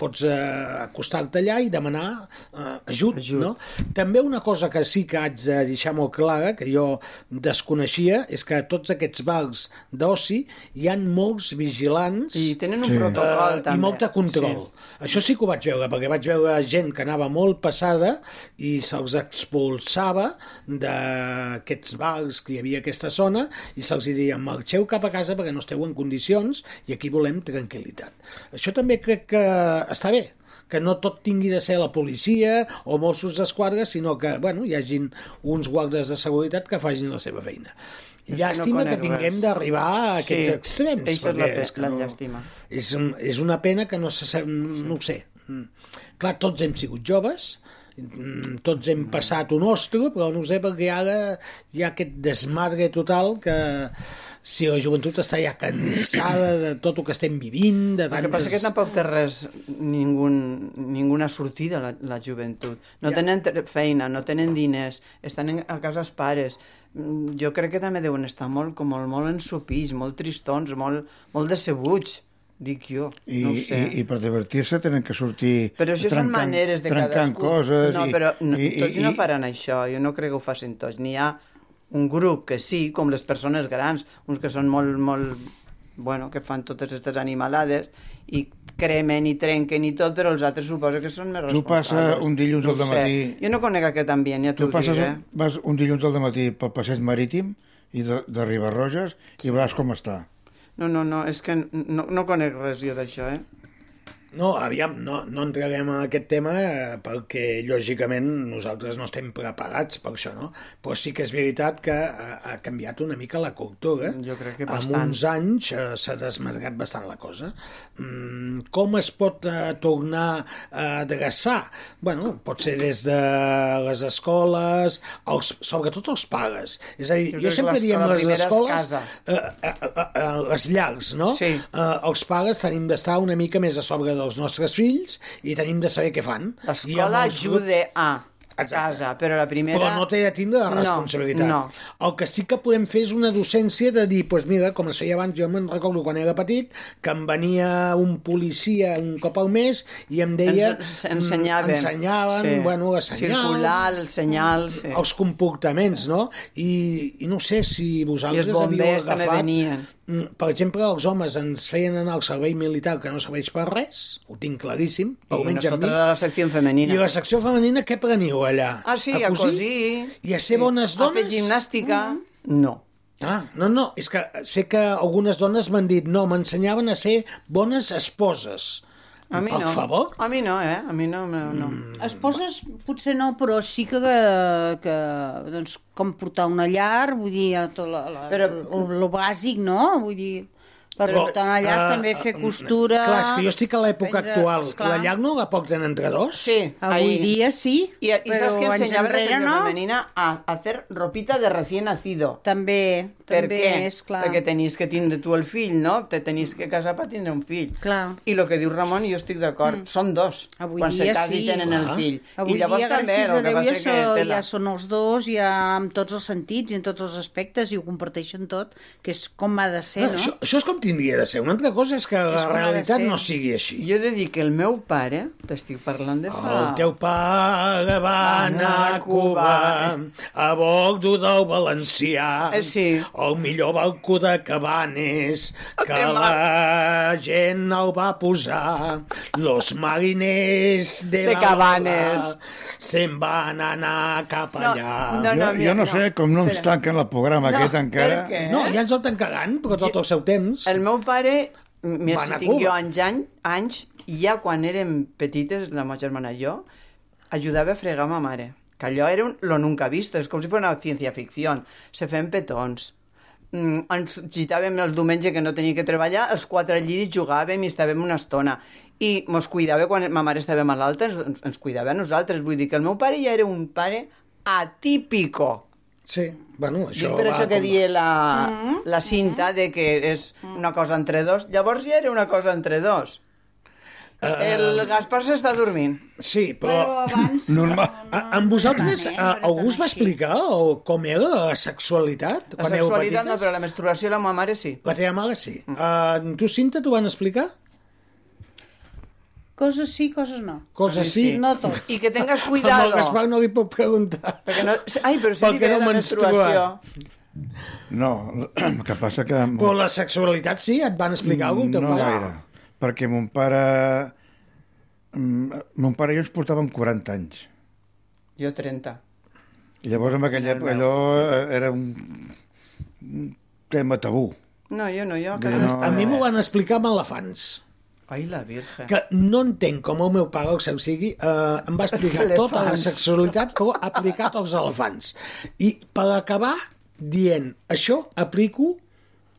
Speaker 5: pots eh, acostar-te allà i demanar eh, ajut, ajut, no? També una cosa que sí que haig de deixar molt clara, que jo desconeixia, és que a tots aquests bars d'oci hi han molts vigilants... I
Speaker 7: tenen un Sí. protocol, també.
Speaker 5: I molta control. Sí. Això sí que ho vaig veure, perquè vaig veure gent que anava molt passada i se'ls expulsava d'aquests bars que hi havia a aquesta zona i se'ls hi deia, marxeu cap a casa perquè no esteu en condicions i aquí volem tranquil·litat. Això també crec que està bé, que no tot tingui de ser la policia o Mossos d'Esquadra, sinó que bueno, hi hagin uns guardes de seguretat que facin la seva feina. Llàstima que
Speaker 7: conec
Speaker 5: tinguem
Speaker 7: res.
Speaker 5: d'arribar a aquests extrems.
Speaker 7: Això és la,
Speaker 5: perquè
Speaker 7: pe-
Speaker 5: és que
Speaker 7: la
Speaker 5: no-
Speaker 7: llàstima.
Speaker 5: és, un- és una pena que no se sap, no ho sé. Mm. Clar, tots hem sigut joves, mm, tots hem passat un ostre, però no ho sé perquè ara hi ha aquest desmadre total que si la joventut està ja cansada de tot el que estem vivint, de
Speaker 7: El que passa és que
Speaker 5: tantes...
Speaker 7: tampoc té res, ningun, ninguna sortida la, la joventut. No
Speaker 5: Ja.
Speaker 7: tenen tre- feina, no tenen diners, estan en, a casa els pares. Mm, Jo crec que també deuen estar molt, com molt, molt ensopís, molt tristons, molt, molt decebuts, dic jo.
Speaker 6: I,
Speaker 7: no ho sé.
Speaker 6: i, i per divertir-se tenen que sortir
Speaker 7: Però això són maneres de
Speaker 6: trencant
Speaker 7: cadascú.
Speaker 6: coses
Speaker 7: no,
Speaker 6: i,
Speaker 7: però no,
Speaker 6: i,
Speaker 7: tots
Speaker 6: i,
Speaker 7: no faran això, jo no crec que ho facin tots. N'hi ha un grup que sí, com les persones grans, uns que són molt, molt... Bueno, que fan totes aquestes animalades i cremen i trenquen i tot, però els altres suposa que són més
Speaker 6: Tu
Speaker 7: responsables.
Speaker 6: passa un dilluns
Speaker 7: no
Speaker 6: al
Speaker 7: ho sé.
Speaker 6: dematí-
Speaker 7: Jo no conec aquest ambient, ja
Speaker 6: Tu
Speaker 7: t'ho dic,
Speaker 6: passes,
Speaker 7: eh?
Speaker 6: un, vas un dilluns al matí pel passeig marítim i de, de Ribarroges i veuràs com està.
Speaker 7: No, no, no, és que no, no conec res jo d'això, eh?
Speaker 5: No, aviam, no, no entrarem en aquest tema eh, perquè, lògicament, nosaltres no estem preparats per això, no? Però sí que és veritat que ha, ha canviat una mica la cultura.
Speaker 7: Jo crec que
Speaker 5: Amb
Speaker 7: bastant.
Speaker 5: uns anys eh, s'ha desmarcat bastant la cosa. Mm, com es pot eh, tornar a adreçar? bueno, pot ser des de les escoles, els, sobretot els pares. És a dir,
Speaker 7: Jo
Speaker 5: jo,
Speaker 7: crec que l'escola
Speaker 5: sempre diem les
Speaker 7: primera és
Speaker 5: escoles...
Speaker 7: casa.
Speaker 5: Eh, eh, eh, eh, les llars, no? Sí. Eh, els pares tenim d'estar una mica més a sobre dels nostres fills i tenim de saber què fan.
Speaker 7: L'escola ajuda a... a casa, però la primera...
Speaker 5: Però no té de tindre la
Speaker 7: No,
Speaker 5: responsabilitat.
Speaker 7: no.
Speaker 5: El que sí que podem fer és una docència de dir, doncs mira, com es feia abans, jo me'n recordo quan era petit, que em venia un policia un cop al mes i em deia...
Speaker 7: ens, ensenyaven.
Speaker 5: mm, Ensenyaven, sí. bueno, les senyals...
Speaker 7: Circular, el senyal, sí.
Speaker 5: els comportaments, no? I, I no sé si
Speaker 7: I els
Speaker 5: vosaltres havíeu
Speaker 7: bombers també
Speaker 5: agafat...
Speaker 7: venien.
Speaker 5: Mm, Per exemple, els homes ens feien anar al servei militar, que no serveix per res, ho tinc claríssim,
Speaker 7: I
Speaker 5: almenys a mi.
Speaker 7: nosaltres a la secció femenina.
Speaker 5: I la secció femenina què preniu allà?
Speaker 7: Ah, sí, a cosir.
Speaker 5: I a ser bones
Speaker 7: A
Speaker 5: dones?
Speaker 7: fer gimnàstica. Mm.
Speaker 5: No. Ah, no, no, és que sé que algunes dones m'han dit no, m'ensenyaven a ser bones esposes.
Speaker 7: A mi
Speaker 5: Per
Speaker 7: no.
Speaker 5: favor?
Speaker 7: A mi no, eh? A mi no, no. no.
Speaker 8: Esposes Mm. potser no, però sí que, que doncs, com portar una llar, vull dir, tot la, la, però, lo, lo bàsic, no? Vull dir, per
Speaker 5: Però,
Speaker 8: portar una llar
Speaker 5: eh,
Speaker 8: també fer
Speaker 5: eh,
Speaker 8: costura...
Speaker 5: Clar, és que jo estic a l'època
Speaker 8: vendre-
Speaker 5: actual.
Speaker 8: esclar.
Speaker 5: La llar no la poc tenir entre dos?
Speaker 7: Sí.
Speaker 8: Avui dia sí,
Speaker 7: I, i saps que
Speaker 8: però anys
Speaker 7: ensenyava la
Speaker 8: enrere
Speaker 7: secció
Speaker 8: no.
Speaker 7: femenina a, a fer ropita de recién nacido.
Speaker 8: També,
Speaker 7: per
Speaker 8: també,
Speaker 7: què?
Speaker 8: és clar.
Speaker 7: Perquè tenies que tindre tu el fill, no? Te tenies que casar per tindre un fill.
Speaker 8: Clar.
Speaker 7: I el que diu Ramon, jo estic d'acord, mm. són dos.
Speaker 8: Avui
Speaker 7: quan
Speaker 8: dia
Speaker 7: se casi
Speaker 8: sí.
Speaker 7: tenen el fill.
Speaker 8: Avui
Speaker 7: I llavors
Speaker 8: dia,
Speaker 7: també, el
Speaker 8: gràcies a
Speaker 7: que
Speaker 8: Déu, ja,
Speaker 7: passa
Speaker 8: so,
Speaker 7: que...
Speaker 8: ja
Speaker 7: tela.
Speaker 8: són els dos, ja amb tots els sentits i en tots els aspectes, i ho comparteixen tot, que és com ha de ser,
Speaker 5: no,
Speaker 8: no?
Speaker 5: Ah, Això, això és com tindria de ser. Una altra cosa és que la
Speaker 7: És com ha de
Speaker 5: realitat
Speaker 7: ser.
Speaker 5: no sigui així.
Speaker 7: Jo he de dir que el meu pare, t'estic parlant de fa...
Speaker 5: El teu pare va anar a Cuba a bordo del valencià.
Speaker 7: Eh, sí.
Speaker 5: El millor balcó de Cabanes que la gent el va posar. Los mariners de,
Speaker 7: De
Speaker 5: la
Speaker 7: Cabanes.
Speaker 5: ola se'n van anar cap
Speaker 7: Ah. No,
Speaker 5: allà.
Speaker 6: jo, jo no, sé com no ens
Speaker 7: Espera.
Speaker 6: tanquen el programa
Speaker 7: No,
Speaker 6: aquest encara.
Speaker 7: per què?
Speaker 5: No, ja ens el tancaran, però tot el seu temps.
Speaker 7: El meu pare, mira,
Speaker 5: Va anar
Speaker 7: si
Speaker 5: a
Speaker 7: tinc
Speaker 5: Cuba.
Speaker 7: jo anys, any, anys, ja quan érem petites, la meva germana i jo, ajudava a fregar ma mare. Que allò era un, lo nunca visto, és com si fos una ciència-ficció. Se feien petons. Mm, ens gitàvem el diumenge que no tenia que treballar, els quatre al llit jugàvem i estàvem una estona. I mos cuidava quan ma mare estava malalta, ens, ens cuidava a nosaltres. Vull dir que el meu pare ja era un pare atípico.
Speaker 5: Sí, bueno,
Speaker 7: Això
Speaker 5: això
Speaker 7: per
Speaker 5: va
Speaker 7: això que
Speaker 5: com-
Speaker 7: die la, la cinta de que és una cosa entre dos. Llavors ja era una cosa entre dos. El Gaspar s'està dormint.
Speaker 5: Eh, Sí, però...
Speaker 8: abans...
Speaker 5: Normal. A, amb vosaltres, eh, a, algú us va explicar o com era la sexualitat?
Speaker 7: La
Speaker 5: éreu
Speaker 7: sexualitat no,
Speaker 5: petites?
Speaker 7: però la menstruació la meva mare sí. Mm.
Speaker 5: La teva mare sí. Uh, tu, Cinta, t'ho van explicar?
Speaker 8: Coses sí, coses no.
Speaker 5: Coses sí.
Speaker 8: No tot.
Speaker 7: I que tengas
Speaker 5: Amb el Gaspar no li puc preguntar.
Speaker 7: Perquè no... Ai, però sí
Speaker 5: Pel que
Speaker 7: que
Speaker 5: no
Speaker 7: la
Speaker 5: menstrua.
Speaker 7: menstruació.
Speaker 6: No, *clears throat* el que passa que...
Speaker 5: Però la sexualitat sí? Et van explicar alguna
Speaker 6: No gaire, perquè mon pare... mm, Mon pare i jo ens portàvem 40 anys.
Speaker 7: Jo 30.
Speaker 6: I llavors en aquella època allò eh, era un, un tema tabú.
Speaker 7: No, jo no, jo a
Speaker 6: Bé,
Speaker 7: casa...
Speaker 6: no.
Speaker 7: No.
Speaker 5: A mi m'ho van explicar amb elefants.
Speaker 7: Ai, la Virgen.
Speaker 5: Que no entenc com el meu pare, el seu sigui, eh, em
Speaker 7: *laughs*
Speaker 5: va explicar
Speaker 7: Els
Speaker 5: tota la
Speaker 7: elefants.
Speaker 5: sexualitat però aplicat als elefants. I per acabar dient, això aplico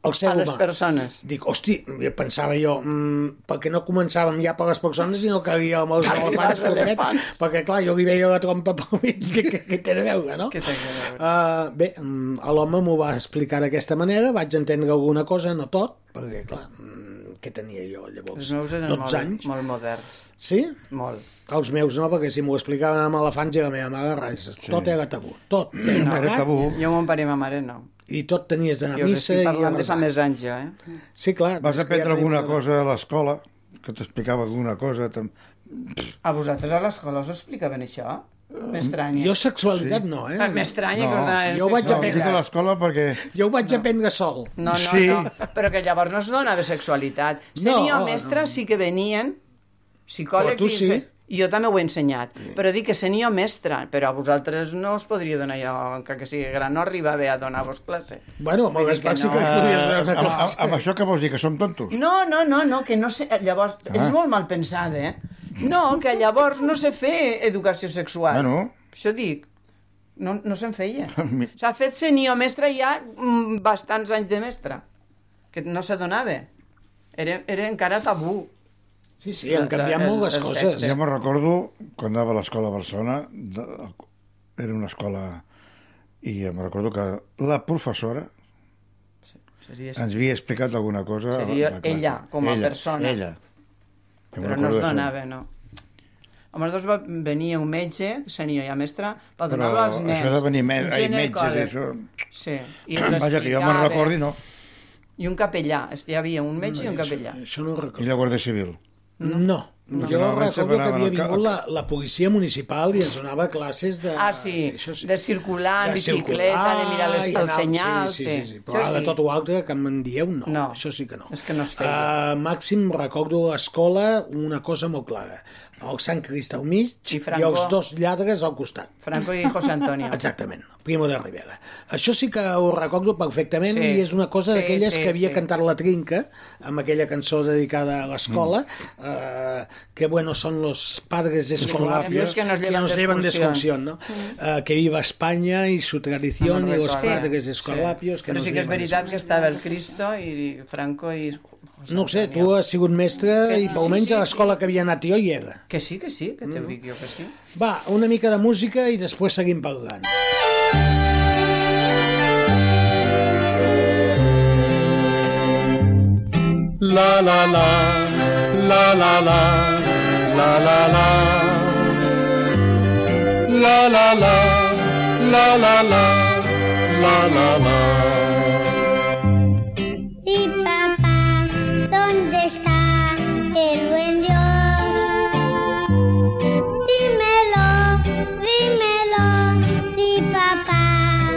Speaker 5: al ser
Speaker 7: A les
Speaker 5: humà.
Speaker 7: persones.
Speaker 5: Dic, hosti, jo pensava jo, mmm, perquè no començàvem ja per les persones i no calia amb els
Speaker 7: Calia
Speaker 5: elefants,
Speaker 7: els
Speaker 5: pobret,
Speaker 7: elefants.
Speaker 5: perquè clar, jo li veia la trompa pel mig, que, que, que té a veure, no? Uh, bé, mm, a l'home m'ho va explicar d'aquesta manera, vaig entendre alguna cosa, no tot, perquè clar, mm, què tenia jo llavors?
Speaker 7: Els meus eren
Speaker 5: 12
Speaker 7: molt,
Speaker 5: anys.
Speaker 7: molt moderns.
Speaker 5: Sí?
Speaker 7: Molt.
Speaker 5: Els meus no, perquè si m'ho explicaven amb elefants i la meva mare, res, sí. tot era tabú, tot. Era pecat,
Speaker 7: Jo, mon pare i ma mare, no.
Speaker 5: I tot tenies d'anar
Speaker 7: Jo
Speaker 5: a
Speaker 7: us
Speaker 5: missa
Speaker 7: estic
Speaker 5: i a
Speaker 7: parlant de fa
Speaker 5: resar.
Speaker 7: més anys, jo, eh?
Speaker 5: Sí, clar.
Speaker 6: Vas
Speaker 5: és que
Speaker 6: aprendre
Speaker 5: ja tenim
Speaker 6: alguna
Speaker 5: una-
Speaker 6: cosa a l'escola, que t'explicava alguna cosa... Tam...
Speaker 7: A vosaltres a l'escola us explicaven això? M'estranya.
Speaker 5: Mm, Jo sexualitat no, eh?
Speaker 7: Ah, M'estranya que us donaran
Speaker 5: Jo ho vaig
Speaker 7: sexualitat.
Speaker 5: aprendre
Speaker 6: a l'escola perquè...
Speaker 5: Jo ho vaig aprendre sol.
Speaker 7: No, no,
Speaker 5: Sí.
Speaker 7: no. Però que llavors no es donava sexualitat. Seria
Speaker 5: no,
Speaker 7: mestra, sí que venien psicòlegs...
Speaker 5: Però tu
Speaker 7: i-
Speaker 5: sí.
Speaker 7: i Jo també ho he ensenyat, però dic que senia mestra, però a vosaltres no us podria donar jo, encara que sigui gran, no arribava a donar-vos classe.
Speaker 5: Bueno, amb el
Speaker 7: Vull dir que
Speaker 5: Gaspar sí que
Speaker 7: no.
Speaker 5: podies
Speaker 6: Eh,
Speaker 5: anar
Speaker 6: amb,
Speaker 5: a
Speaker 6: amb,
Speaker 5: classe.
Speaker 6: amb això que vols dir, que som tontos?
Speaker 7: No, no, no, no, que no sé... Llavors, ah. és molt mal pensada, eh? No, que llavors no sé fer educació sexual.
Speaker 6: Bueno.
Speaker 7: Això dic. No, no se'n feia. S'ha fet senyor mestre ja mm, bastants anys de mestre. Que no s'adonava. Era, era encara tabú.
Speaker 5: Sí, sí, han canviat molt les coses.
Speaker 6: Jo me'n recordo, quan anava a l'escola a Barcelona, de, era una escola... I em recordo que la professora
Speaker 7: Seria,
Speaker 6: ens havia explicat alguna cosa. a la-
Speaker 7: seria
Speaker 6: a la classe.
Speaker 7: ella, com a
Speaker 6: Ella,
Speaker 7: persona.
Speaker 6: Ella. Jo
Speaker 7: Però
Speaker 6: me'n
Speaker 7: no
Speaker 6: recordo
Speaker 7: es
Speaker 6: d'això.
Speaker 7: donava, no. Amb els dos va venir un metge, senior i a mestre, per
Speaker 6: Però
Speaker 7: donar-lo als nens.
Speaker 6: això de venir me ai, metges,
Speaker 7: Ginecòleg.
Speaker 6: això...
Speaker 7: Sí, i els
Speaker 6: Vaja, que jo me'n
Speaker 7: explicava.
Speaker 6: recordi, no.
Speaker 7: I un capellà, és- hi havia un metge i un capellà.
Speaker 5: Això no ho recordo.
Speaker 6: I la Guàrdia Civil.
Speaker 5: No. no. Jo
Speaker 6: No, vaig
Speaker 5: recordo que
Speaker 6: separar,
Speaker 5: havia
Speaker 6: bueno,
Speaker 5: vingut la, la policia municipal i ens donava classes de...
Speaker 7: Ah, sí, de circular en
Speaker 5: de
Speaker 7: bicicleta,
Speaker 5: circular
Speaker 7: de mirar les,
Speaker 5: i
Speaker 7: els
Speaker 5: anar-
Speaker 7: senyals,
Speaker 5: Sí, sí, sí, sí. Però
Speaker 7: Això
Speaker 5: ara de tot ho altre que me'n dieu, no. no. Això sí que no.
Speaker 7: És que no es feia.
Speaker 5: Uh, màxim, recordo a escola una cosa molt clara. El Sant Crist al mig i,
Speaker 7: Franco.
Speaker 5: els dos lladres al costat.
Speaker 7: Franco i José Antonio.
Speaker 5: *laughs* Exactament, Primo de Rivera. Això sí que ho recordo perfectament
Speaker 7: Sí.
Speaker 5: i és una cosa
Speaker 7: Sí,
Speaker 5: d'aquelles
Speaker 7: sí,
Speaker 5: que havia
Speaker 7: sí.
Speaker 5: cantat la Trinca amb aquella cançó dedicada a l'escola, mm. eh, que bueno, son los padres escolapios
Speaker 7: Los que nos llevan
Speaker 5: de
Speaker 7: de
Speaker 5: llevan de excursión,
Speaker 7: excursión.
Speaker 5: ¿no? Eh, que viva España y su tradición
Speaker 7: Mm. me'n
Speaker 5: y los
Speaker 7: recordo.
Speaker 5: padres
Speaker 7: Sí.
Speaker 5: escolapios que
Speaker 7: Però
Speaker 5: nos
Speaker 7: sí que és
Speaker 5: llevan de
Speaker 7: veritat que estava el Cristo i Franco i...
Speaker 5: No ho sé, tu has sigut mestre i pel menys a l'escola que havia anat jo hi era.
Speaker 7: Que sí, que sí, que
Speaker 5: Mm.
Speaker 7: te'n dic jo que sí.
Speaker 5: Va, una mica de música i després seguim parlant.
Speaker 18: La la la, la la la, la la la. La la la, la la la, la la la.
Speaker 19: Y papá, ¿dónde está el buen Dios? Dímelo, dímelo, di papá.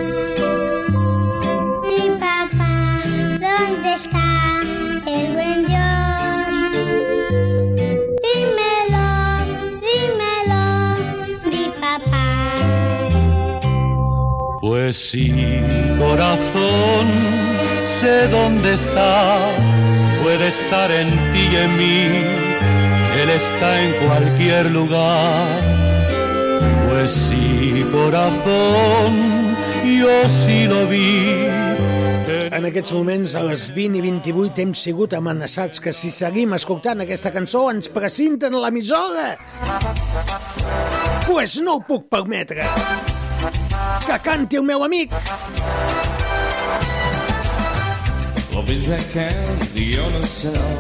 Speaker 19: Di papá, ¿dónde está el buen Dios? Dímelo, dímelo, di papá.
Speaker 18: Pues sí, corazón, sé dónde está. Puede estar en ti y en mí. Él está en cualquier lugar. Pues sí, corazón, yo sí lo vi.
Speaker 5: En aquests moments, a les 20 i 28, hem sigut amenaçats que si seguim escoltant aquesta cançó ens precinten a l'emissora. Pues no ho puc permetre. Que canti el meu amic.
Speaker 20: Love is a candy on a cell.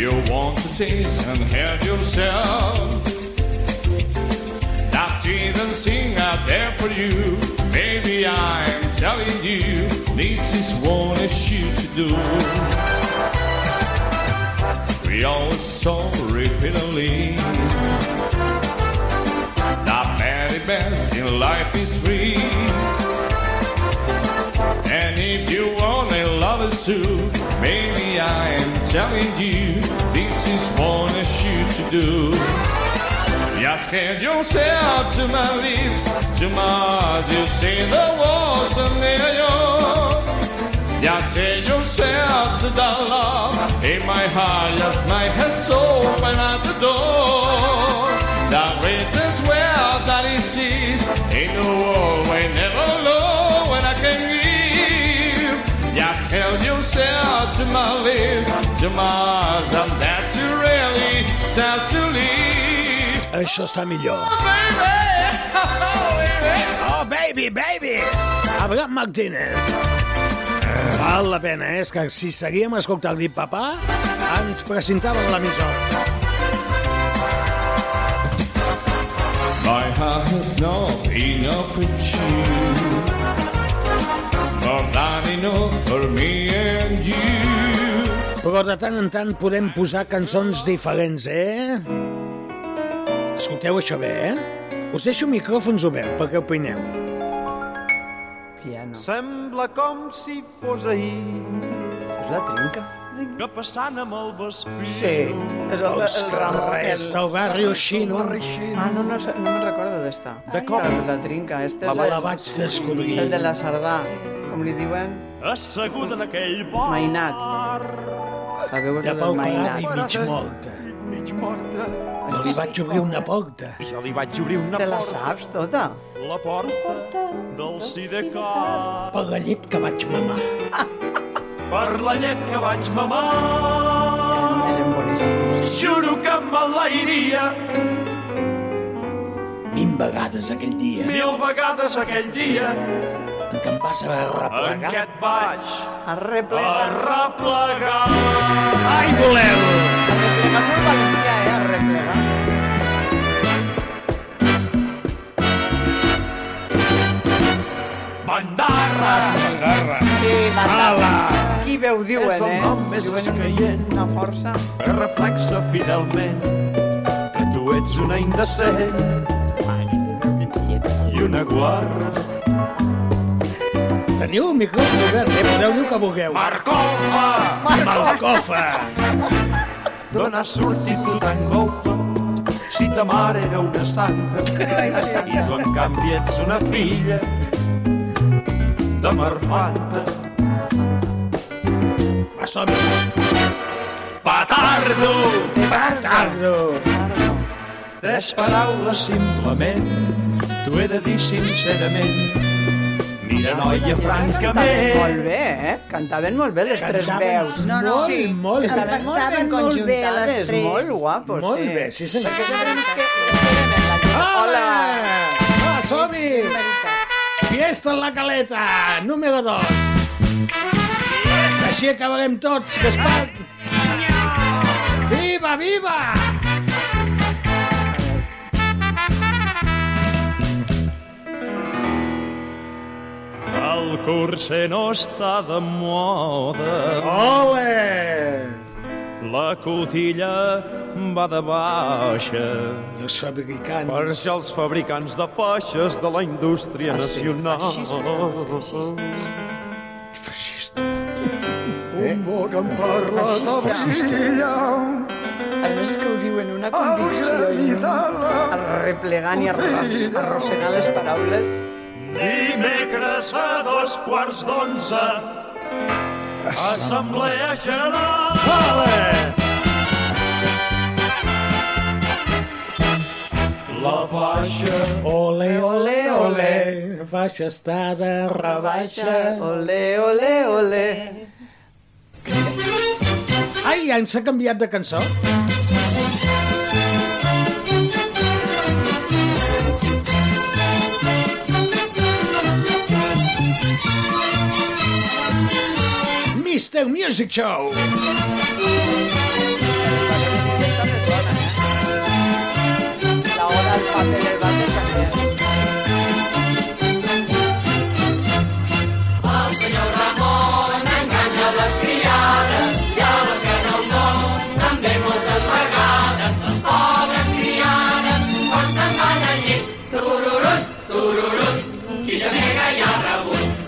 Speaker 20: You want to taste and help yourself. That season sing out there for you. Baby, I'm telling you, this is what I should do. We always saw repeatedly that many best in life is free. And if you want a lover too, maybe I am telling you this is what I should do. Just hand yourself to my lips, to my heart, you see the walls are near you. Just hand yourself to the love in my heart, just my head soul at the door. The greatest wealth that it sees in the world, we never know when I can give. Just held yourself to my lips, to my eyes, and that you really sad to leave.
Speaker 5: Això està millor. Oh, baby, baby! Abraham Martínez. Val la pena, eh? És que si seguíem escoltant dit papà, ens precintaven l'emissora.
Speaker 20: My heart has not enough for you. More than enough for me and you.
Speaker 5: Però de tant en tant podem posar cançons diferents, eh? Escolteu això bé, eh? Us deixo micròfons oberts perquè opineu.
Speaker 7: Piano.
Speaker 21: Sembla com si fos ahir. És la trinca. Que passant amb el vespí.
Speaker 7: Sí, és el,
Speaker 21: Los
Speaker 7: el Ramon.
Speaker 21: carrers
Speaker 7: el-
Speaker 21: del barri
Speaker 5: xino.
Speaker 7: Ah, no, no, sé- no me'n recordo d'esta.
Speaker 21: De com?
Speaker 7: La, la trinca, este
Speaker 21: La-
Speaker 7: és...
Speaker 21: la vaig descobrir.
Speaker 7: El de la Sardà, com li diuen,
Speaker 21: Assegut en aquell bar.
Speaker 7: mainat. La veu és
Speaker 5: De
Speaker 7: la
Speaker 5: Pau
Speaker 7: del
Speaker 5: Ferrat i
Speaker 7: mainat.
Speaker 5: mig morta. Mig morta. Jo li vaig obrir una porta.
Speaker 21: Jo li vaig obrir una
Speaker 7: Te la
Speaker 21: porta.
Speaker 7: saps tota?
Speaker 21: La porta del Sidecar.
Speaker 5: Per la llet que vaig mamar.
Speaker 21: Per la llet que vaig mamar. Eren boníssims. Juro que me l'airia
Speaker 5: Vint vegades aquell dia
Speaker 21: mil vegades aquell dia.
Speaker 5: en què em vas haver de replegar.
Speaker 21: Aquest baix
Speaker 7: arreplegar.
Speaker 21: Arreplegar.
Speaker 5: Ai, voleu!
Speaker 7: Arreplegar molt valencià, eh?
Speaker 21: bandarres. Bandarres.
Speaker 7: Sí,
Speaker 21: Ala.
Speaker 7: Qui veu diuen,
Speaker 21: És el
Speaker 7: eh?
Speaker 21: nom més
Speaker 7: Diuen
Speaker 21: escaient.
Speaker 7: Una força.
Speaker 21: que reflexa fidelment que tu ets una indecent i una guarra.
Speaker 5: Teniu un micro obert, eh? Podeu dir el que vulgueu.
Speaker 21: Marcofa!
Speaker 5: Malcofa!
Speaker 21: D'on ha sortit tu tan golfa? Si ta mare era una santa i tu en canvi ets una filla de marfanta.
Speaker 5: Va, som -hi.
Speaker 21: Petardo!
Speaker 5: Petardo!
Speaker 21: Tres paraules simplement t'ho he de dir sincerament. Mira, noia, francament...
Speaker 7: Molt bé, eh? Cantaven molt bé les tres
Speaker 21: Cantaven
Speaker 7: veus.
Speaker 21: No, no,
Speaker 7: sí.
Speaker 21: molt bé.
Speaker 7: Estaven molt ben
Speaker 8: Estaven molt bé, les
Speaker 7: conjuntades,
Speaker 8: tres.
Speaker 7: molt guapos.
Speaker 5: Molt
Speaker 7: sí.
Speaker 5: bé, sí senyor.
Speaker 7: Perquè ja veus que... Hola!
Speaker 5: Va, Ah, som-hi! Fiesta en la caleta, número 2. Així acabarem tots, Gaspar. Viva, viva!
Speaker 20: El curse no està de moda.
Speaker 5: Ole!
Speaker 20: La cotilla va de baixa.
Speaker 5: I els fabricants...
Speaker 20: Per això els fabricants de faixes de la indústria
Speaker 9: Ah, sí,
Speaker 20: nacional...
Speaker 21: Un mot em parla de brilla.
Speaker 7: A més que ho diu en una convicció i un- arreplegant i arros- arrossegant les paraules.
Speaker 21: Dimecres a dos quarts d'onze, Assemblea General. La faixa.
Speaker 5: Ole, ole,
Speaker 21: ole.
Speaker 5: Faixa està de rebaixa.
Speaker 7: Ole, ole, ole.
Speaker 5: Ai, ens ha canviat de cançó. Mr. Music Show.
Speaker 7: La hora al paper del bate
Speaker 17: El senyor Ramon enganya les criades i a les que no ho són també moltes vegades. Les pobres criades quan se'n van al llit, tururut, tururut, qui genega ja ha rebut.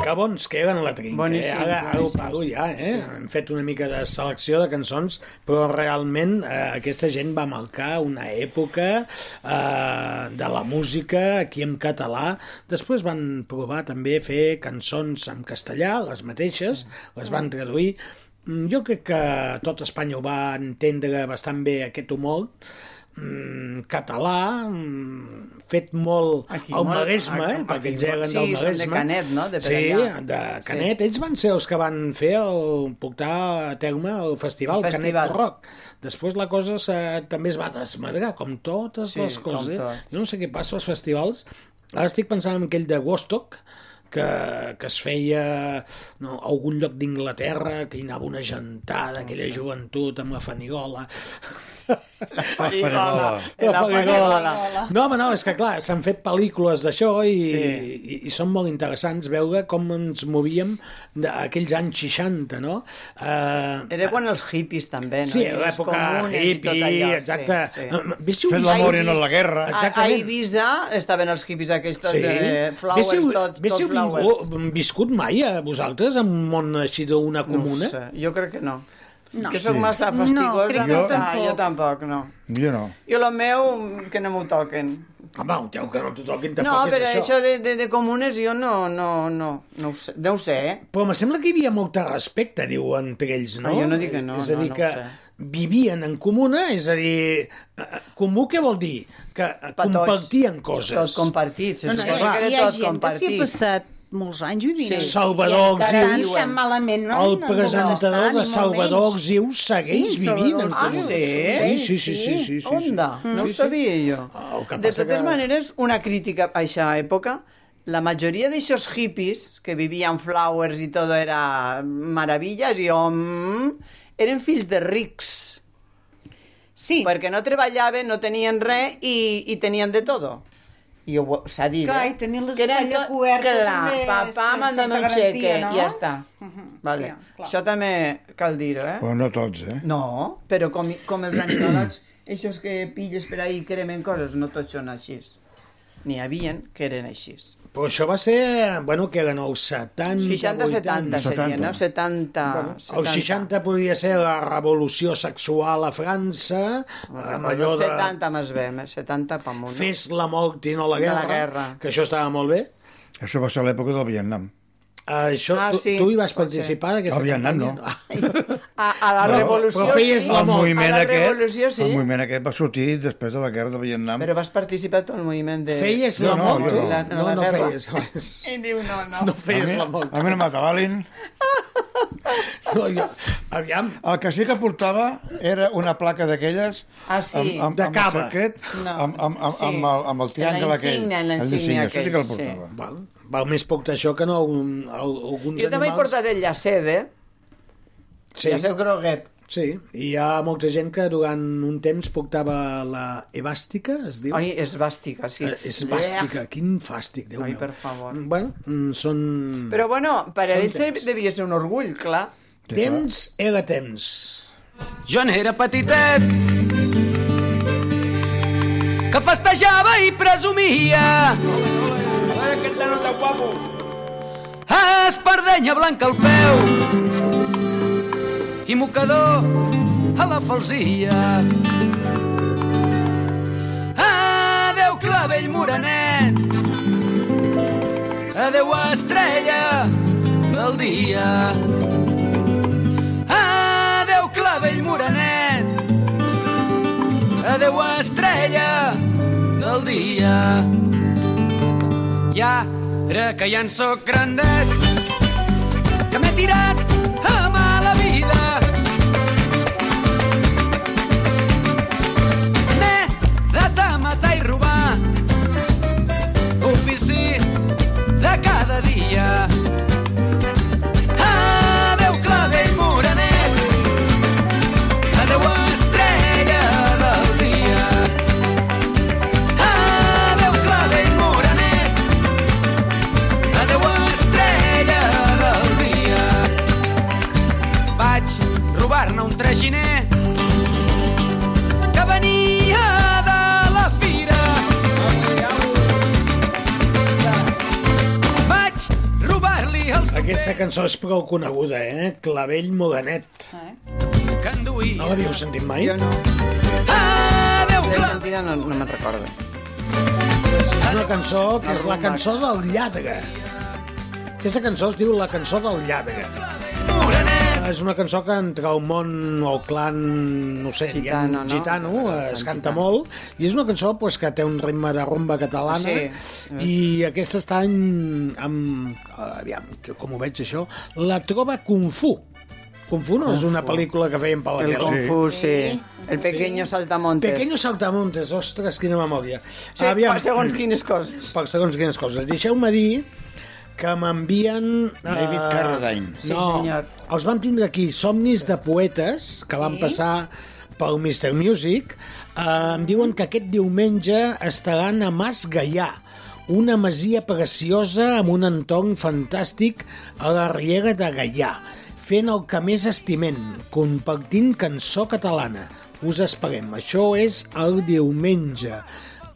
Speaker 5: Que bons que eren la trinca.
Speaker 17: Boníssim,
Speaker 5: eh? Ara, ara ho
Speaker 17: boníssim,
Speaker 5: pago ja, eh? Hem fet una mica de selecció de cançons, però realment eh, aquesta gent va marcar una època eh, de la música aquí en català. Després van provar també fer cançons en castellà, les mateixes, les van traduir. Mm, Jo crec que tot Espanya ho va entendre bastant bé aquest humor mm, català, mm, fet molt
Speaker 7: Aquí,
Speaker 5: al
Speaker 7: molt-
Speaker 5: Maresme,
Speaker 7: aquí,
Speaker 5: eh, perquè ells
Speaker 7: aquí,
Speaker 5: eren
Speaker 7: sí,
Speaker 5: del
Speaker 7: són de
Speaker 5: Maresme.
Speaker 7: Canet, no? De
Speaker 5: sí,
Speaker 7: Perellà.
Speaker 5: de Canet. Sí. Ells van ser els que van fer el, portar a terme el festival,
Speaker 7: El
Speaker 5: el
Speaker 7: festival.
Speaker 5: Canet Rock. Després la cosa se, també es va desmadrar, com totes
Speaker 7: Sí,
Speaker 5: les
Speaker 7: com
Speaker 5: coses. eh?
Speaker 7: tot.
Speaker 5: Jo no sé què passa als festivals. Ara estic pensant en aquell de Woodstock, que, que es feia no, a algun lloc d'Inglaterra, que hi anava una gentada, aquella joventut amb la fanigola.
Speaker 21: fanigola.
Speaker 5: La
Speaker 21: La
Speaker 5: fanigola.
Speaker 21: fanigola.
Speaker 5: No, home, no, és que clar, s'han fet pel·lícules d'això i, sí. i, i són molt interessants veure com ens movíem d'aquells anys 60, no? Uh,
Speaker 7: Era quan els hippies també, no?
Speaker 5: Sí,
Speaker 7: I les
Speaker 5: l'època
Speaker 7: eh, comunes i
Speaker 5: hippie,
Speaker 7: tot allò,
Speaker 5: exacte. Mm, mm,
Speaker 7: Sí, sí.
Speaker 5: vístiu Fent l'amor i no la guerra.
Speaker 7: A, a
Speaker 5: Exactament.
Speaker 7: Ibiza estaven els hippies aquests tot
Speaker 5: Sí.
Speaker 7: de flowers,
Speaker 5: Véssiu-
Speaker 7: tot, tot
Speaker 5: véssiu
Speaker 7: flowers.
Speaker 5: vingut- viscut mai a vosaltres en un món així d'una comuna?
Speaker 7: No ho sé, jo crec que no.
Speaker 8: No.
Speaker 7: Jo sóc
Speaker 5: Sí.
Speaker 7: massa
Speaker 8: No,
Speaker 7: fastigosa.
Speaker 8: crec que
Speaker 7: jo,
Speaker 8: no tampoc.
Speaker 7: jo tampoc, no.
Speaker 6: Jo no.
Speaker 7: Jo el meu, que no m'ho toquen.
Speaker 5: Home, un teu que no t'ho toquin
Speaker 7: no,
Speaker 5: tampoc
Speaker 7: però
Speaker 5: és això.
Speaker 7: això de, de, de comunes jo no, no, no, no ho sé. Deu ser, eh?
Speaker 5: Però em sembla que hi havia molt de respecte, diu, entre ells, no?
Speaker 7: Ah, jo no dic que no,
Speaker 5: És a
Speaker 7: no,
Speaker 5: dir,
Speaker 7: no ho
Speaker 5: que
Speaker 7: sé.
Speaker 5: vivien en comuna, és a dir, eh, comú què vol dir? Que eh, compartien coses.
Speaker 7: Tot compartit,
Speaker 8: Doncs hi, ha, hi ha gent que s'hi ha passat molts anys vivint.
Speaker 5: Sí.
Speaker 8: allà.
Speaker 5: Salvador
Speaker 8: I encara
Speaker 5: Auxili.
Speaker 8: tan malament, no?
Speaker 5: El
Speaker 8: No, no
Speaker 5: presentador
Speaker 8: està, ni
Speaker 5: de
Speaker 8: molt
Speaker 5: Salvador
Speaker 8: menys.
Speaker 5: Auxiu segueix
Speaker 7: Sí,
Speaker 5: vivint
Speaker 7: Salvador
Speaker 5: en
Speaker 7: Auxiu.
Speaker 5: comuna.
Speaker 7: Ah, sí?
Speaker 5: Sí, sí, sí, sí, sí, sí, sí.
Speaker 7: Onda, no ho
Speaker 5: Sí, sí.
Speaker 7: sabia jo.
Speaker 5: Ah, el que
Speaker 7: De
Speaker 5: passa
Speaker 7: totes
Speaker 5: que-
Speaker 7: maneres, una crítica a aquesta època, la majoria d'aixòs hippies, que vivien flowers i tot era meravilles i om, eren fills de rics.
Speaker 8: Sí.
Speaker 7: Perquè no treballaven, no tenien res i, i tenien de todo. i ho- s'ha dit,
Speaker 8: Clar, i
Speaker 7: eh?
Speaker 8: tenir les
Speaker 7: Que era allò-
Speaker 8: espatlla coberta
Speaker 7: clar,
Speaker 8: també,
Speaker 7: papà
Speaker 8: sí,
Speaker 7: m'ha donat
Speaker 8: certa
Speaker 7: un
Speaker 8: garantia,
Speaker 7: xeque,
Speaker 8: no?
Speaker 7: ja està. Vale. Això també cal dir-ho, eh?
Speaker 6: Però no tots, eh?
Speaker 7: No, però com, com els antivalats, aquests que pilles per ahí i cremen coses, no tots són així. N'hi havien que eren així.
Speaker 5: Però això va ser, bueno, que eren els 70,
Speaker 7: 60-70 seria, no? 70...
Speaker 5: Mm. Bueno, els 60 podia ser la revolució sexual a França, amb allò de
Speaker 7: 70 més bé, més 70 pa amunt.
Speaker 5: fes la mort i no la
Speaker 7: De la
Speaker 5: guerra,
Speaker 7: guerra.
Speaker 5: que això estava molt bé.
Speaker 6: Això va ser l'època del Vietnam.
Speaker 5: Això,
Speaker 7: Ah,
Speaker 5: tu,
Speaker 7: sí,
Speaker 5: tu hi vas
Speaker 7: pot
Speaker 5: participar? d'aquesta
Speaker 6: El Vietnam no.
Speaker 7: A, a la
Speaker 6: Però-
Speaker 7: revolució
Speaker 6: però feies
Speaker 7: sí.
Speaker 6: el moviment
Speaker 7: a la
Speaker 6: aquest-
Speaker 7: revolució sí.
Speaker 6: El moviment aquest va sortir després de la guerra del Vietnam.
Speaker 7: Però vas participar tu al moviment de...
Speaker 6: Feies la No, no, mort, jo no. tu? No, no feies
Speaker 5: res.
Speaker 7: I diu, no, no.
Speaker 5: No feies la mort.
Speaker 6: A mi no m'atabalin.
Speaker 5: No, jo, aviam.
Speaker 6: El que sí que portava era una placa d'aquelles
Speaker 7: Ah, sí.
Speaker 6: amb, amb,
Speaker 7: De
Speaker 6: amb
Speaker 7: cava.
Speaker 6: el aquest,
Speaker 7: No.
Speaker 6: amb, amb, amb,
Speaker 7: Sí.
Speaker 6: amb, el, amb el triangle
Speaker 7: La
Speaker 6: aquell.
Speaker 7: insígnia, la
Speaker 6: El
Speaker 7: insígnia
Speaker 6: Això sí
Speaker 7: aquell,
Speaker 6: que el
Speaker 7: sí.
Speaker 6: portava.
Speaker 5: Val, val més poc d'això que no algun, al- alguns
Speaker 7: Jo també he
Speaker 5: animals.
Speaker 7: portat el llacet, eh?
Speaker 5: Sí.
Speaker 7: Llacet groguet.
Speaker 5: Sí, i hi ha molta gent que durant un temps portava la ebàstica, es diu?
Speaker 7: Ai, esbàstica, sí.
Speaker 5: Eh, esbàstica, quin fàstic, Déu
Speaker 7: Ai,
Speaker 5: meu.
Speaker 7: per favor.
Speaker 5: Bueno, mm, són...
Speaker 7: Però bueno, per a
Speaker 5: Són
Speaker 7: ells devia ser un orgull, clar.
Speaker 5: Temps era temps.
Speaker 2: Jo n'era petitet que festejava i presumia Espardenya blanca al peu i mocador a la falsia Adeu clavell morenet Adeu estrella del dia Adeu clavell morenet Adeu estrella del dia I ara que ja en sóc grandet Que m'he tirat a mala vida M'he de matar i robar Ofici de cada dia Adeu clavell morenet Adeu estrella del dia Adeu clavell morenet Adeu estrella del dia Vaig robar-ne un traginer que venia de la fira Vaig robar-li els
Speaker 5: Aquesta cançó és prou coneguda, eh? Clavell Morenet.
Speaker 2: que enduïa
Speaker 5: No l'havíeu sentit mai? Jo no.
Speaker 2: Adeu, clar!
Speaker 7: Sentida no, no me'n recordo.
Speaker 5: És una cançó que és la cançó del lladre. Aquesta cançó es diu la cançó del lladre. És una cançó que entre el món o clan, no sé, gitano, no? gitano es canta molt, i és una cançó pues, que té un ritme de rumba catalana,
Speaker 7: Sí.
Speaker 5: i
Speaker 7: Eh.
Speaker 5: aquesta està en, amb, aviam, que- com ho veig això, La troba Kung Fu. Kung Fu no és una pel·lícula que feien per la
Speaker 7: El
Speaker 5: tele.
Speaker 7: Kung Fu, sí. El pequeño saltamontes.
Speaker 5: Pequeño saltamontes, ostres, quina memòria.
Speaker 7: Sí, per
Speaker 5: *laughs*
Speaker 7: segons quines coses.
Speaker 5: Per segons quines coses. Deixeu-me dir que m'envien... eh,
Speaker 6: David Carradine. Sí,
Speaker 5: no,
Speaker 6: senyor.
Speaker 5: Els vam tindre aquí, Somnis de Poetes, que van passar pel Mr. Music. Eh, em diuen que aquest diumenge estaran a Mas Gaià, una masia preciosa amb un entorn fantàstic a la Riera de Gaià, fent el que més estimem, compartint cançó catalana. Us esperem. Això és el diumenge.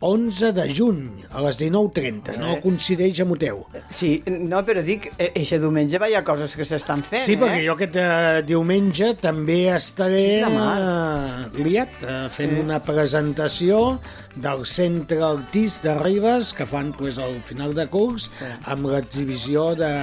Speaker 5: 11 de juny, a les 19.30. No coincideix amb Oteu.
Speaker 7: Eh. Sí, no, però dic, eh, eixe diumenge hi ha coses que s'estan fent,
Speaker 5: Sí,
Speaker 7: eh?
Speaker 5: perquè jo aquest eh, diumenge també estaré
Speaker 7: Quina
Speaker 5: eh, liat eh, fent
Speaker 7: Sí.
Speaker 5: una presentació del Centre Artís de Ribes que fan pues, al final de curs amb l'exhibició de,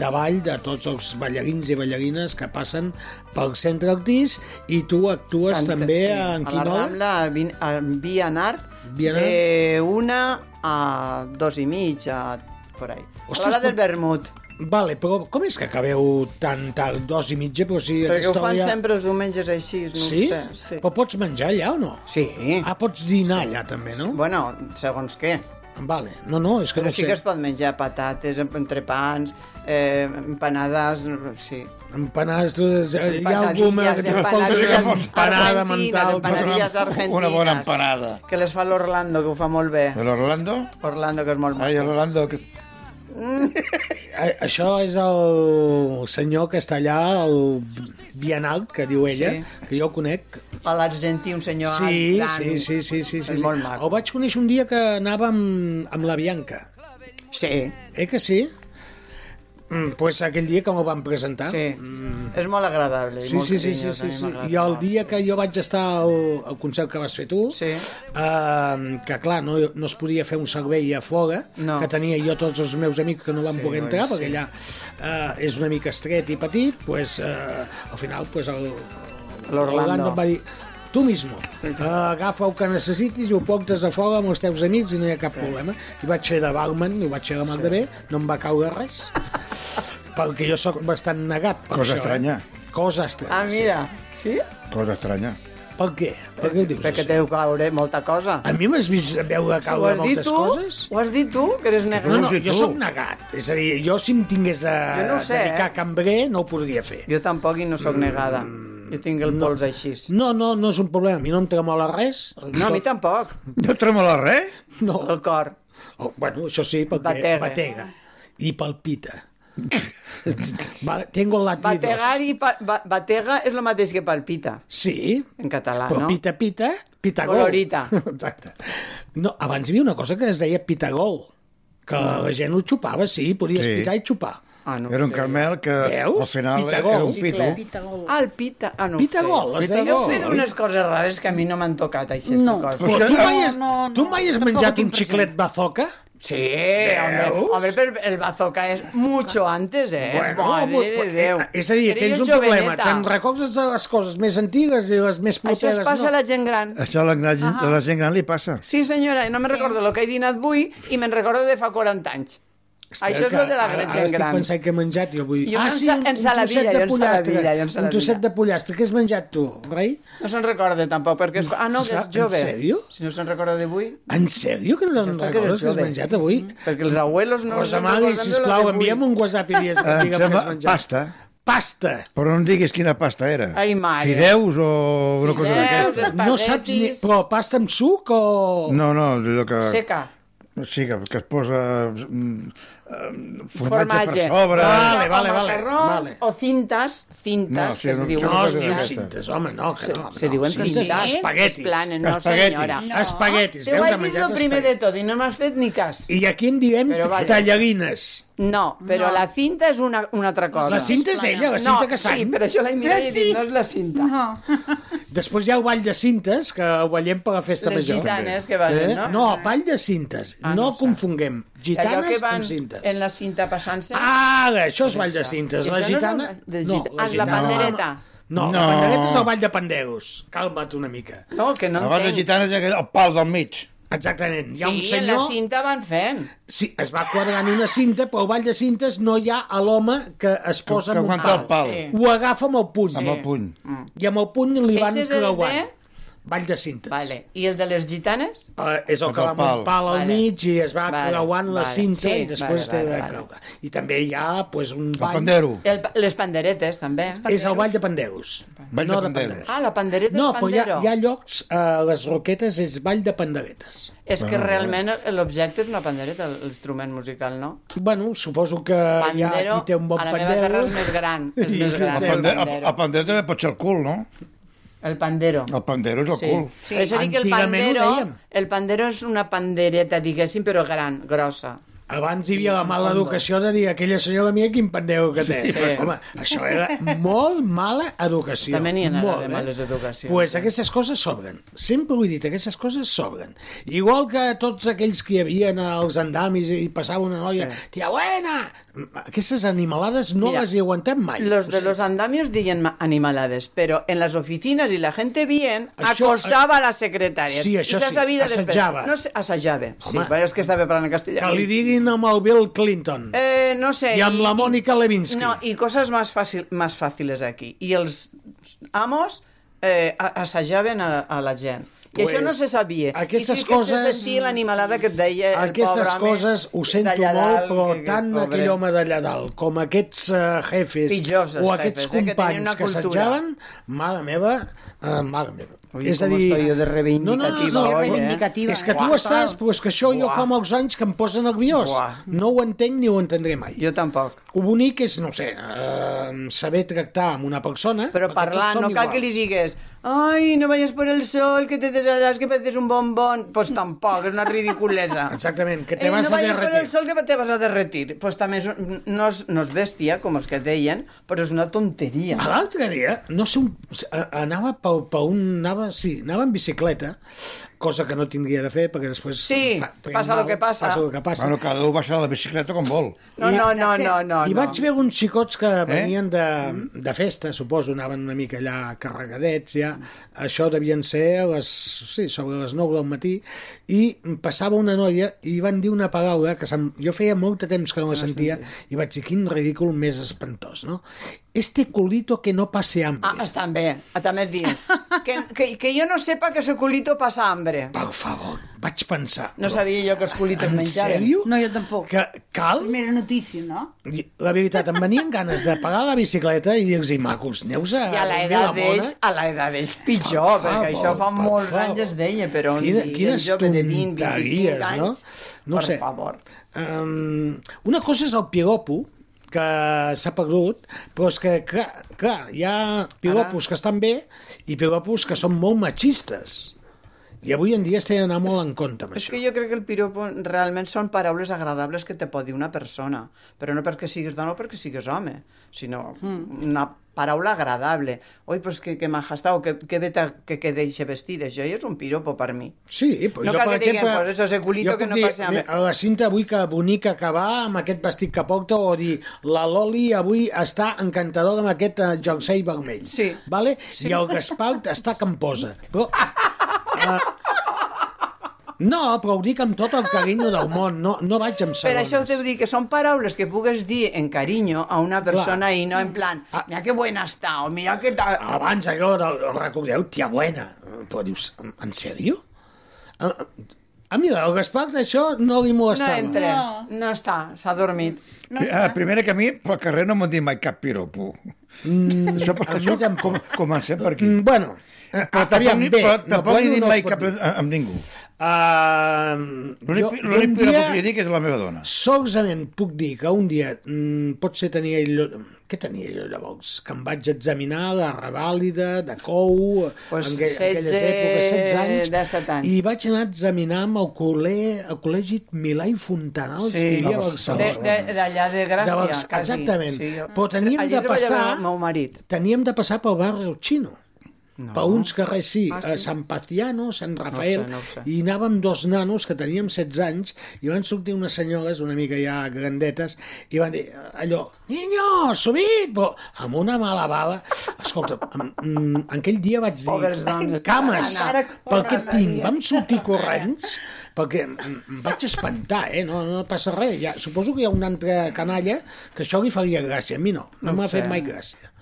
Speaker 5: de ball de tots els ballarins i ballarines que passen pel Centre Artís i tu actues
Speaker 7: Canta,
Speaker 5: també
Speaker 7: sí.
Speaker 5: en
Speaker 7: A
Speaker 5: quina
Speaker 7: la
Speaker 5: hora?
Speaker 7: Rambla, a Vin- a Via Nart,
Speaker 5: Via Nart.
Speaker 7: de una a dos i mig, a, por ahí.
Speaker 5: Ostres,
Speaker 7: a l'hora del
Speaker 5: però-
Speaker 7: vermut.
Speaker 5: Vale, però com és que acabeu tan tard, dos i mitja? Però si
Speaker 7: Perquè ho
Speaker 5: aquesta
Speaker 7: fan
Speaker 5: hora ja-
Speaker 7: sempre els diumenges així, no ho
Speaker 5: Sí?
Speaker 7: sé. Sí.
Speaker 5: Però pots menjar allà o no?
Speaker 7: Sí.
Speaker 5: Ah, pots dinar allà també, no?
Speaker 7: Bueno, segons què.
Speaker 5: Vale. No, no, és que
Speaker 7: Però
Speaker 5: no ho
Speaker 7: sí
Speaker 5: sé.
Speaker 7: que es pot menjar patates, entrepans, eh, empanades, sí.
Speaker 5: Empanades, eh, hi ha algú
Speaker 7: Empanadilles,
Speaker 5: que pot
Speaker 7: empanadilles
Speaker 5: fer empanada
Speaker 7: argentines,
Speaker 5: mental.
Speaker 7: empanadilles argentines.
Speaker 6: Una bona empanada.
Speaker 7: Que les fa l'Orlando, que ho fa molt bé.
Speaker 6: De l'Orlando?
Speaker 7: Orlando, que és molt
Speaker 6: Ai, l'Orlando, que...
Speaker 5: A- Eh, Això és el senyor que està allà, el Bienal, que diu ella,
Speaker 7: Sí.
Speaker 5: que jo conec.
Speaker 7: A l'argentí, un senyor
Speaker 5: Sí,
Speaker 7: gran.
Speaker 5: sí, sí, sí, sí, sí.
Speaker 7: És
Speaker 5: sí.
Speaker 7: molt maco.
Speaker 5: El vaig conèixer un dia que anava amb, amb la Bianca.
Speaker 7: Sí.
Speaker 5: Eh que sí? Mm, pues aquell dia que m'ho van presentar.
Speaker 7: Sí. Mm. És molt agradable i
Speaker 5: Sí,
Speaker 7: molt
Speaker 5: sí, sí, sí,
Speaker 7: carinyós, a
Speaker 5: sí,
Speaker 7: mi
Speaker 5: sí.
Speaker 7: m'agrada
Speaker 5: I el dia que jo vaig estar al, al concert que vas fer tu,
Speaker 7: sí.
Speaker 5: eh, que clar, no, no es podia fer un servei a fora,
Speaker 7: No.
Speaker 5: que tenia jo tots els meus amics que no van
Speaker 7: Sí,
Speaker 5: poder
Speaker 7: noi,
Speaker 5: entrar,
Speaker 7: sí.
Speaker 5: perquè allà eh, és una mica estret i petit, pues, eh, al final pues, el,
Speaker 7: L'Orlando.
Speaker 5: Orlando em va dir tu mismo, eh, agafa el que necessitis i ho portes a fora amb els teus amics i no hi ha cap sí. problema. I vaig fer de barman, i ho vaig fer de mal sí. de bé, no em va caure res. perquè jo sóc bastant negat per això.
Speaker 6: Cosa
Speaker 5: eh?
Speaker 6: estranya.
Speaker 5: Cosa estranya.
Speaker 7: Ah, mira, sí?
Speaker 6: Cosa estranya.
Speaker 5: Per què? Per què ho dius?
Speaker 7: Perquè t'heu caure molta cosa.
Speaker 5: A mi m'has vist veure
Speaker 7: Si ho
Speaker 5: caure
Speaker 7: has dit
Speaker 5: moltes
Speaker 7: tu?
Speaker 5: coses?
Speaker 7: Ho has dit tu, que eres negat?
Speaker 5: No, no, jo sóc negat. És a dir, jo si em tingués de
Speaker 7: Jo no ho sé, eh?
Speaker 5: dedicar a cambrer no ho podria fer. Mm,
Speaker 7: Jo tampoc i no sóc negada. Jo tinc el pols així.
Speaker 5: No, no, no és un problema. A mi no em tremola res.
Speaker 7: No, a mi tampoc.
Speaker 6: No et tremola res?
Speaker 5: No.
Speaker 7: El cor.
Speaker 5: Oh, bueno, això sí, perquè
Speaker 7: Batega. eh?
Speaker 5: batega. batega. I palpita. Va, tengo latidos.
Speaker 7: Bategar i pa ba batega és el mateix que palpita.
Speaker 5: Sí.
Speaker 7: En català,
Speaker 5: Però
Speaker 7: no?
Speaker 5: pita, pita, pita gol.
Speaker 7: Colorita.
Speaker 5: *laughs* Exacte. No, abans hi havia una cosa que es deia pita gol, que la gent ho xupava, sí, podies
Speaker 6: Ah. Sí.
Speaker 5: sí. pitar i xupar.
Speaker 7: Ah, no
Speaker 6: Era un carmel que
Speaker 5: Veus?
Speaker 6: al final
Speaker 5: Pitagol.
Speaker 6: era un
Speaker 5: Sí,
Speaker 6: pito.
Speaker 5: clar.
Speaker 7: Ah, el pita... Ah, no ho
Speaker 5: Pita
Speaker 7: sé.
Speaker 5: gol, es deia
Speaker 7: Jo
Speaker 5: gol.
Speaker 7: sé d'unes coses rares que a mi no m'han tocat, així,
Speaker 5: No.
Speaker 7: coses.
Speaker 5: Però tu mai has,
Speaker 7: No, no, no.
Speaker 5: tu mai has
Speaker 7: Tampoc
Speaker 5: menjat
Speaker 7: tinc
Speaker 5: un xiclet bazoca?
Speaker 7: Sí, hombre, hombre, però el bazooka és mucho antes, eh? Madre de
Speaker 5: eh,
Speaker 7: Déu.
Speaker 5: És a dir,
Speaker 7: Era
Speaker 5: tens
Speaker 7: jo
Speaker 5: un problema.
Speaker 7: joveneta.
Speaker 5: Te'n recolzes de les coses més antigues i les més properes.
Speaker 7: Això es passa
Speaker 5: no.
Speaker 7: a la gent gran.
Speaker 6: Això a la, gran- a la gent gran li passa.
Speaker 7: Sí, senyora, i no me'n recordo el que he dinat avui i me'n recordo de fa 40 anys. Això és
Speaker 5: que
Speaker 7: el de la
Speaker 5: ara-
Speaker 7: gran
Speaker 5: Ara
Speaker 7: gent
Speaker 5: estic
Speaker 7: gran.
Speaker 5: pensant que he menjat jo Ah, avui.
Speaker 7: Jo ensa- ensaladilla,
Speaker 5: trosset de
Speaker 7: jo ensaladilla,
Speaker 5: pollastre.
Speaker 7: jo ensaladilla.
Speaker 5: Un trosset de pollastre. Què has menjat tu, rei?
Speaker 7: No se'n recorda tampoc, perquè és... Ah, no, que és
Speaker 5: En
Speaker 7: jove.
Speaker 5: sèrio?
Speaker 7: Si no se'n recorda d'avui...
Speaker 5: En sèrio que no te'n
Speaker 7: Això és perquè
Speaker 5: recordes
Speaker 7: eres
Speaker 5: que has
Speaker 7: jove. Mm.
Speaker 5: menjat avui?
Speaker 7: Perquè els abuelos no
Speaker 5: Rosa
Speaker 7: se'n
Speaker 5: Mari,
Speaker 7: recorden de lo
Speaker 5: sisplau,
Speaker 7: d'avui.
Speaker 5: envia'm un WhatsApp i dies que
Speaker 6: *laughs* Em
Speaker 5: digue'm què
Speaker 6: Eh, sembla
Speaker 5: has menjat.
Speaker 6: pasta,
Speaker 5: Pasta!
Speaker 6: però no em diguis quina pasta era.
Speaker 7: Ai, mare.
Speaker 6: Fideus o una cosa d'aquesta.
Speaker 5: No saps ni... Però pasta amb suc o...
Speaker 6: No, no, allò que...
Speaker 7: Seca.
Speaker 6: Sí, que, que es posa mm, eh, formatge,
Speaker 7: Formatge.
Speaker 6: per sobre...
Speaker 5: Vale, vale,
Speaker 7: o
Speaker 5: vale,
Speaker 7: macarrons,
Speaker 5: vale.
Speaker 7: o cintes, cintes,
Speaker 6: No, sí,
Speaker 7: que es
Speaker 6: no,
Speaker 7: diuen...
Speaker 6: no es
Speaker 7: cintes.
Speaker 6: diu
Speaker 5: Cintes, home, no, que no.
Speaker 7: Se diuen cintes,
Speaker 5: espaguetis.
Speaker 7: es planen, no, senyora. No.
Speaker 5: Espaguetis,
Speaker 7: Te ho
Speaker 5: veus,
Speaker 7: vaig
Speaker 5: ha
Speaker 7: dir
Speaker 5: menjat
Speaker 7: el primer
Speaker 5: espaguetis.
Speaker 7: de tot i no m'has fet ni cas.
Speaker 5: I aquí en diem
Speaker 7: Però vaja.
Speaker 5: tallarines.
Speaker 7: No, però
Speaker 5: No.
Speaker 7: la cinta és una, una altra cosa.
Speaker 5: La cinta és ella, la cinta
Speaker 7: no,
Speaker 5: que sang.
Speaker 7: Eh, Sí, però jo l'he mirat i he dit, no és la cinta. No.
Speaker 5: Després hi ha el ball de cintes, que ho ballem per la festa
Speaker 7: Les
Speaker 5: major. Eh?
Speaker 7: gitanes que ballen, no?
Speaker 5: No, el ball de cintes. Ah, no, no confonguem
Speaker 7: Allò que
Speaker 5: gitanes
Speaker 7: van
Speaker 5: amb cintes. Ah,
Speaker 7: en la cinta passant-se.
Speaker 5: Ara, això és ball de cintes. La
Speaker 7: Això no és
Speaker 5: gitana...
Speaker 7: el ball de gita- Ah, és la pandereta.
Speaker 5: No, no,
Speaker 6: No.
Speaker 5: la pandereta és el ball de panderos. Calma't una mica.
Speaker 7: No, que no
Speaker 6: Abans de
Speaker 7: entenc.
Speaker 6: gitanes hi ha aquell- el pal del mig.
Speaker 5: Exactament. Hi ha un
Speaker 7: sí, en la
Speaker 5: senyor...
Speaker 7: cinta van fent.
Speaker 5: Sí, es va quadrant una cinta, però al ball de cintes no hi ha a l'home que es posa
Speaker 6: que
Speaker 5: amb un
Speaker 6: aguanta
Speaker 5: pal.
Speaker 6: el pal.
Speaker 5: Sí. Ho agafa amb el puny.
Speaker 6: Amb el puny.
Speaker 7: Mm.
Speaker 5: I amb el puny li van
Speaker 7: Ese és el
Speaker 5: creuant.
Speaker 7: de-
Speaker 5: Ball de cintes.
Speaker 7: Vale. I el de les gitanes?
Speaker 5: Eh, és el
Speaker 6: Amb
Speaker 5: que
Speaker 6: el
Speaker 5: va amb un
Speaker 6: pal.
Speaker 5: pal al
Speaker 7: Vale.
Speaker 5: mig i es va
Speaker 7: Vale,
Speaker 5: creuant la
Speaker 7: vale.
Speaker 5: cinta
Speaker 7: Sí,
Speaker 5: i
Speaker 7: vale,
Speaker 5: després té de
Speaker 7: vale, vale.
Speaker 5: creuar. I també hi ha pues, un ball...
Speaker 6: pandero.
Speaker 7: El, pa- les panderetes, també.
Speaker 5: És el ball de panderos.
Speaker 6: Ball de
Speaker 5: no
Speaker 6: panderos.
Speaker 7: Ah, la pandereta
Speaker 5: No,
Speaker 7: és
Speaker 5: però hi ha,
Speaker 7: pandero.
Speaker 5: hi ha llocs, a les Roquetes és ball de panderetes.
Speaker 7: És que
Speaker 5: Bueno,
Speaker 7: realment l'objecte és una pandereta, l'instrument musical, no?
Speaker 5: Bueno, suposo que hi ha
Speaker 7: Pandero,
Speaker 5: qui té un bon
Speaker 7: a la
Speaker 5: pandero.
Speaker 7: meva terra és més gran. És
Speaker 5: I-
Speaker 7: més gran.
Speaker 6: El
Speaker 7: El
Speaker 6: pandero, el,
Speaker 7: pandero.
Speaker 6: el pandero també pot ser el cul, no?
Speaker 7: El pandero.
Speaker 6: El pandero és el
Speaker 7: Sí.
Speaker 6: cul.
Speaker 7: sí. Això dic que el pandero, el pandero és una pandereta, diguéssim, però gran, grossa.
Speaker 5: Abans hi havia la mala educació de dir aquella senyora mia quin pandero que té.
Speaker 7: Sí.
Speaker 5: Home, això era molt mala educació.
Speaker 7: També n'hi ha de
Speaker 5: molt, eh?
Speaker 7: males educacions. eh?
Speaker 5: Pues aquestes coses s'obren. Sempre ho he dit, aquestes coses s'obren. Igual que tots aquells que hi havia als andamis i passava una noia, sí. tia buena! Aquestes animalades no
Speaker 7: Mira,
Speaker 5: les he aguantat mai.
Speaker 7: Los de los andamios diuen ma- animalades, pero en las oficinas y la gente bien
Speaker 5: Això- eh,
Speaker 7: acosaba a la secretària.
Speaker 5: Sí, això
Speaker 7: I s'ha
Speaker 5: sí,
Speaker 7: sabido
Speaker 5: assajava.
Speaker 7: Després. No sé, assajava. Sí,
Speaker 5: Home.
Speaker 7: però és que estava parlant en castellà.
Speaker 5: Que li diguin amb el Bill Clinton.
Speaker 7: Eh, no sé.
Speaker 5: I amb la Mònica Lewinsky.
Speaker 7: No, i coses més, fàcil, més fàciles aquí. I els amos eh, a- assajaven a, a la gent. I això no se sabia.
Speaker 5: aquestes
Speaker 7: I sí que se
Speaker 5: coses-
Speaker 7: sentia l'animalada que et deia el
Speaker 5: Aquestes
Speaker 7: Eh, pobre home
Speaker 5: coses ho sento
Speaker 7: d'allà
Speaker 5: molt,
Speaker 7: dalt,
Speaker 5: però
Speaker 7: que- que-
Speaker 5: tant
Speaker 7: pobret.
Speaker 5: aquell home d'allà dalt com aquests uh, jefes
Speaker 7: Pitjors, els
Speaker 5: o aquests
Speaker 7: jefes, eh, que tenien
Speaker 5: companys
Speaker 7: una
Speaker 5: que,
Speaker 7: cultura.
Speaker 5: assetjaven, mare meva, uh, mare meva.
Speaker 7: Ui, com estoy yo de reivindicativa
Speaker 5: no, no, no,
Speaker 7: hoy, eh?
Speaker 5: reivindicativa, és que tu
Speaker 7: Uah.
Speaker 5: estàs, però és que això jo
Speaker 7: Uah.
Speaker 5: fa molts anys que em posen nerviós.
Speaker 7: Uah.
Speaker 5: No ho entenc ni ho entendré mai.
Speaker 7: Jo tampoc.
Speaker 5: Ho bonic és, no sé, eh, saber tractar amb una persona... Però
Speaker 7: parlar, no cal que li digues Ai, no vayas por el sol, que te desharás, que pareces un bombón. Pues tampoc, és una ridiculesa.
Speaker 5: Exactament, que *laughs* te
Speaker 7: Eh, no
Speaker 5: vas a
Speaker 7: vayas por
Speaker 5: derretir.
Speaker 7: el sol, que te vas a derretir. Pues també és, un- no, és, no és bèstia, com els que deien, però és una tonteria.
Speaker 5: A Ah, l'altre dia, no sé, un, a- anava per, per un... Anava, sí, anava en bicicleta, cosa que no tindria de fer, perquè després...
Speaker 7: Sí,
Speaker 5: pren
Speaker 7: passa lo que passa.
Speaker 5: Passa el que passa.
Speaker 6: Bueno, cada un baixa de la bicicleta com vol.
Speaker 7: No, no, no, no, no,
Speaker 5: I
Speaker 7: no.
Speaker 5: vaig veure uns xicots que venien de, de festa, suposo, anaven una mica allà carregadets, ja. Això devien ser a les, sí, sobre les 9 del matí, i passava una noia i van dir una paraula que se'm, jo feia molt de temps que
Speaker 7: Ah,
Speaker 5: no la sentia, i vaig dir, quin ridícul més espantós, no? Este culito que no passe hambre.
Speaker 7: Ah, estan bé. Ah, També et diuen que, que, que jo no sepa que su culito passa hambre.
Speaker 5: Per favor, vaig pensar...
Speaker 7: No sabia jo que els culitos
Speaker 5: en
Speaker 7: menjaven.
Speaker 5: sèrio?
Speaker 8: No, jo tampoc.
Speaker 5: Que cal?
Speaker 8: Primera notícia, no?
Speaker 5: I, La veritat, em venien ganes de pagar la bicicleta i dir-los, macos, neus a...
Speaker 7: I a
Speaker 5: dormir
Speaker 7: l'edat
Speaker 5: mona?"
Speaker 7: d'ells, a l'edat d'ells, pitjor,
Speaker 5: Per
Speaker 7: perquè
Speaker 5: favor,
Speaker 7: això fa
Speaker 5: per
Speaker 7: molts
Speaker 5: favor.
Speaker 7: anys es deia, però un,
Speaker 5: Quina,
Speaker 7: dia, un
Speaker 5: quines
Speaker 7: jove de 20, 25
Speaker 5: tonteries, no?
Speaker 7: anys...
Speaker 5: No
Speaker 7: per
Speaker 5: sé.
Speaker 7: favor.
Speaker 5: Um, una cosa és el piropo, que s'ha perdut, però és que, clar, clar hi ha piropos que estan bé i piropos que són molt machistes. I avui en dia es té d'anar molt en compte amb
Speaker 7: És
Speaker 5: això.
Speaker 7: que jo crec que el piropo realment són paraules agradables que te pot dir una persona, però no perquè sigues dona o perquè sigues home, sinó
Speaker 5: Hmm.
Speaker 8: Mm.
Speaker 7: una paraula agradable. Oi, pues que, que maja està, o que, que bé t'ha- que, que deixa vestida. Això ja és un piropo per mi.
Speaker 5: Sí, però
Speaker 7: No
Speaker 5: jo,
Speaker 7: cal
Speaker 5: per
Speaker 7: que diguem,
Speaker 5: exemple,
Speaker 7: pues eso, ese culito
Speaker 5: jo
Speaker 7: que
Speaker 5: puc
Speaker 7: no
Speaker 5: dir,
Speaker 7: passa hambre.
Speaker 5: "Mira, A la cinta avui que bonica que va amb aquest vestit que porta o dir la Loli avui està encantadora amb aquest eh, jersei vermell. Sí. Vale? Sí. I el Gaspar està que em posa. Però... Eh, no, però ho dic amb tot el carinyo del món. No, no vaig amb
Speaker 7: Per
Speaker 5: segones.
Speaker 7: això us deu dir que són paraules que pugues dir en carinyo a una persona i no en plan, mira que buena està, o mira que... ta-".
Speaker 5: Ah. Abans allò, del, el recordeu, tia buena. Però dius, "En- en sèrio? A, a mi el Gaspar això no Ah, li
Speaker 7: No
Speaker 5: molestava.
Speaker 7: entra, no, està, s'ha dormit.
Speaker 6: No a primera eh, que a mi, pel carrer no m'han dit mai cap piropo.
Speaker 5: Mm,
Speaker 6: això, per això com, comencem per aquí.
Speaker 5: Bueno,
Speaker 6: Mm,
Speaker 7: Ah,
Speaker 6: però tampoc,
Speaker 5: Eh, aviam,
Speaker 6: ni-
Speaker 5: bé,
Speaker 6: però,
Speaker 5: no,
Speaker 6: tampoc
Speaker 5: bueno,
Speaker 6: he dit
Speaker 5: no
Speaker 6: mai
Speaker 5: es pot
Speaker 6: cap
Speaker 5: dir.
Speaker 6: a- amb ningú.
Speaker 5: Uh,
Speaker 6: L'únic l'únic piropo que li dic és a la meva dona.
Speaker 5: Solament puc dir que un dia mm, potser tenia ell... Què tenia ell llavors? Que em vaig examinar la revàlida de cou
Speaker 7: Pues
Speaker 5: en, aquell-
Speaker 7: 16,
Speaker 5: en aquelles èpoques, 16 anys,
Speaker 7: 17 anys.
Speaker 5: i vaig anar a examinar amb el, col·le, el col·legi Milà i Fontanals sí, que hi havia a
Speaker 7: De-
Speaker 5: Barcelona.
Speaker 7: de- D'allà de, Gràcia,
Speaker 5: Barce-
Speaker 7: quasi.
Speaker 5: Exactament.
Speaker 7: Sí, jo-
Speaker 5: Però teníem
Speaker 7: Allí
Speaker 5: de
Speaker 7: treballava
Speaker 5: passar-
Speaker 7: El meu marit.
Speaker 5: Teníem de passar pel barri El Xino. No. Per uns carrers sí,
Speaker 7: Ah,
Speaker 5: ah,
Speaker 7: sí?
Speaker 5: sí? Sant Paciano, Sant Rafael,
Speaker 7: no ho sé.
Speaker 5: i anàvem dos nanos que teníem 16 anys i van sortir unes senyores una mica ja grandetes i van dir eh, allò, niño, subit! Però amb una mala bava. Escolta, en, en aquell dia vaig
Speaker 7: Pobres
Speaker 5: dir,
Speaker 7: dones.
Speaker 5: cames,
Speaker 7: Ara
Speaker 5: per
Speaker 7: corren,
Speaker 5: què tinc?
Speaker 7: eh?
Speaker 5: Vam sortir corrents perquè em, em vaig espantar, eh? No, no passa res. Ja, suposo que hi ha un altre canalla que això li faria gràcia. A mi no, no,
Speaker 7: No ho
Speaker 5: no m'ha
Speaker 7: sé.
Speaker 5: fet mai gràcia.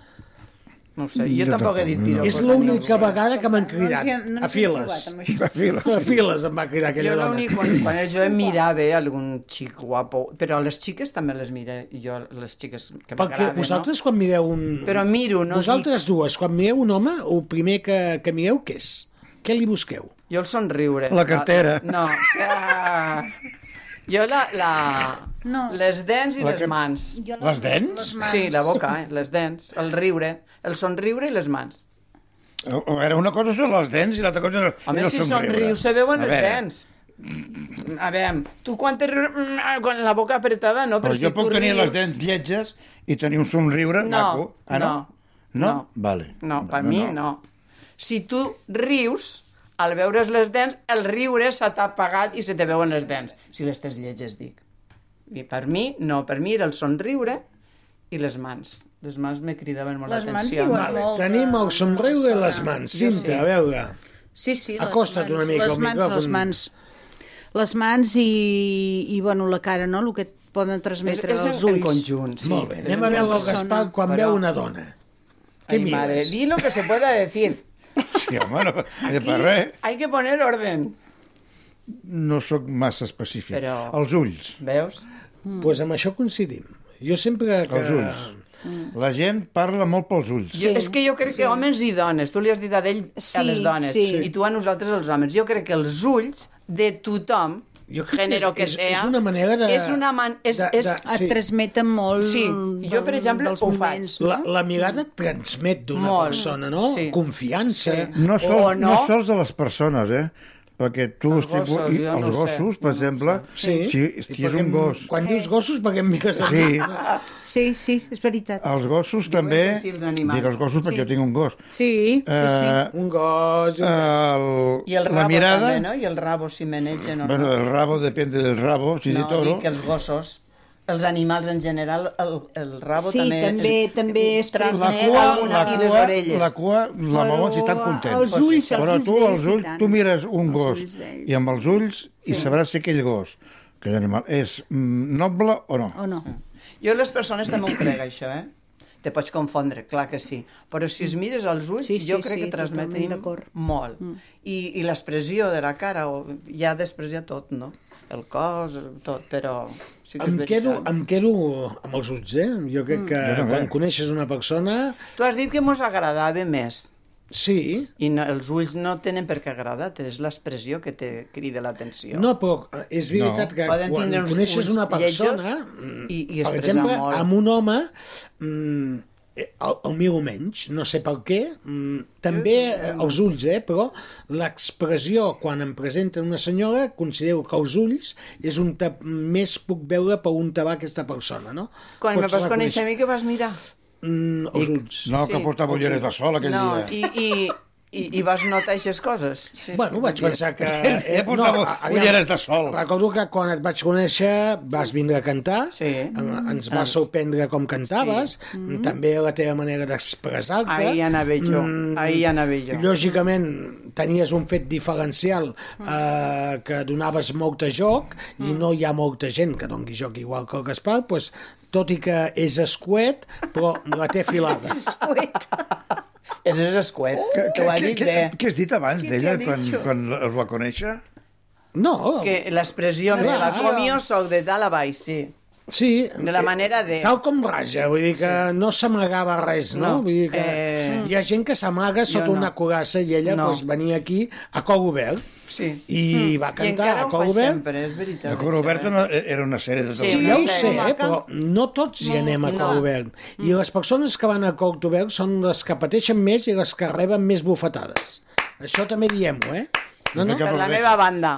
Speaker 7: No ho sé, jo, tampoc he dit piropos.
Speaker 5: És l'única vegada que m'han
Speaker 7: ens
Speaker 5: cridat.
Speaker 7: hi hem- no ens hi
Speaker 5: A
Speaker 7: hem
Speaker 5: files.
Speaker 7: trobat, amb això.
Speaker 5: A files. A files em va cridar aquella
Speaker 7: jo
Speaker 5: dona.
Speaker 7: l'únic, quan, quan jo em mirava eh, algun xic guapo, però les xiques també les mira jo, les xiques que
Speaker 5: Perquè
Speaker 7: m'agraden,
Speaker 5: vosaltres quan mireu un...
Speaker 7: Però miro, no
Speaker 5: Vosaltres dues, quan mireu un home, el primer que, que mireu, què és? Què li busqueu?
Speaker 7: no? Jo el somriure.
Speaker 5: La cartera.
Speaker 7: No, ah, jo la, la, no. les dents i
Speaker 5: La
Speaker 7: les
Speaker 5: que-
Speaker 7: mans.
Speaker 5: Jo la- Les dents? les mans.
Speaker 7: Sí, la boca, eh? les dents, el riure, el somriure i les mans.
Speaker 6: A veure, una cosa són les dents i l'altra cosa és el
Speaker 7: A més,
Speaker 6: és el
Speaker 7: si
Speaker 6: somriure.
Speaker 7: somriu, se veuen
Speaker 6: A
Speaker 7: els
Speaker 6: veure,
Speaker 7: dents. A veure, tu quan te rius, mm, ah, quan la boca apretada, no,
Speaker 6: Però
Speaker 7: però,
Speaker 6: jo
Speaker 7: si
Speaker 6: puc
Speaker 7: tu
Speaker 6: tenir
Speaker 7: rius...
Speaker 6: les dents lletges i tenir un somriure
Speaker 7: No,
Speaker 6: maco. Ah, no? No?
Speaker 7: no.
Speaker 6: Vale.
Speaker 7: No, per mi no. Si tu rius, al veure's les dents, el riure se t'ha apagat i se te veuen les dents, si les tens lletges, dic. I per mi, no, per mi era el somriure i les mans. Les mans me cridaven molt
Speaker 8: Les mans
Speaker 7: l'atenció.
Speaker 8: diuen
Speaker 5: Vale, tenim el somriure de les mans.
Speaker 8: Jo
Speaker 5: Cinta,
Speaker 8: sí.
Speaker 5: a veure.
Speaker 8: Sí, sí. les
Speaker 5: Acosta't
Speaker 8: mans,
Speaker 5: una mica
Speaker 8: les
Speaker 5: al
Speaker 8: mans,
Speaker 5: micròfon.
Speaker 8: Les mans, les mans i, i bueno, la cara, no? El que et poden transmetre
Speaker 7: És- és en-
Speaker 8: els ulls.
Speaker 7: en conjunt, sí.
Speaker 5: Molt bé,
Speaker 7: És
Speaker 5: anem
Speaker 7: una
Speaker 5: a veure el
Speaker 7: persona,
Speaker 5: Gaspar quan
Speaker 7: però-
Speaker 5: veu una dona.
Speaker 7: Ay,
Speaker 5: Què mires? *laughs*
Speaker 7: madre, di lo que se pueda decir.
Speaker 6: Sí, home, no, Aquí... per res.
Speaker 7: Aquí hay que poner orden.
Speaker 6: No sóc massa específic. Però... Els ulls.
Speaker 7: Veus? Hmm.
Speaker 5: Mm. pues amb això coincidim. Jo sempre que...
Speaker 6: Els ulls. Mm. La gent parla molt pels ulls.
Speaker 7: Jo, és que jo crec sí. que homes i dones, tu li has dit a ell sí, a les dones,
Speaker 6: sí.
Speaker 7: i tu a nosaltres els homes. Jo crec que els ulls de tothom
Speaker 5: Jo crec
Speaker 7: género que,
Speaker 5: que és- és-
Speaker 7: sea...
Speaker 5: és una manera de-
Speaker 7: És una man... És,
Speaker 5: de- de-
Speaker 7: és...
Speaker 5: Et sí.
Speaker 8: transmeten molt
Speaker 7: Sí, jo, per
Speaker 8: del-
Speaker 7: exemple,
Speaker 8: dels
Speaker 7: ho faig.
Speaker 8: moments,
Speaker 5: La, la mirada et transmet d'una
Speaker 7: Molt.
Speaker 5: persona, no?
Speaker 7: Sí.
Speaker 5: Confiança.
Speaker 6: No, sol,
Speaker 5: O
Speaker 6: no. no sols de les persones, eh? Perquè tu els,
Speaker 5: gossos,
Speaker 6: i,
Speaker 5: jo
Speaker 6: els
Speaker 5: no ho sé,
Speaker 6: gossos, per exemple,
Speaker 5: Sí.
Speaker 6: si,
Speaker 5: I
Speaker 6: si és
Speaker 5: perquè
Speaker 6: un
Speaker 5: em-
Speaker 6: gos...
Speaker 5: Quan dius gossos, perquè em mires... a mi.
Speaker 6: Sí,
Speaker 8: Sí, sí, és veritat.
Speaker 6: els gossos també...
Speaker 8: que sí, els animals.
Speaker 6: Dic els gossos perquè
Speaker 8: Sí.
Speaker 6: jo tinc un gos.
Speaker 8: Sí, sí, sí.
Speaker 5: Eh, un gos...
Speaker 6: El,
Speaker 7: I el
Speaker 6: la
Speaker 7: rabo
Speaker 6: mirada,
Speaker 7: també, no? I el rabo, si menegen o
Speaker 6: Bueno,
Speaker 7: no.
Speaker 6: el rabo depende del rabo, si
Speaker 7: no,
Speaker 6: de toro.
Speaker 7: dic que els gossos, els animals en general, el, el rabo
Speaker 8: Sí,
Speaker 7: també...
Speaker 8: també- també es
Speaker 6: La
Speaker 7: transmet
Speaker 6: cua,
Speaker 7: alguna
Speaker 6: la
Speaker 7: i les
Speaker 6: cua,
Speaker 7: orelles.
Speaker 6: la cua, la
Speaker 7: Però
Speaker 6: mouen si estan contents.
Speaker 7: els ulls, els
Speaker 6: Però
Speaker 7: ulls
Speaker 6: tu,
Speaker 7: d'ells,
Speaker 6: els
Speaker 7: i
Speaker 6: ulls,
Speaker 7: tant.
Speaker 6: tu mires un gos i amb els ulls i sabràs si aquell gos, que animal, és mm, noble o no.
Speaker 5: Oh.
Speaker 8: O no.
Speaker 7: Jo les persones també ho crec, això, eh? Te pots confondre, clar que sí. Però si es mires als ulls,
Speaker 8: Mm. Sí,
Speaker 7: sí,
Speaker 8: sí,
Speaker 7: jo crec
Speaker 8: sí,
Speaker 7: que transmetim
Speaker 8: totalment d'acord.
Speaker 7: molt. Mm. I, I l'expressió de la cara, o, ja després ja tot, no? El cos, el- tot, però... Sí que
Speaker 5: Em
Speaker 7: és
Speaker 5: quedo,
Speaker 7: veritat.
Speaker 5: em quedo amb els ulls, eh? Jo
Speaker 8: Mm.
Speaker 5: crec que
Speaker 6: Jo també.
Speaker 5: quan coneixes una persona...
Speaker 7: Tu has dit que mos agradava més.
Speaker 5: Sí.
Speaker 7: I no, els ulls no tenen per què agradar, és l'expressió que te crida l'atenció.
Speaker 5: No, però és veritat que
Speaker 7: Poden
Speaker 5: quan
Speaker 7: tindre uns
Speaker 5: coneixes
Speaker 7: ulls
Speaker 5: una persona,
Speaker 7: lletjos
Speaker 5: mm,
Speaker 7: i, i
Speaker 5: per
Speaker 7: expressar
Speaker 5: exemple,
Speaker 7: molt.
Speaker 5: amb un home, mm, eh, el, el meu menys, no sé per què, mm, també eh, els ulls, eh, però l'expressió quan em presenten una senyora, considero que els ulls és un tap, més puc veure per on te va aquesta persona, no?
Speaker 7: Quan me
Speaker 5: Pots
Speaker 7: vas conèixer
Speaker 5: reconèixer-
Speaker 7: a mi, què vas mirar?
Speaker 5: Mm, els ulls.
Speaker 6: No, que portava
Speaker 5: els
Speaker 6: ulleres de
Speaker 5: ulls.
Speaker 6: sol aquell
Speaker 7: no,
Speaker 6: dia.
Speaker 7: I, i, i, I vas notar aquestes coses? Sí.
Speaker 5: Bueno, vaig pensar *laughs*
Speaker 7: *laughs*
Speaker 5: que... Eh,
Speaker 6: Aquell dia portava ulleres de sol.
Speaker 5: Recordo que quan et vaig conèixer vas vindre a cantar, sí. ens va
Speaker 7: Ah.
Speaker 5: sorprendre com cantaves, sí. també la teva manera
Speaker 7: Mm-hmm.
Speaker 5: d'expressar-te. Mm,
Speaker 7: Ahí anava jo, ahí anava jo.
Speaker 5: Lògicament, tenies un fet diferencial
Speaker 7: Mm.
Speaker 5: eh, que donaves molt de joc i no hi ha molta gent que dongui joc igual que el Gaspar, doncs, tot i que és escuet, però la té filada.
Speaker 7: És és escuet, que, que ho ha dit bé.
Speaker 6: què has dit abans
Speaker 7: Què
Speaker 6: d'ella,
Speaker 7: t'he dit
Speaker 6: quan,
Speaker 7: jo?
Speaker 6: quan el va conèixer?
Speaker 5: No.
Speaker 7: Que l'expressió,
Speaker 5: Clar.
Speaker 7: me la comio, sou de dalt a baix, sí.
Speaker 5: Sí.
Speaker 7: De la manera de...
Speaker 5: Tal com raja, vull dir que sí. no s'amagava res, no?
Speaker 7: No,
Speaker 5: Vull dir que eh...
Speaker 7: eh,
Speaker 5: hi ha gent que s'amaga sota
Speaker 7: no.
Speaker 5: no. una cuirassa i ella
Speaker 7: No.
Speaker 5: no. doncs, venia aquí a cor obert
Speaker 7: sí.
Speaker 5: i
Speaker 7: Mm.
Speaker 5: va
Speaker 7: I
Speaker 5: cantar
Speaker 7: encara
Speaker 5: a
Speaker 7: ho
Speaker 5: cor
Speaker 7: fa
Speaker 5: obert.
Speaker 7: sempre, és veritat. eh?
Speaker 6: La Cora Oberta no, era una sèrie de
Speaker 5: Sí, ja ho sé, eh, però no tots hi anem a
Speaker 6: no.
Speaker 5: cor obert.
Speaker 7: Mm.
Speaker 5: I les persones que van a cor obert són les que pateixen més i les que reben més bufetades. Això també diem-ho, eh? No, no?
Speaker 7: Per la meva banda.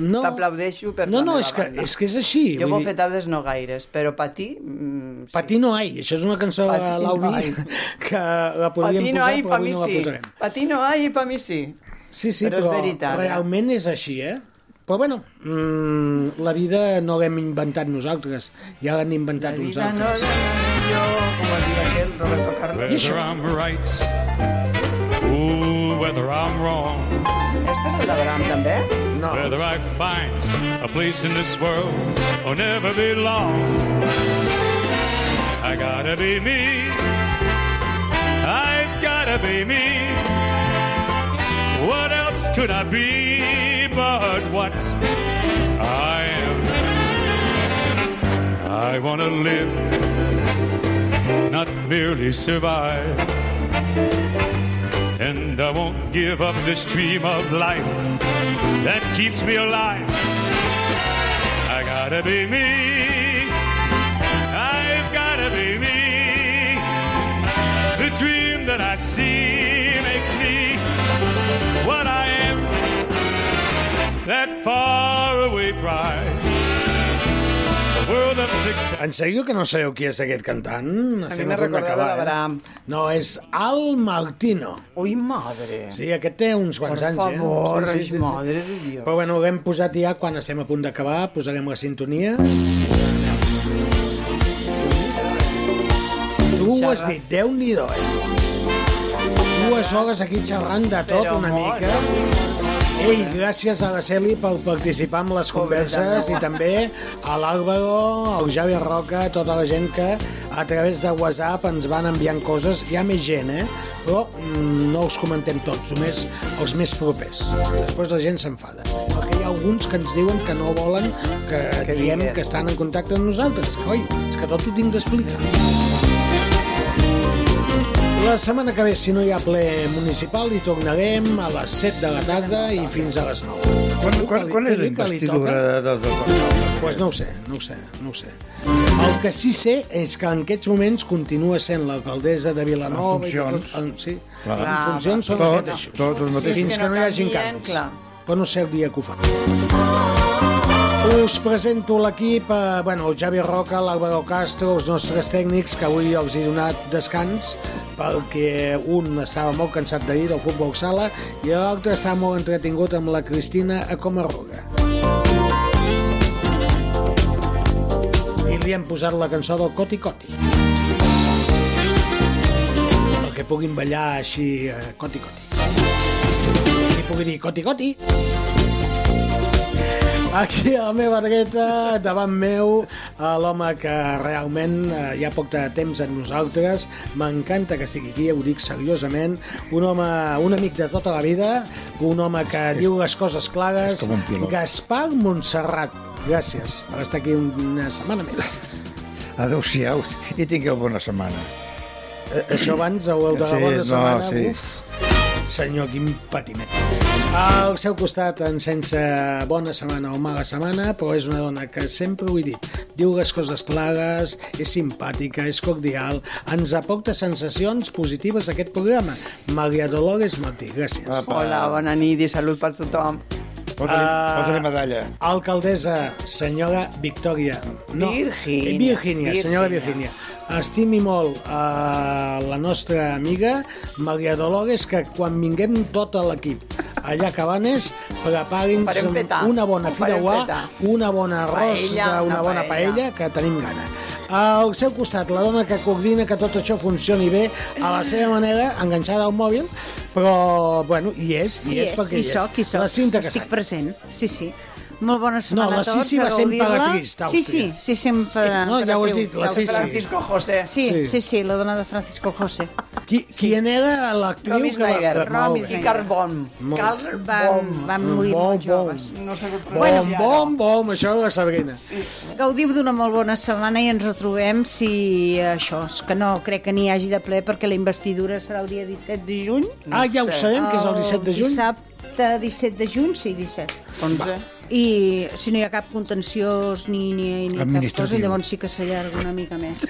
Speaker 5: No.
Speaker 7: T'aplaudeixo per
Speaker 5: No,
Speaker 7: la
Speaker 5: no,
Speaker 7: meva
Speaker 5: és que,
Speaker 7: banda.
Speaker 5: és que és així.
Speaker 7: Jo
Speaker 5: vull dir-
Speaker 7: bofetades no gaires, però patir... Mm,
Speaker 5: Patí no hay, això és una cançó de
Speaker 7: Patí no
Speaker 5: l'Aubi
Speaker 7: hay.
Speaker 5: que la podríem
Speaker 7: Patir no
Speaker 5: posar,
Speaker 7: hi,
Speaker 5: però
Speaker 7: pa
Speaker 5: avui
Speaker 7: mi
Speaker 5: no la
Speaker 7: sí.
Speaker 5: posarem.
Speaker 7: Patir no hi, pa mi sí.
Speaker 5: Sí, sí,
Speaker 7: Però
Speaker 5: però,
Speaker 7: és veritat, eh?
Speaker 5: realment és així, eh? Però bueno, mm, la vida no l'hem inventat nosaltres, ja l'han inventat uns
Speaker 7: Vida no
Speaker 5: altres.
Speaker 7: jo, com va dir aquell Roberto Carlos.
Speaker 20: Whether I'm right or whether I'm wrong,
Speaker 7: Aquesta és la Bram, també?
Speaker 20: whether I find a place in this world or never belong, I gotta be me. I've gotta be me. What else could I be but what I am? I wanna live, not merely survive. And I won't give up the stream of life that keeps me alive. I gotta be me. I've gotta be me. The dream that I see makes me what I am. That faraway pride, a world of success.
Speaker 5: En serio que no sabeu qui és aquest cantant?
Speaker 7: A mi
Speaker 5: Estem
Speaker 7: m'ha
Speaker 5: punt
Speaker 7: recordat
Speaker 5: d'acabar, eh?
Speaker 7: l'Abraham.
Speaker 5: No, és Al Martino.
Speaker 7: Ui, madre.
Speaker 5: Sí, aquest té uns quants
Speaker 7: Per
Speaker 5: anys,
Speaker 7: favor,
Speaker 5: eh?
Speaker 7: ai, madre de Dios.
Speaker 5: Però bueno, l'hem posat ja quan estem a punt d'acabar, posarem la sintonia. Tu ho has dit, Déu-n'hi-do, eh? Dues hores aquí xerrant de tot
Speaker 7: Però
Speaker 5: una
Speaker 7: molt.
Speaker 5: mica. Ei, gràcies a la Celi per participar en les converses i també a l'Àlvaro, al Javier Roca, a tota la gent que a través de WhatsApp ens van enviant coses. Hi ha més gent, eh? Però mm, no els comentem tots, només els més propers. Després la gent s'enfada. Perquè hi ha alguns que ens diuen que no volen que, que diguem que estan en contacte amb nosaltres. Oi, és que tot ho tinc d'explicar. La setmana que ve, si no hi ha ple municipal, hi tornarem a les 7 de la tarda i fins a les 9.
Speaker 6: Quan, quan, quan és
Speaker 5: Que li- que li toca?
Speaker 6: l'investidura de, de, de, de...
Speaker 5: Pues no ho sé, no ho sé, no ho sé. El que sí sé és que en aquests moments continua sent l'alcaldessa de Vilanova... i
Speaker 6: En
Speaker 5: Tot, en, sí,
Speaker 6: Clar.
Speaker 5: en funcions són
Speaker 6: Tots,
Speaker 5: els mateixos.
Speaker 6: tots els mateixos.
Speaker 5: Fins que no hi hagi canvis.
Speaker 7: clar.
Speaker 5: Però no sé el dia que ho fan. Us presento l'equip, eh, bueno, el Javi Roca, l'Àlvaro Castro, els nostres tècnics, que avui els he donat descans, perquè un estava molt cansat d'ahir del futbol sala i l'altre estava molt entretingut amb la Cristina a Comarruga. I li hem posat la cançó del Coti Coti. Perquè puguin ballar així, eh, Coti Coti. I pugui dir Coti Coti. Aquí a la meva dreta, davant meu, eh, l'home que realment eh, ja poc de temps amb nosaltres, m'encanta que estigui aquí, ho dic seriosament, un home, un amic de tota la vida, un home que diu les coses clares,
Speaker 6: és com un pilot.
Speaker 5: Gaspar Montserrat. Gràcies per estar aquí una setmana més.
Speaker 6: Adéu-siau i tingueu bona setmana.
Speaker 5: Eh, Això abans haureu de la
Speaker 6: Sí,
Speaker 5: bona
Speaker 6: no,
Speaker 5: setmana.
Speaker 6: sí.
Speaker 5: Uf, senyor, quin patiment. Al seu costat, en sense bona setmana o mala setmana, però és una dona que sempre ho he dit, diu les coses clares, és simpàtica, és cordial, ens aporta sensacions positives a aquest programa. Maria Dolores Martí, gràcies.
Speaker 7: Hola, bona nit i salut per tothom.
Speaker 5: Ah,
Speaker 6: Posa-li medalla.
Speaker 5: Alcaldessa, senyora Victòria.
Speaker 7: Virgínia.
Speaker 5: Virgínia. Virgínia, senyora Virgínia. Estimi molt a la nostra amiga Maria Dolores, que quan vinguem tot l'equip allà a Cabanes, preparin
Speaker 7: farem petar.
Speaker 5: una bona
Speaker 7: Ho farem
Speaker 5: fideuà,
Speaker 7: petar.
Speaker 5: una bona arròs,
Speaker 7: Paella,
Speaker 5: una
Speaker 7: una
Speaker 5: bona
Speaker 7: paella.
Speaker 5: paella, que tenim gana. Al seu costat, la dona que coordina que tot això funcioni bé, a la seva manera, enganxada al mòbil, però, bueno, hi és, hi,
Speaker 8: Qui
Speaker 5: és, perquè
Speaker 8: hi
Speaker 5: hi és.
Speaker 8: soc, hi soc.
Speaker 5: La Cinta
Speaker 8: Estic
Speaker 5: Casany.
Speaker 8: present, sí, sí. Molt bona setmana
Speaker 5: la
Speaker 8: a tots.
Speaker 5: Sisi va
Speaker 8: a
Speaker 5: ser
Speaker 8: gaudir-la.
Speaker 5: emperatriz d'Àustria.
Speaker 8: Sí, sí, sí, sempre...
Speaker 5: Sí, no, ja ho has dit, la Sisi.
Speaker 7: Francisco José.
Speaker 8: Sí,
Speaker 5: Sí.
Speaker 8: sí, sí, sí, la dona de Francisco José.
Speaker 5: Qui, sí. Qui era l'actriu
Speaker 7: Romy
Speaker 5: que va-
Speaker 7: Schneider.
Speaker 5: Molt bé.
Speaker 7: I Carl Bom.
Speaker 5: Molt bé.
Speaker 7: Carl Bom.
Speaker 8: Van morir
Speaker 5: Bom,
Speaker 8: molt joves.
Speaker 7: No sé què
Speaker 8: Bueno.
Speaker 5: Bom, bom, bom, això de la Sabrina. Sí.
Speaker 8: Gaudiu d'una molt bona setmana i ens retrobem si eh, això, és que no crec que n'hi hagi de ple perquè la investidura serà el dia 17 de juny.
Speaker 5: Ah, ja ho sabem, que és el 17 de juny?
Speaker 8: Dissabte 17 de juny, sí, 17.
Speaker 7: 11.
Speaker 8: I si no hi ha cap contenciós ni, ni, ni cap
Speaker 6: Administratiu.
Speaker 8: cosa, llavors sí que s'allarga una mica
Speaker 5: *laughs*
Speaker 8: més.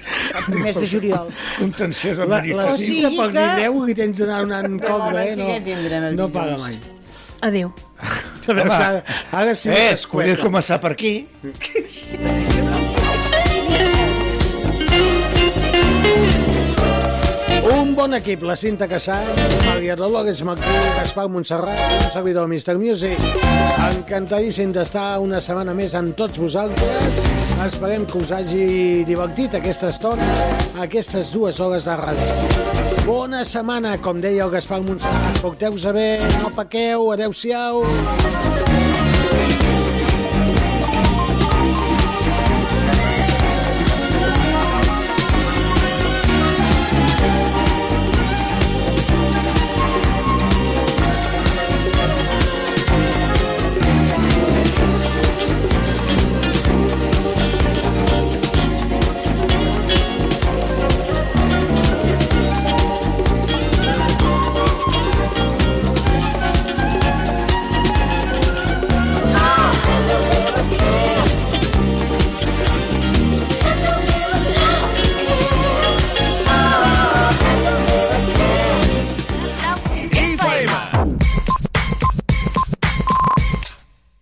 Speaker 8: El mes de juliol.
Speaker 6: Un tensió de
Speaker 5: La, la
Speaker 8: O
Speaker 5: cinta
Speaker 8: sigui
Speaker 5: pel
Speaker 8: que-
Speaker 5: guineu li tens d'anar donant
Speaker 7: De
Speaker 5: cobre,
Speaker 7: moment
Speaker 5: eh?
Speaker 7: sí que tindrem
Speaker 5: No,
Speaker 7: el
Speaker 5: no paga mai.
Speaker 7: dilluns.
Speaker 5: *laughs*
Speaker 8: Adéu.
Speaker 5: Home, ara, ara sí que
Speaker 6: eh,
Speaker 5: es
Speaker 6: podries
Speaker 5: cuela.
Speaker 6: començar per aquí.
Speaker 5: Un bon equip, la Cinta Casany, Maria Dolores Macú, Gaspar Montserrat, un servidor Mr. Music. Encantadíssim d'estar una setmana més amb tots vosaltres. Esperem que us hagi divertit aquesta estona, aquestes dues hores de ràdio. Bona setmana, com deia el Gaspar Montserrat. Porteu-vos a bé, no pequeu, adeu-siau.